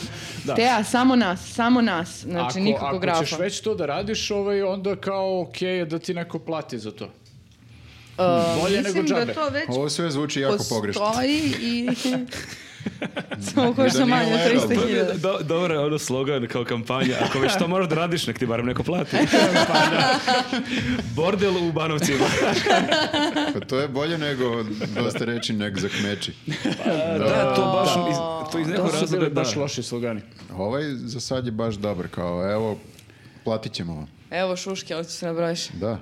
da. Teja, samo nas, samo nas. Znači, nikako ako grafa. ćeš već to da radiš, ovaj, onda kao okej je da ti neko plati za to. Uh, bolje nego mislim da džabe. to već Ovo sve zvuči jako pogrešno. postoji i... Samo košta Da nije manje, legalno. 300.000. Do, dobar je ono slogan kao kampanja. Ako već to moraš da radiš, nek ti barem neko plati. Bordel u Banovcima. Pa to je bolje nego dosta reći nek za kmeči. da, to baš iz, to iz nekog To su razloga bili da. baš loši slogani. Ovaj za sad je baš dobar, kao evo, platit ćemo vam. Evo šuške, ali ću se nabrojiš. Da.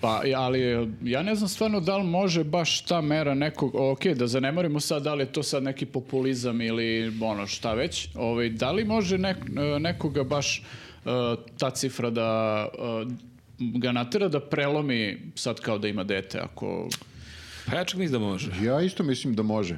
Pa, ja- ali ja ne znam stvarno da li može baš ta mera nekog, ok, da zanemorimo sad da li je to sad neki populizam ili ono šta već, ovaj, da li može nek- nekoga baš eh, ta cifra da eh, ga natera da prelomi sad kao da ima dete, ako... Pa ja čak mislim da može. Ja isto mislim da može.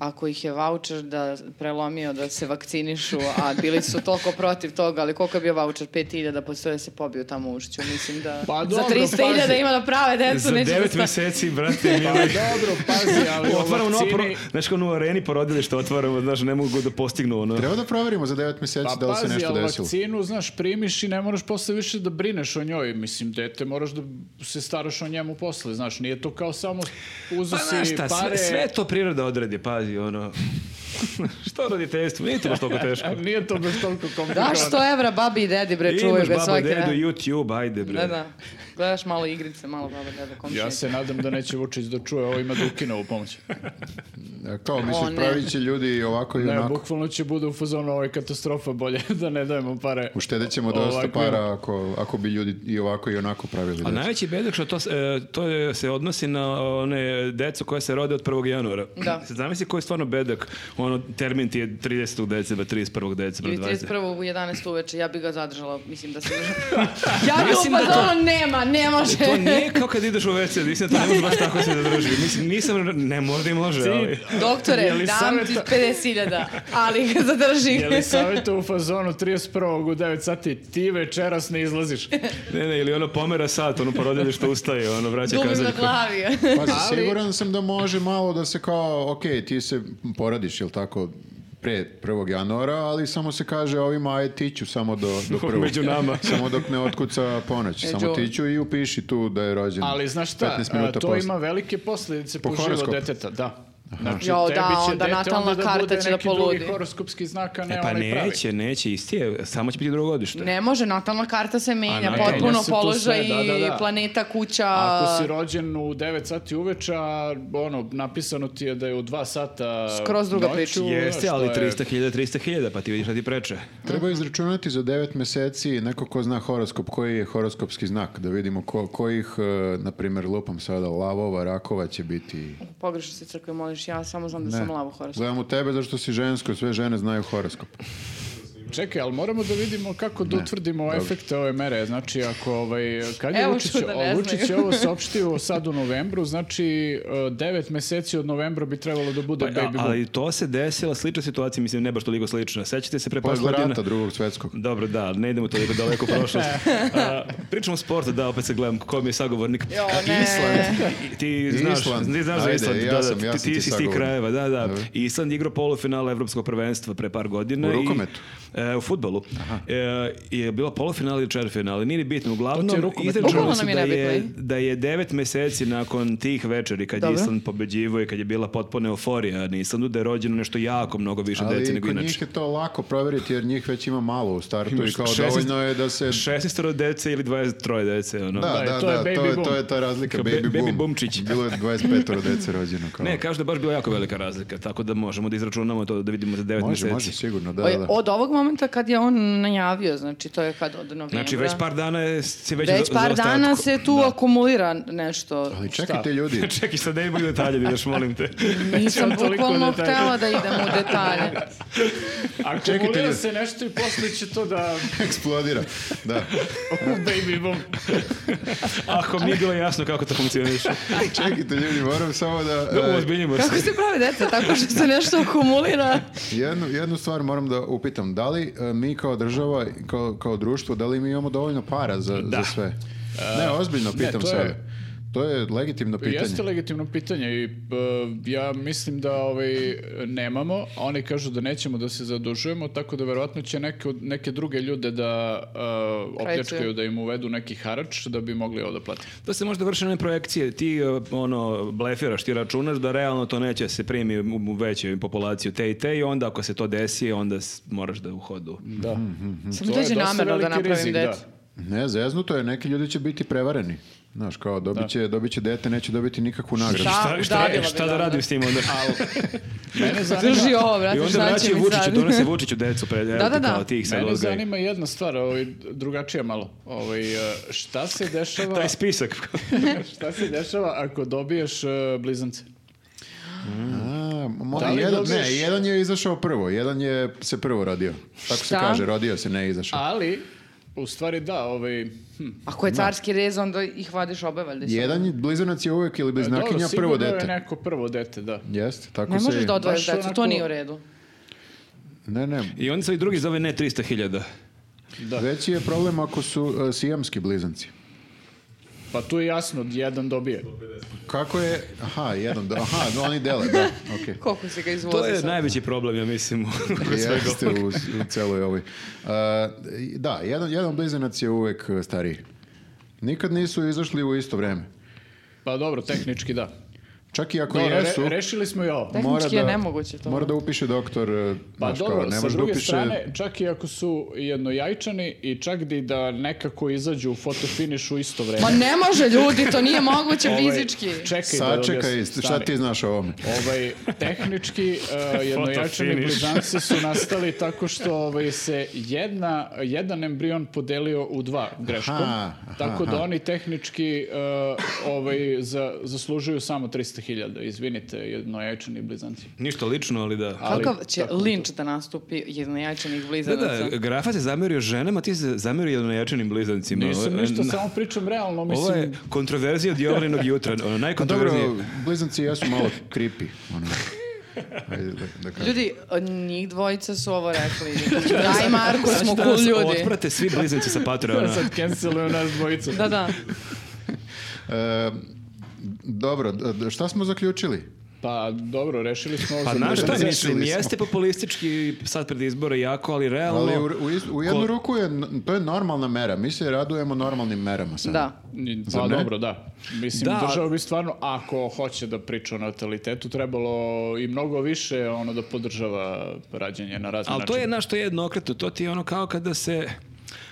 Ako ih je voucher da prelomio da se vakcinišu, a bili su toliko protiv toga, ali koliko je bio voucher? 5000 po sve se pobiju tamo u ušću. Mislim da Pa za dobro, 300.000 pazi. ima da prave decu, Za neće da devet stane. meseci, brate, Pa mili. dobro, pazi, ali o Otvaramo novo, pro... vakcini... znaš kao ono u areni porodilište otvaramo, znaš, ne mogu da postignu ono. Treba da proverimo za 9 mjeseci Pa Znači, da li se pazi, nešto ali desilo. vakcinu, znaš, primiš i ne moraš posle više da brineš o njoj. Mislim, dete, moraš da se staraš o njemu posle, znaš, nije to kao samo uzu Pa znaš si šta, pare... sve, sve to priroda odredi, pazi, ono. što roditeljstvo, nije to baš toliko teško. A Nije to baš toliko komplikovano. Da, 100 evra babi i dedi, bre, čuvaju Imaš ga baba, svaki dedu, dan. YouTube, ajde bre. Da, da. Gledaš malo igrice, malo baba, deda, komšije. Ja se nadam da neće Vučić da čuje ovo ima da ukine ovu pomoć. E, Kao O, misliš, ne. pravit će ljudi i ovako i Ne, onako. bukvalno će bude u fazonu ovo je katastrofa bolje da ne dajemo pare. Uštedit ćemo dosta Ovako. para ako, ako bi ljudi i ovako i onako pravili. A decu. najveći bedak što to, s- e, to je- se odnosi na one decu koje se rode od 1. januara. Da. Sad Zamisli koji je stvarno bedak. Ono, termin ti je 30. decembra, 31. decembra, Ili 20. 31. u 11. uveče, ja bi ga zadržala, mislim da se... ja bi u fazonu, nema, ne može. To nije kao kad ideš u WC, mislim da to ne može baš tako se zadrži. Mislim, nisam, ne možda i može, ali... Doktore, Je li dam saveta- ti 50.000, ali ga zadrži. Je li savjeta u fazonu 31. u 9 sati ti večeras ne izlaziš? Ne, ne, ili ono pomera sat, ono porodilje što ustaje, ono vraća Dubim na kazaljku. glavi. Pazi, Ali- siguran sam da može malo da se kao, ok, ti se poradiš, jel tako, pre 1. januara, ali samo se kaže ovima, aj tiću samo do, do prvog. Među nama. Samo dok ne otkuca ponoć. Samo Među- tiću i upiši tu da je rođen. E, Ali znaš šta, 15 a, minuta to posle. ima velike posljedice Po po, život horoskopu. deteta, da. Znači, Jao, tebi da, će onda dete natalna onda karta bude će da neki poludi. drugi horoskopski znak, a ne E pa onaj pravi. neće, neće, isti je, samo će biti drugogodište. Ne može, natalna karta se menja, natalna potpuno se tu sve, položaj da, da, da. i planeta, kuća. A ako si rođen u 9 sati uveča, ono, napisano ti je da je u 2 sata Skroz druga noću, priča. Jeste, Ono što ali je- 300.000, 300.000, pa ti vidiš šta ti preče. Treba izračunati za 9 mjeseci neko ko zna horoskop, koji je horoskopski znak, da vidimo ko, kojih, e, na primjer, lupam sada, lavova, rakova će biti. Pogrešno si crkve moliš, ja samo znam da sam lavo horoskop. E, Gledam u tebe zašto si žensko, sve žene znaju horoskop. Čekaj, ali moramo da vidimo kako da utvrdimo efekte ove mere. Znači, ako ovaj, kad je Evo Vučić, što da ne o, Vučić je znaju. ovo saopštio sad u novembru, znači e, 9 meseci od novembra bi trebalo da bude Pa, a- baby boom. ali to se desila slična situacija, mislim ne baš toliko slična. Sećate se pre par Posle godina? rata drugog svetskog. Dobro, da, ne idemo toliko daleko u prošlost. A, pričamo o sportu, da, opet se gledam ko mi je sagovornik. Jo, ne. Island. Ti znaš, Island. ti znaš za Ajde, Island. ja da, da, sam- ja ti, sam ti si ti iz tih sagovornik. krajeva, da, da. Dobro. Island igrao polufinale Evropskog prvenstva pre par godina. U i- rukometu? E, u futbolu. E, je bilo polufinale ili četvrfinale, nije ni bitno. To ti je Uglavnom, rukomet. izrečeno Bukvalno se nam je da je, nebitno, da je devet meseci nakon tih večeri kad je Dobro. Island pobeđivo i kad je bila potpuna euforija na Islandu, da je rođeno nešto jako mnogo više dece Ali nego kod inače. njih je to lako provjeriti jer njih već ima malo u startu i Imaš kao 16 dovoljno je da se... 16 dece ili 23 dece, ono. Da, Da, da, to je da, to baby je, boom. to je ta razlika, Kao baby, ba- baby boom. boomčić. Bilo je 25 dece rođeno. Kao. Ne, kažu da je baš bila jako velika razlika, tako da možemo da izračunamo to da vidimo za 9 može, mjeseci. može, sigurno, da, Oj, da. Od ovog momenta kad je on najavio, znači to je kad od novembra. Znači, već par dana je, si već, Već za- par za dana ostatku. se tu akumulira nešto. Ali čekajte ljudi, Čekaj, sad ne imamo detalje, vidiš, molim te. Nisam Nećemo toliko bukvalno detalja. htjela da idem u detalje. Ako Čekajte, akumulira ljudi. se nešto i posle će to da eksplodira. Da. baby boom. Ako mi je bilo jasno kako to funkcioniše. Čekajte ljudi, moram samo da... Da e, uozbiljimo Kako se. se pravi deca? Tako što se nešto akumulira. Mhm. Jednu, jednu stvar moram da upitam. Da li e, mi kao država, kao, kao društvo, da li mi imamo dovoljno para za, za sve? Ne, ozbiljno pitam E, to je- sebe. To je legitimno pitanje. Jeste legitimno pitanje i p- ja mislim da ovaj, nemamo, a oni kažu da nećemo da se zadužujemo, tako da verovatno će neke, od- neke druge ljude da uh, Krajcuje. opljačkaju, da im uvedu neki harač da bi mogli ovo da plate. To se možda vrše one projekcije, ti e, ono, blefiraš, ti računaš da realno to neće se primi u u većoj populaciju te i te i onda ako se to desi, onda s- moraš da je u hodu. Da. Sam mi dođe namerno da napravim dete. Ne, zeznuto je, neki ljudi će biti prevareni. Znaš, kao dobit će, dobit će dete, neće dobiti nikakvu nagradu. Šta? Šta, šta, udavila bi šta da ga, radim s tim onda? Mene zanima, Drži ovo, I brate, onda šta će vraćaju mi Vučiću, sad? donose Vučiću decu pred, evo Da, da, ti kao da. ti ih sad mene odgaj. zanima jedna stvar, ovaj, drugačija malo. Ovaj, eh, šta se dešava... Taj spisak. Šta se dešava ako dobiješ e, blizance? A, mo- Da li jedan, dobiješ- ne, jedan je izašao prvo, jedan je se prvo rodio. Tako se Šta? kaže, rodio se, ne izašao. Ali, u stvari da, ovaj... hm, Ako je carski rez, onda ih vadiš obe, valjda. su. Jedan je- blizanac je uvijek ili E, dobro, bliznakinja sigurno prvo je dete. neko prvo dete, da. Jeste, tako Ne se... možeš da odvojiš Baš decu, to onako- nije u redu. Ne, ne. I onda se i drugi zove ne 300.000. Da. Veći je problem ako su e, sijamski blizanci. Pa tu je jasno, jedan dobije. Kako je... Aha, jedan, da, aha, no, oni dele, da, okej. Koliko si ga izvozi To je sad? najveći problem, ja mislim. kod svega Jeste u, u celoj ovoj. E, da, jedan, jedan blizanac je uvek e, stariji. Nikad nisu izašli u isto vreme. Pa dobro, tehnički da. Čak i ako Dobro, re- jesu, rešili smo i ovo. Tehnički je nemoguće to. Mora da upiše doktor, e, Pa znaš dobro, kao, ne sa može da druge upiše... strane, čak i ako su jednojajčani i čak i da nekako izađu u fotofinišu isto vreme. Ovaj, Ma ne može ljudi, to nije moguće Ovaj, fizički. Čekaj da Sačekaj, objasnim, šta stani. ti znaš o ovome? Ovaj, tehnički uh, jednojačani Fotofiniš. blizanci su nastali tako što ovaj, se jedna, jedan embrion podelio u dva greškom. Aha, aha, tako da aha. oni tehnički uh, ovaj, za, zaslužuju samo 300.000. Izvinite, jednojačani blizanci. Ništa lično, ali da. ali Kakav će tako linč da nastupi jednojačanih Da, blizanaca? e, da, Grafa se zamerio ženama, ti se zamerio jednojačanim blizancima. Nisam Ovo- ništa, e, na- samo pričam realno, mislim... Ovo je kontroverzija od Jovaninog jutra, ono, Pa dobro, najkontroverznije. blizanci jesu malo creepy. Ono. Ajde, da, da kažem. Ljudi, njih dvojica su ovo rekli. Ja i Marko smo Sad će da cool nas ljudi. Otprate svi blizanci sa Patreona. Sad canceluju nas dvojicu. Da, da. E, dobro, d- d- šta smo zaključili? Pa dobro, rešili smo ovo Pa za znaš šta Završili mislim, smo. jeste populistički sad pred izbore jako, ali realno... Ali Ono- u, u, is- u jednu Ko- ruku je, n- to je normalna mera. Mi se radujemo normalnim merama sad. Da. Pa Zar ne? dobro, da. Mislim, Da, a- država bi stvarno, ako hoće da priča o natalitetu, trebalo i mnogo više ono da podržava rađanje na razne Ali to je, načine. znaš, to je jednokratno, to ti je ono kao kada se...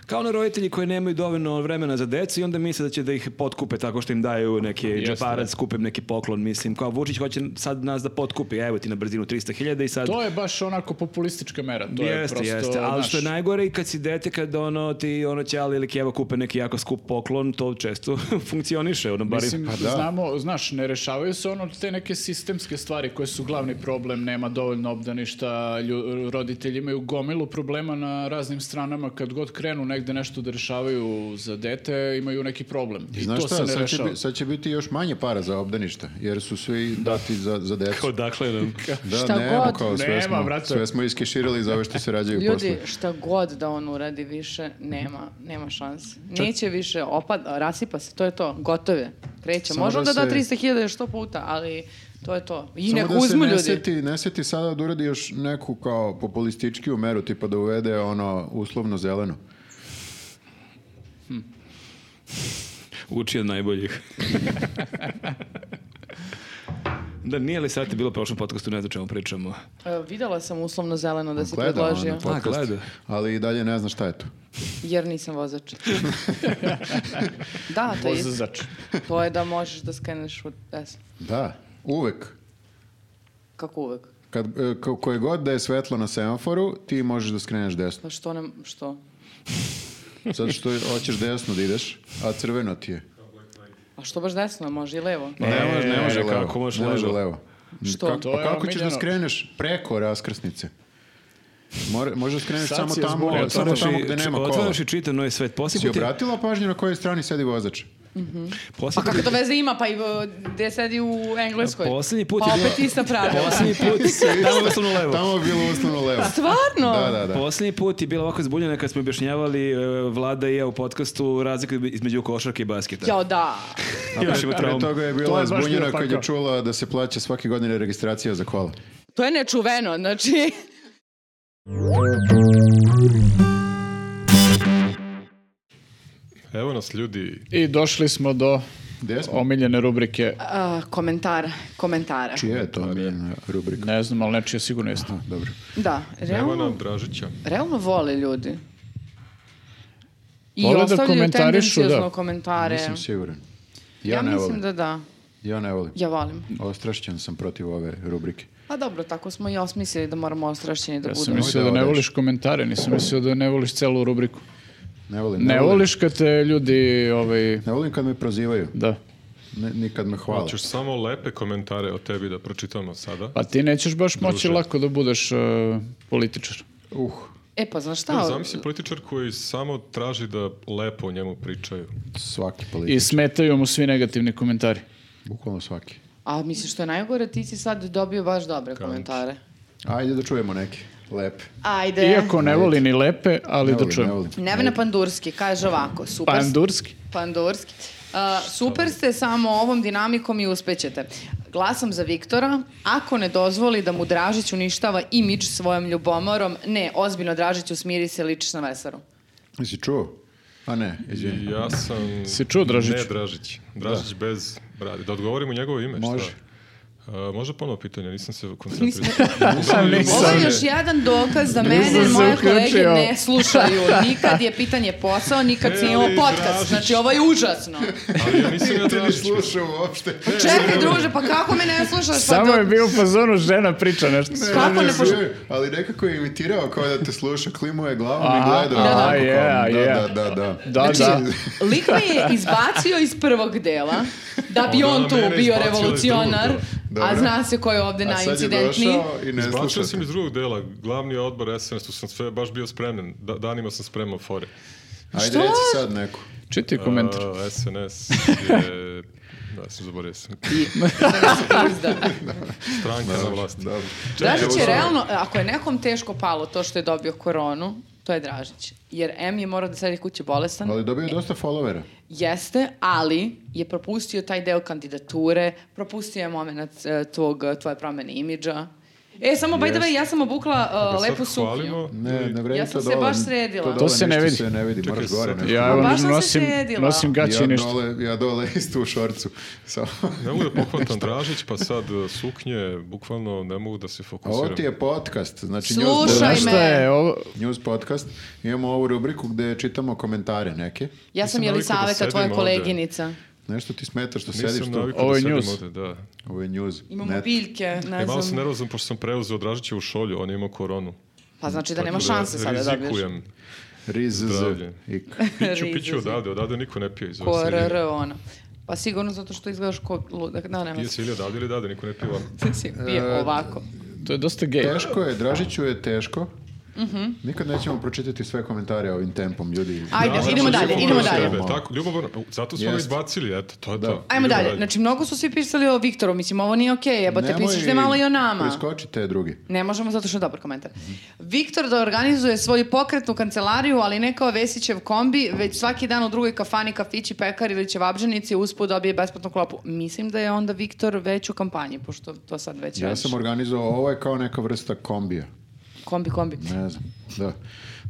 Kao ono roditelji koji nemaju dovoljno vremena za decu i onda misle da će da ih potkupe tako što im daju neki Jeste, džeparac, kupim neki poklon, mislim, kao Vučić hoće sad nas da potkupi, evo ti na brzinu 300.000 i sad... To je baš onako populistička mera. To je jeste, prosto, jeste, ali znaš, što je najgore i kad si dete, kad ono ti ono ćali ili kjeva kupe neki jako skup poklon, to često funkcioniše, ono bar Mislim, Pa da. znamo, znaš, ne rešavaju se ono te neke sistemske stvari koje su glavni problem, nema dovoljno obdaništa, lju- roditelji imaju gomilu problema na raznim stranama, kad god krenu negde nešto da rešavaju za dete, imaju neki problem. I, I znaš to šta, se ne sad će, rešava. bi- sad će biti još manje para za obdaništa, jer su svi dati za, za decu. odakle nam. Da, Šta nema, god. kao, sve, Nema, smo, brate. sve smo iskeširali za ove što se rađaju Ljudi, posle. šta god da on uradi više, nema, nema šanse. Neće više, opad, rasipa se, to je to, gotov je. Kreće, Samo možda da da da se- 300.000 još sto puta, ali to je to. I Samo nek da se uzmu ne ljudi. seti, ne seti sada da uradi još neku kao populističkiju meru, tipa da uvede ono uslovno zeleno. Uči od najboljih. da, nije li sati bilo u prošlom podcastu, ne znam o čemu pričamo. E, videla sam uslovno zeleno da si Gleda predložio, ono podcast, gleda. ali i dalje ne zna šta je to. jer nisam vozač. da, to je, Vozač. to je da možeš da skreneš u desno. Da, uvek. Kako uvek. Kad, e, ko- koje god da je svetlo na semaforu, ti možeš da skreneš desno. Pa što ne, što? Zato što hoćeš desno da ideš, a crveno ti je. Pa A Pa što baš desno, može i levo. ne može, ne može kako levo. može ne može levo? levo. Što? Kako, pa To je kako ćeš da omiljeno. skreneš preko raskrsnice? More, možeš da skreneš Sad samo si je tamo, zbunio, Pa samo Otvaraš tamo i- gde nema kola. Otvaraš i čita novi svet. Si Posebno ti, obratila pažnju na kojoj strani sedi vozač? Pa Posljednji kakve to veze ima, pa i e, gde sedi u Engleskoj? Posljednji put Pa je opet ista pravila. Posljednji put se tamo sam na levo. Tamo je bilo uslovno levo. Pa Stvarno? Da, da, da. Posljednji put je bilo ovako zbunjeno kad smo objašnjavali e, Vlada i ja u podcastu razliku između košarke i basketa. Jao da. Još ima traumu. Pre toga je To bila je baš bio zbunjena kad pakao. je čula da se plaća svake godine registracija za kola. To je nečuveno, znači... Evo nas ljudi, I došli smo do Gde smo? omiljene rubrike. A, komentara, komentara. Čija je to omiljena rubrika? Ne znam, ali nečije sigurno jeste. A, dobro. Da, nema realno, nam Dražića. realno vole ljudi. I Vole da ostavljaju komentarišu, tendencijozno da. komentare. Nisam siguran. Ja, ja ne mislim volim. da da. Ja ne volim. Ja volim. Ostrašćen sam protiv ove rubrike. Pa dobro, tako smo i osmislili da moramo ostrašćeni da Ja sam budemo. mislio da ne voliš komentare, nisam mislio da ne voliš celu rubriku. Ne volim. Ne volim. voliš kad te ljudi, ovaj, Ne volim kad me prozivaju. da. Ne, nikad me hvala. Hoćeš samo lepe komentare o tebi da pročitamo sada. Pa ti nećeš baš moći Druže. lako da budeš e, političar. Uh, E pa znaš šta? Da, Zamisli političar koji samo traži da lepo o njemu pričaju. svaki I politik. smetaju mu svi negativni komentari. Bukvalno svaki. A misliš što je najgore, ti si sad dobio baš dobre komentare. Ajde da čujemo neke. Lepe. Ajde. Iako ne voli ni lepe, ali Ne da volim, ne čujem. volim. Nevena Pandurski kaže ovako, super, Pandurski. Pandurski. A, super ste samo ovom dinamikom i uspećete. Glasam za Viktora, ako ne dozvoli da mu Dražić uništava imidž svojom ljubomorom, ne, ozbiljno Dražiću smiri se ličiš na vesaru. Jesi čuo? A ne, izvini. I ja sam... Si čuo Dražić? Ne Dražić. Dražić bez brade. Da odgovorim u njegovo ime, Može. šta? E, može ponovo pitanje, nisam se koncentrisao. Nisam. Ovo je ne. još jedan dokaz da mene Nisam se moje kolege uključio. ne slušaju. Nikad je pitanje posao, nikad se imao Eli podcast. Dražić. Znači, ovo je užasno. Ali ja nisam ja Ti ne Dražić. slušao uopšte. Čekaj, druže, pa kako me ne slušaš? Pa Samo do- je bio u fazonu žena priča nešto. Kako ne poš- Ali nekako je imitirao kao da te sluša, klimu je glavom i Aha, gledao. da, da. ovako kao, Yeah, yeah. Da, da, da, da. Znači, Da, da. Lik me je izbacio iz prvog dela, da bi Onda on na tu mene bio izbacila iz revolucionar, drugog a Dobro. zna se ko je ovde A sad je najincidentniji. došao i ne Izbačio sam sluša. iz drugog dela, glavni odbor SNS, tu sam sve baš bio spremljen, da, danima sam spremao fore. Ajde, Što? reci sad neku. Čiti komentar. A, SNS je... Da, sam zaboravio sam. Izda. Stranka na vlasti. Dobro. Dražić je realno, ako je nekom teško palo to što je dobio koronu, to je Dražić. Jer M je morao da sedi kući bolestan. Ali dobio je dosta followera. Jeste, ali je propustio taj deo kandidature, propustio je moment e, tvog, tvoje promene imidža. E, samo by the way, ja sam obukla uh, Pa Sad lepu suknju. hvalimo. Ne, ne vredi Ja to sam se dole. baš sredila. dole To se ne ništa vidi. se ne vidi, moraš Čekaj, gore sad. nešto. Ja ono, Pa evo baš sam se nosim, sredila. nosim gaće i Ja ništa. dole, ja dole isto u šorcu. Samo. Ne mogu da pohvatam Dražić, pa sad e, suknje, bukvalno ne mogu da se fokusiram. Ovo ti je podcast, znači news, Slušaj Znaš podcast, me. šta je ovo? news podcast. Imamo ovu rubriku gde čitamo komentare neke. Ja sam Nisam navikao da Jelisaveta, tvoja sedim ovde. koleginica. Nešto ti smeta što sediš Nisam tu. navikao Ovo da je sedim news. ovde, da. Ovo je news. Imamo net. biljke, ne E, malo sam znam. nervozan pošto sam preuzeo Dražića u šolju, on je imao koronu. Pa znači da Tako nema šanse sada da dobiješ. Rizikujem. Riz, z, Zdravlje. ik. Piću, Rizu piću si. odavde, odavde niko ne pije iz ove Ko serije. RR ona. Pa sigurno zato što izgledaš ko ludak. Da, nema Pije se ili odavde ili odavde, niko ne pije ovako. se. Pije E, ovako. To je dosta gej. Teško je, Dražiću je teško. Nikad nećemo pročitati sve komentare ovim tempom, ljudi. Mhm. Ajde, Dražić, idemo dalje, ljubomorno idemo na dalje. sebe, Tako, ljubomorno. Zato smo ga Jest. izbacili, eto, to je Da. to. Ajmo Idemo dalje. Znači, mnogo su svi pisali o Viktoru. Mislim, ovo nije okej. Okay, jebote, Nemoj pišete malo i o nama. Preskoči te drugi. Ne možemo zato što je dobar komentar. Viktor da organizuje svoju pokretnu kancelariju, ali ne kao Vesićev kombi, već svaki dan u drugoj kafani, kafići, pekar ili ćevabženici usput dobije besplatnu klopu. Mislim da je onda Viktor već u kampanji, pošto to sad već Ja radiš. sam organizovao, ovo je kao neka vrsta kombija. Kombi, kombi. Ne znam, da.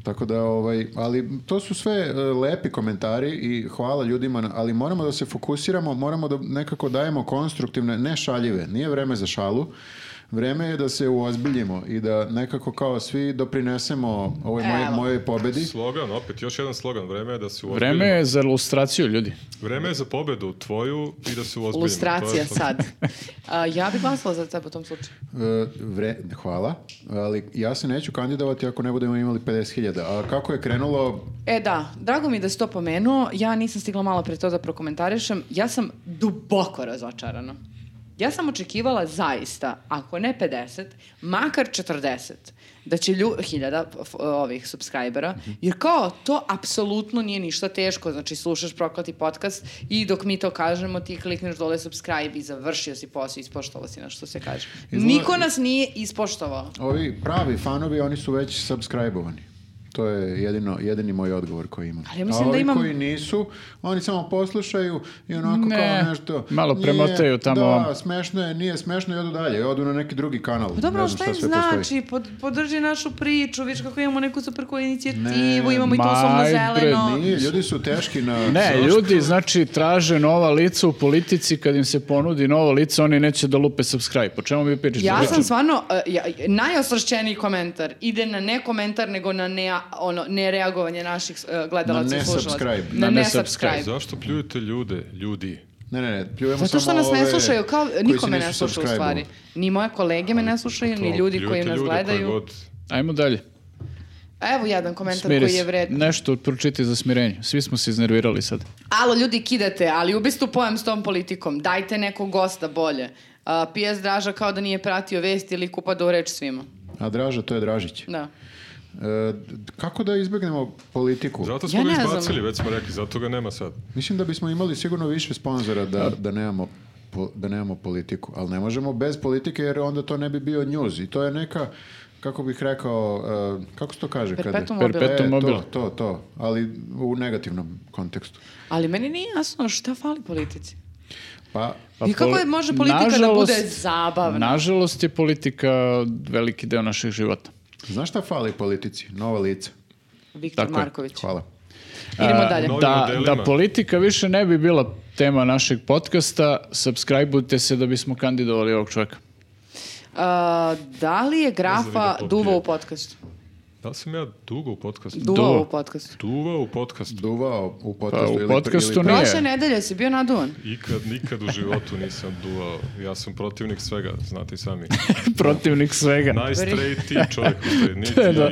Tako da, ovaj, ali to su sve e, lepi komentari i hvala ljudima, na- ali moramo da se fokusiramo, moramo da nekako dajemo konstruktivne, ne šaljive, nije vreme za šalu, vreme je da se uozbiljimo i da nekako kao svi doprinesemo ovoj moj, Evo. mojoj pobedi. Slogan, opet, još jedan slogan. Vreme je da se uozbiljimo. Vreme je za ilustraciju ljudi. Vreme je za pobedu tvoju i da se uozbiljimo. To Lustracija je slogan. sad. A, ja bih glasala za tebe u tom slučaju. E, vre, hvala, ali ja se neću kandidovati ako ne budemo imali 50.000. A kako je krenulo, E da, drago mi je da si to pomenuo. Ja nisam stigla malo pre to da prokomentarišem. Ja sam duboko razočarana. Ja sam očekivala zaista, ako ne 50, makar 40, da će lju, hiljada f- ovih subscribera, jer kao to apsolutno nije ništa teško, znači slušaš proklati podcast i dok mi to kažemo ti klikneš dole subscribe i završio si posao, ispoštovao si na što se kaže. Izgleda- Niko nas nije ispoštovao. Ovi pravi fanovi, oni su već subscribe-ovani. To je jedino, jedini moj odgovor koji imam. Ali ja mislim A ovi da imam- koji nisu, oni samo poslušaju i onako Ne, kao nešto... malo nije- premotaju tamo Da, vam. smešno je, nije smešno i odu dalje. I Odu na neki drugi kanal. Pa dobro, ne ali znam šta im sve postoji. znači? Pod, podrži našu priču, vidiš kako imamo neku super koju inicijativu, Ne, imamo i to osobno maj, bre, zeleno. Nije, ljudi su teški na... Ne, zašto? ljudi, znači, traže nova lica u politici, kad im se ponudi novo lice, oni neće da lupe subscribe. Po čemu mi pričate? Ja sam Pričam- stvarno, e, ja, najosvršćeniji komentar ide na ne komentar, nego na ne, ono, nereagovanje naših e, Na gledalaca i ne slušalaca. subscribe. Na, Na ne ne subscribe. Zašto pljujete ljude, ljudi? Ne, ne, ne, pljujemo Zato što samo nas ne ove slušaju, kao koji niko se me nisu ne sluša u subscribe-ovali. stvari. Ni moje kolege me ne slušaju, ni To, ljudi koji pljujete nas ljude koje gledaju. god. Ajmo dalje. A Evo jedan komentar Smiri koji je se. vredan. Nešto pročiti za smirenje. Svi smo se iznervirali sad. Alo, ljudi, kidate, ali ubistu pojam s tom politikom. Dajte nekog gosta bolje. A, PS Draža kao da nije pratio vesti ili kupa do reč svima. A Draža, to je Dražić. Da. E, kako da izbjegnemo politiku? Zato Ja smo ne ga znam. izbacili, već smo rekli, zato ga nema sad. Mislim da bismo imali sigurno više sponzora da, da, nemamo, po- da nemamo politiku, ali ne možemo bez politike jer onda to ne bi bio news i to je neka, kako bih rekao, e, kako se to kaže? kada- Perpetuum E, mobile. Perpetuum mobile. To, to, to, ali u negativnom kontekstu. Ali meni nije jasno šta fali politici. Pa, I kako poli- je- može politika da Nažalost- bude zabavna? Nažalost je politika veliki deo naših života. znaš šta fali politici? Nova lica. Viktor Tako je. E, Marković. Hvala. Idemo A, dalje. no- Novim Da, modelima. da politika više ne bi bila tema našeg podcasta, subscribe-ujte se da bismo kandidovali ovog čovjeka. A, da li je Ne znam, grafa ide popije. duvao u podcastu? Da li sam ja dugo u podcastu? Duvao Duvao. u podcastu. Duvao u podcastu. Duvao u podcastu Pa, u ili- podcastu ili- ne. Prošle nedelje si bio naduvan. Ikad, nikad u životu nisam duvao. Ja sam protivnik svega, znate i sami. Protivnik svega. Najstrejtiji čovjek u svijetu. Niti Da.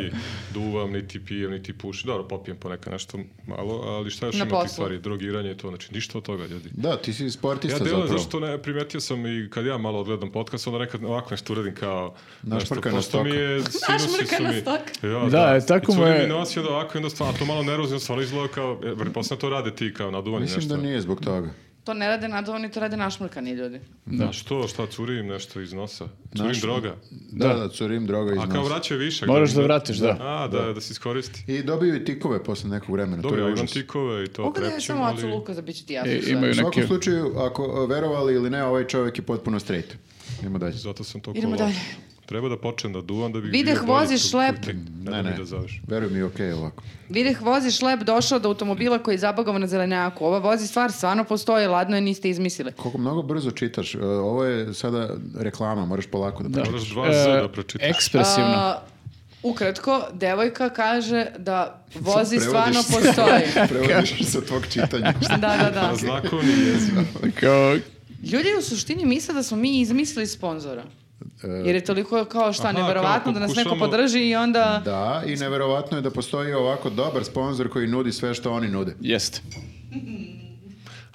duvam, niti pijem, niti pušim. Dobro, popijem ponekad nešto malo, ali šta još Na ima tih poslu. stvari? Drogiranje i to, znači ništa od toga, ljudi. Da, ti si sportista Ja zapravo. delujem, zašto ne, primetio sam i kad ja malo odgledam podcast, onda nekad ovako nešto uradim kao... Našmrkana Pošto mi je, sinusi su Našmrkana mi... stoka. Ja, Da, e, tako I mu curi je- mi nos i onda ovako, i onda stvarno, a to malo nervozno, stvarno izgleda kao, e, pretpostavljam to rade ti kao naduvanje Mislim nešto. da nije zbog toga. To ne rade naduvani, to rade našmrkani ljudi. Da. Što, šta, curi im nešto iz nosa? Curi im Naš- droga? Da, da, curim droga iz A nosa. kao vraćaju višak. Moraš im da vratiš, da. A, da, da, se iskoristi. I dobio i tikove posle nekog vremena. Dobro, to ja je imam užas. tikove i to Pogledaj prepćem, samo Acu ali... Luka za biće ti jasno I- sve. U imaju svakom neke... slučaju, ako e, verovali ili ne, ovaj čovjek je potpuno straight. Idemo dalje. Zato sam to Idemo kovao. dalje. Treba da počnem da duvam da bi... Videh, bio bolji voziš tu- šlep. kutek, Ne, Ne, da mi ne, da završi. veruj mi, okej je ovako. Videh vozi šlep došao do automobila koji je zabagao na zelenjaku. Ova vozi stvar stvarno postoji, ladno je niste izmislili. Koliko mnogo brzo čitaš, e, ovo je sada reklama, moraš polako da, Da. pročitaš. Moraš dva Z E, da pročitaš. Ekspresivno. A, ukratko, devojka kaže da vozi Prevodiš stvarno se. postoji. Prevodiš sa tvog čitanja. Da, da, da. Na znakovni jezik. Kao, Ljudi u suštini misle da smo mi izmislili sponzora. Jer je toliko kao šta, Aha, neverovatno kao da nas neko pokušamo- podrži i onda... Da, i neverovatno je da postoji ovako dobar sponsor koji nudi sve što oni nude. jeste.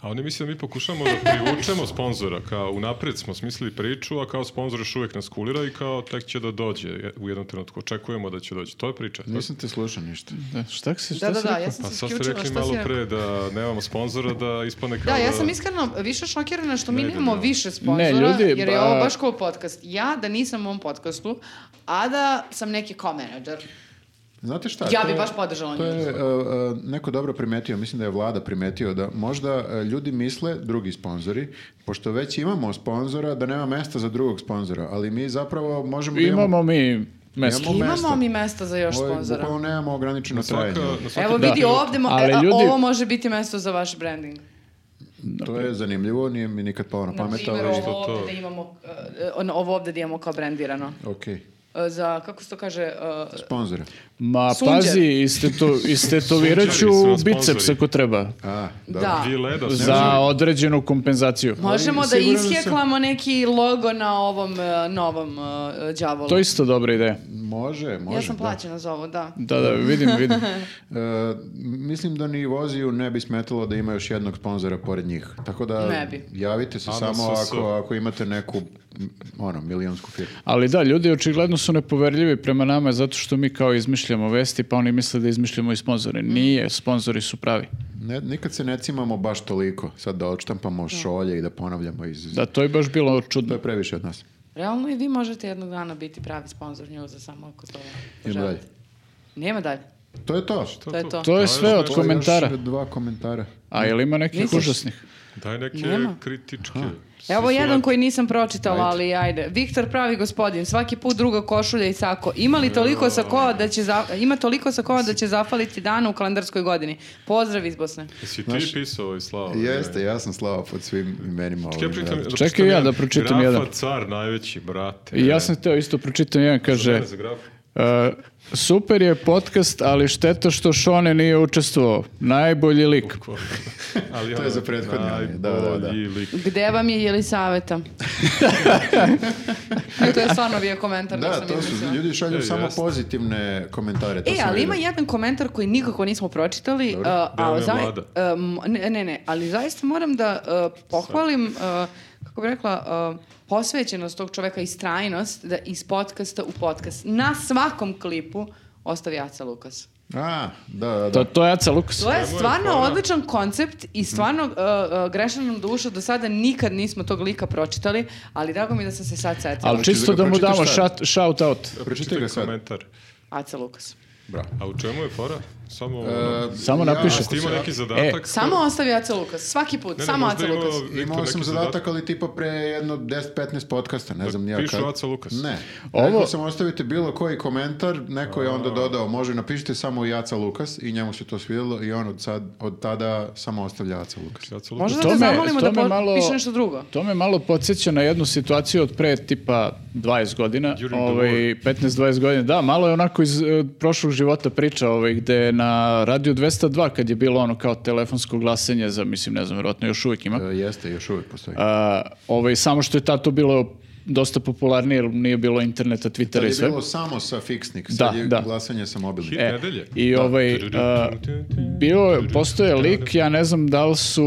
A oni misle da mi pokušamo da privučemo sponzora, kao unapred smo smislili priču, a kao sponzor još uvijek nas kulira i kao tek će da dođe je- u jednom trenutku. Očekujemo da će doći. To je priča. Nisam te slušao ništa. Da, šta si, šta Da, da, si da, rekao? ja sam Pa se sad ste isključila, rekli šta malo si rekao? pre da nemamo sponzora, da ispane kao Da, ja sam iskreno više šokirana što mi Ne, nemamo ne, ne. više sponzora, Ne, ljudi, jer je ovo ba- baš kao podcast. Ja da nisam u ovom podcastu, a da sam neki co-manager. Znate šta? Ja to bi je- baš podržala To nju. je e, e, neko dobro primetio, mislim da je vlada primetio da možda e, ljudi misle, drugi sponzori, pošto već imamo sponzora, da nema mesta za drugog sponzora, ali mi zapravo možemo da ovaj, Imamo mi Imamo mesto. Imamo mesta. mi mesta za još Ovo je sponzora. bukvalno nemamo ograničeno Na svaka, trajanje. na svaki Evo da. vidi ovdje, mo- Ali e, a, ljudi- ovo može biti mesto za vaš branding. To je zanimljivo, nije mi nikad palo na Na pamet, ali... primjer, ovo to- ovdje da imamo, e, ono, ovo ovdje da imamo kao brandirano. Ok, E, za, kako se to kaže, e, sponzora. Ma Sunđer. pazi, isteto, istetovirat ću Sunđeri su nam biceps sponzori. ako treba. A, dobro. da. Vi leda, Za određenu kompenzaciju. Možemo da siguran sam- isjeklamo neki logo na ovom e, novom uh, To je isto dobra ideja. Može, može. Ja sam da. plaćena za ovo, da. Da, da, vidim, vidim. E, mislim da ni Voziju ne bi smetalo da ima još jednog sponzora pored njih. Tako da Ne bi. javite se Ama samo su- su- ako, ako imate neku m, ono, milionsku firmu. Ali da, ljudi očigledno su nepoverljivi prema nama zato što mi kao izmišljamo vesti, pa oni misle da izmišljamo i sponzore. Mm. Nije, sponzori su pravi. Ne, nikad se ne cimamo baš toliko. Sad da odštampamo šolje i da ponavljamo iz... Da, to je baš bilo To čudno. je previše od nas. Realno i vi možete jednog dana biti pravi sponsor njuza samo ako to Idemo dalje. želite. Nema dalje. To je to. To je to. To je Da, sve još od nešto. To je komentara. još dva komentara. A ili ima nekih Misliš? užasnih? Daj neke Nema. kritičke. Evo jedan Sisavate. koji nisam pročitala, ali ajde. Viktor pravi gospodin, svaki put druga košulja i sako. Ima li toliko sakoa da će za- ima toliko sakoa da će zafaliti dana u kalendarskoj godini? Pozdrav iz Bosne. Jesi ti Znaš- pisao ovaj i slavo? Jeste, ja sam slava pod svim imenima ovim. da. Čekaj ja da pročitam jedan. Grafa car najveći, brate. I ja sam teo isto pročitam jedan, kaže... Za grafa. E, super je podcast, ali šteta što Šone nije učestvovao. Najbolji lik. Ali To je ono, za prethodni, ali, da, da, da. najbolji lik. Gde vam je Jelisaveta? e, to je stvarno bio komentar. Da, nisam to su, izmislila. ljudi šalju E, samo jeste. pozitivne komentare. To E, sam ali ima vidio. jedan komentar koji nikako nismo pročitali. Dobro. uh, Da, ovo a, je za, Vlada. um, ne, ne, ne, ali zaista moram da uh, pohvalim, uh, kako bih rekla, uh, posvećenost tog čoveka i strajnost da iz podcasta u podcast na svakom klipu ostavi Aca Lukas. A, da, da, da. To, to je Aca Lukas. To je Njemu je stvarno fora. odličan koncept i stvarno uh, uh, grešna nam duša do sada nikad nismo tog lika pročitali, ali drago mi je da sam se sad setila. Ali Hoćeš čisto da ga da mu pročitaš damo sad? shout, shout out. Pročitaj ga sad. E, komentar. Aca Lukas. Bravo. A u čemu je fora? Samo... ono, E, Samo napiši. Jesi ti imao neki zadatak? Samo ostavi Aca Lukas, svaki put, Ne, ne, samo možda Aca imao Lukas. Viktor Imao sam neki zadatak, ali tipa pre jedno 10-15 podcasta, ne znam nija pišu Aco Lukas. Ne. Ovo- Rekao sam ostavite bilo koji komentar, neko je onda dodao, može napišite samo i Aca Lukas i njemu se to svidjelo i on od, sad, od tada samo ostavlja Aca Lukas. Ja sam Možda To da te me- zamolimo to da me po- malo- piše nešto drugo. To me malo podsjeća na jednu situaciju od pre tipa 20 godina, During the ovaj, 15-20 godina. Da, malo je onako iz e, prošlog života priča, ovaj, gde je na Radio 202, kad je bilo ono kao telefonsko glasanje za, mislim, ne znam, vjerojatno još uvijek ima, E, jeste, još uvijek postoji. a, ovaj, samo što je tato bilo dosta popularnije, jer nije bilo interneta, Tad Twittera i je sve. bilo samo sa fiksnik, sad Da, je da. glasanje sa mobilnim. Hit E, nedelje. I ovaj, a, bio je, postoje lik, ja ne znam da li su,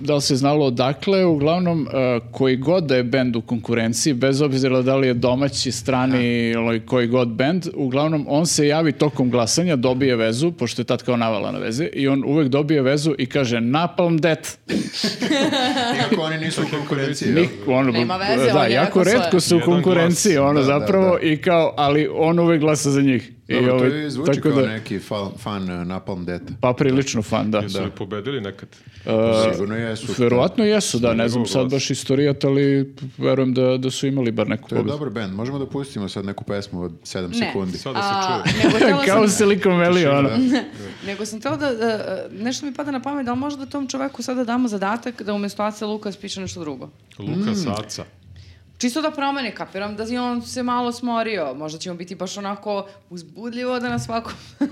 da li se znalo odakle, uglavnom e, koji god da je bend u konkurenciji, bez obzira da li je domaći, strani ili koji god bend, uglavnom on se javi tokom glasanja, dobije vezu, pošto je tad kao navala na veze, i on uvek dobije vezu i kaže Napalm Death. Iako oni nisu u konkurenciji. jel? Nik, ono, Nema veze, da, on je jako jako svoje. redko su u Jedan konkurenciji, glas. ono Da, da, zapravo, i kao, ali on uvek glasa za njih. Dobro, I to ovaj, je zvuči tako kao da- neki fan, fan e, Napalm Deta. Pa prilično fan, da. Jesu li pobedili nekad? Sigurno jesu. Verovatno jesu, da, ne znam njegov sad glas. baš istorijat, ali verujem da, da su imali bar neku To je pobedu. dobar band. Možemo da pustimo sad neku pesmu od 7 Ne. sekundi. Sada se čuje. nego htjela Kao sam, se likom veli, ono. nego sam htjela da, e, e, nešto mi pada na pamet, da li možda tom čoveku sada damo zadatak da umjesto Aca Lukas piše nešto drugo. Luka Saca. Čisto da promene, kapiram da je on se malo smorio. Možda ćemo biti baš onako uzbudljivo da na svakom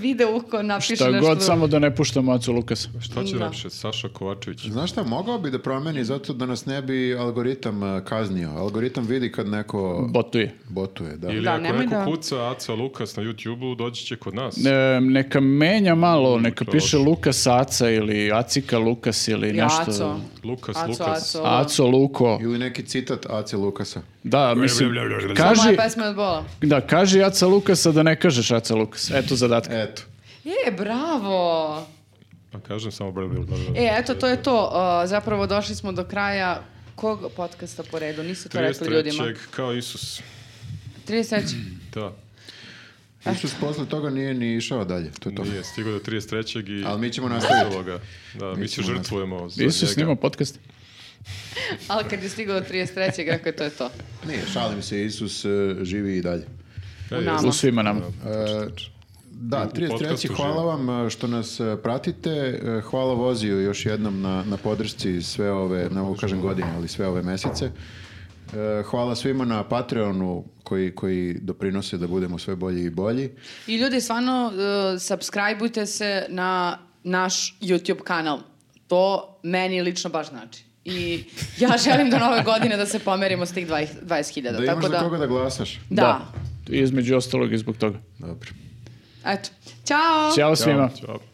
videu ko napiše Pa. Šta nešto god, drugo. samo da ne puštamo Acu Lukasa. Šta će Da. napiše? Saša Kovačević. Znaš šta, mogao bi da promeni zato da nas ne bi algoritam e, kaznio. Algoritam vidi kad neko Botuje. botuje, da. Ili Da, ako nemoj neko da- kuca Aca Lukas na YouTube-u, doći će kod nas. E, neka menja malo, neka to je piše loše. Lukas Aca ili Acika Lukas ili Ja, nešto. Aco. Lukas, Aco, Lukas. Aco. Aco Luko. Ili neki citat Ace Lukasa. Da, mislim, Moja kaži, pesma je od bola. da, kaži Aca Lukasa da ne kažeš Aca Lukas. Eto zadatka. Eto. E, bravo! Pa kažem samo brr, brr, brr, brr. E, eto, to je to. E, zapravo došli smo do kraja kog podcasta po redu. Nisu to rekli ljudima. 33. kao Isus. 33. Da, Isus posle toga nije ni išao dalje. To je to. nije stigao do 33. i... Ali mi ćemo nastaviti. Iz ovoga. Da, mi se ćemo žrtvujemo za Isus njega. snima podcast. Ali kad je stigao do 33. rekao je to je to. Nije, šalim se, Isus e, živi i dalje. E, U nama. U svima nama. E, Da, U podcastu 33. Hvala vam e, što nas e, pratite. E, Hvala Voziju još jednom na, na podršci sve ove, ne mogu kažem godine, ali sve ove mesece. E, Hvala svima na Patreonu koji, koji doprinose da budemo sve bolji i bolji. I ljudi, stvarno, uh, subscribeujte se na naš YouTube kanal. To meni lično baš znači. I ja želim do nove godine da se pomerimo s tih 20 20.000. Da imaš tako za da, koga da glasaš. Da. Između ostalog i zbog toga. Dobro. Eto. Ćao! Ćao svima. Ćao.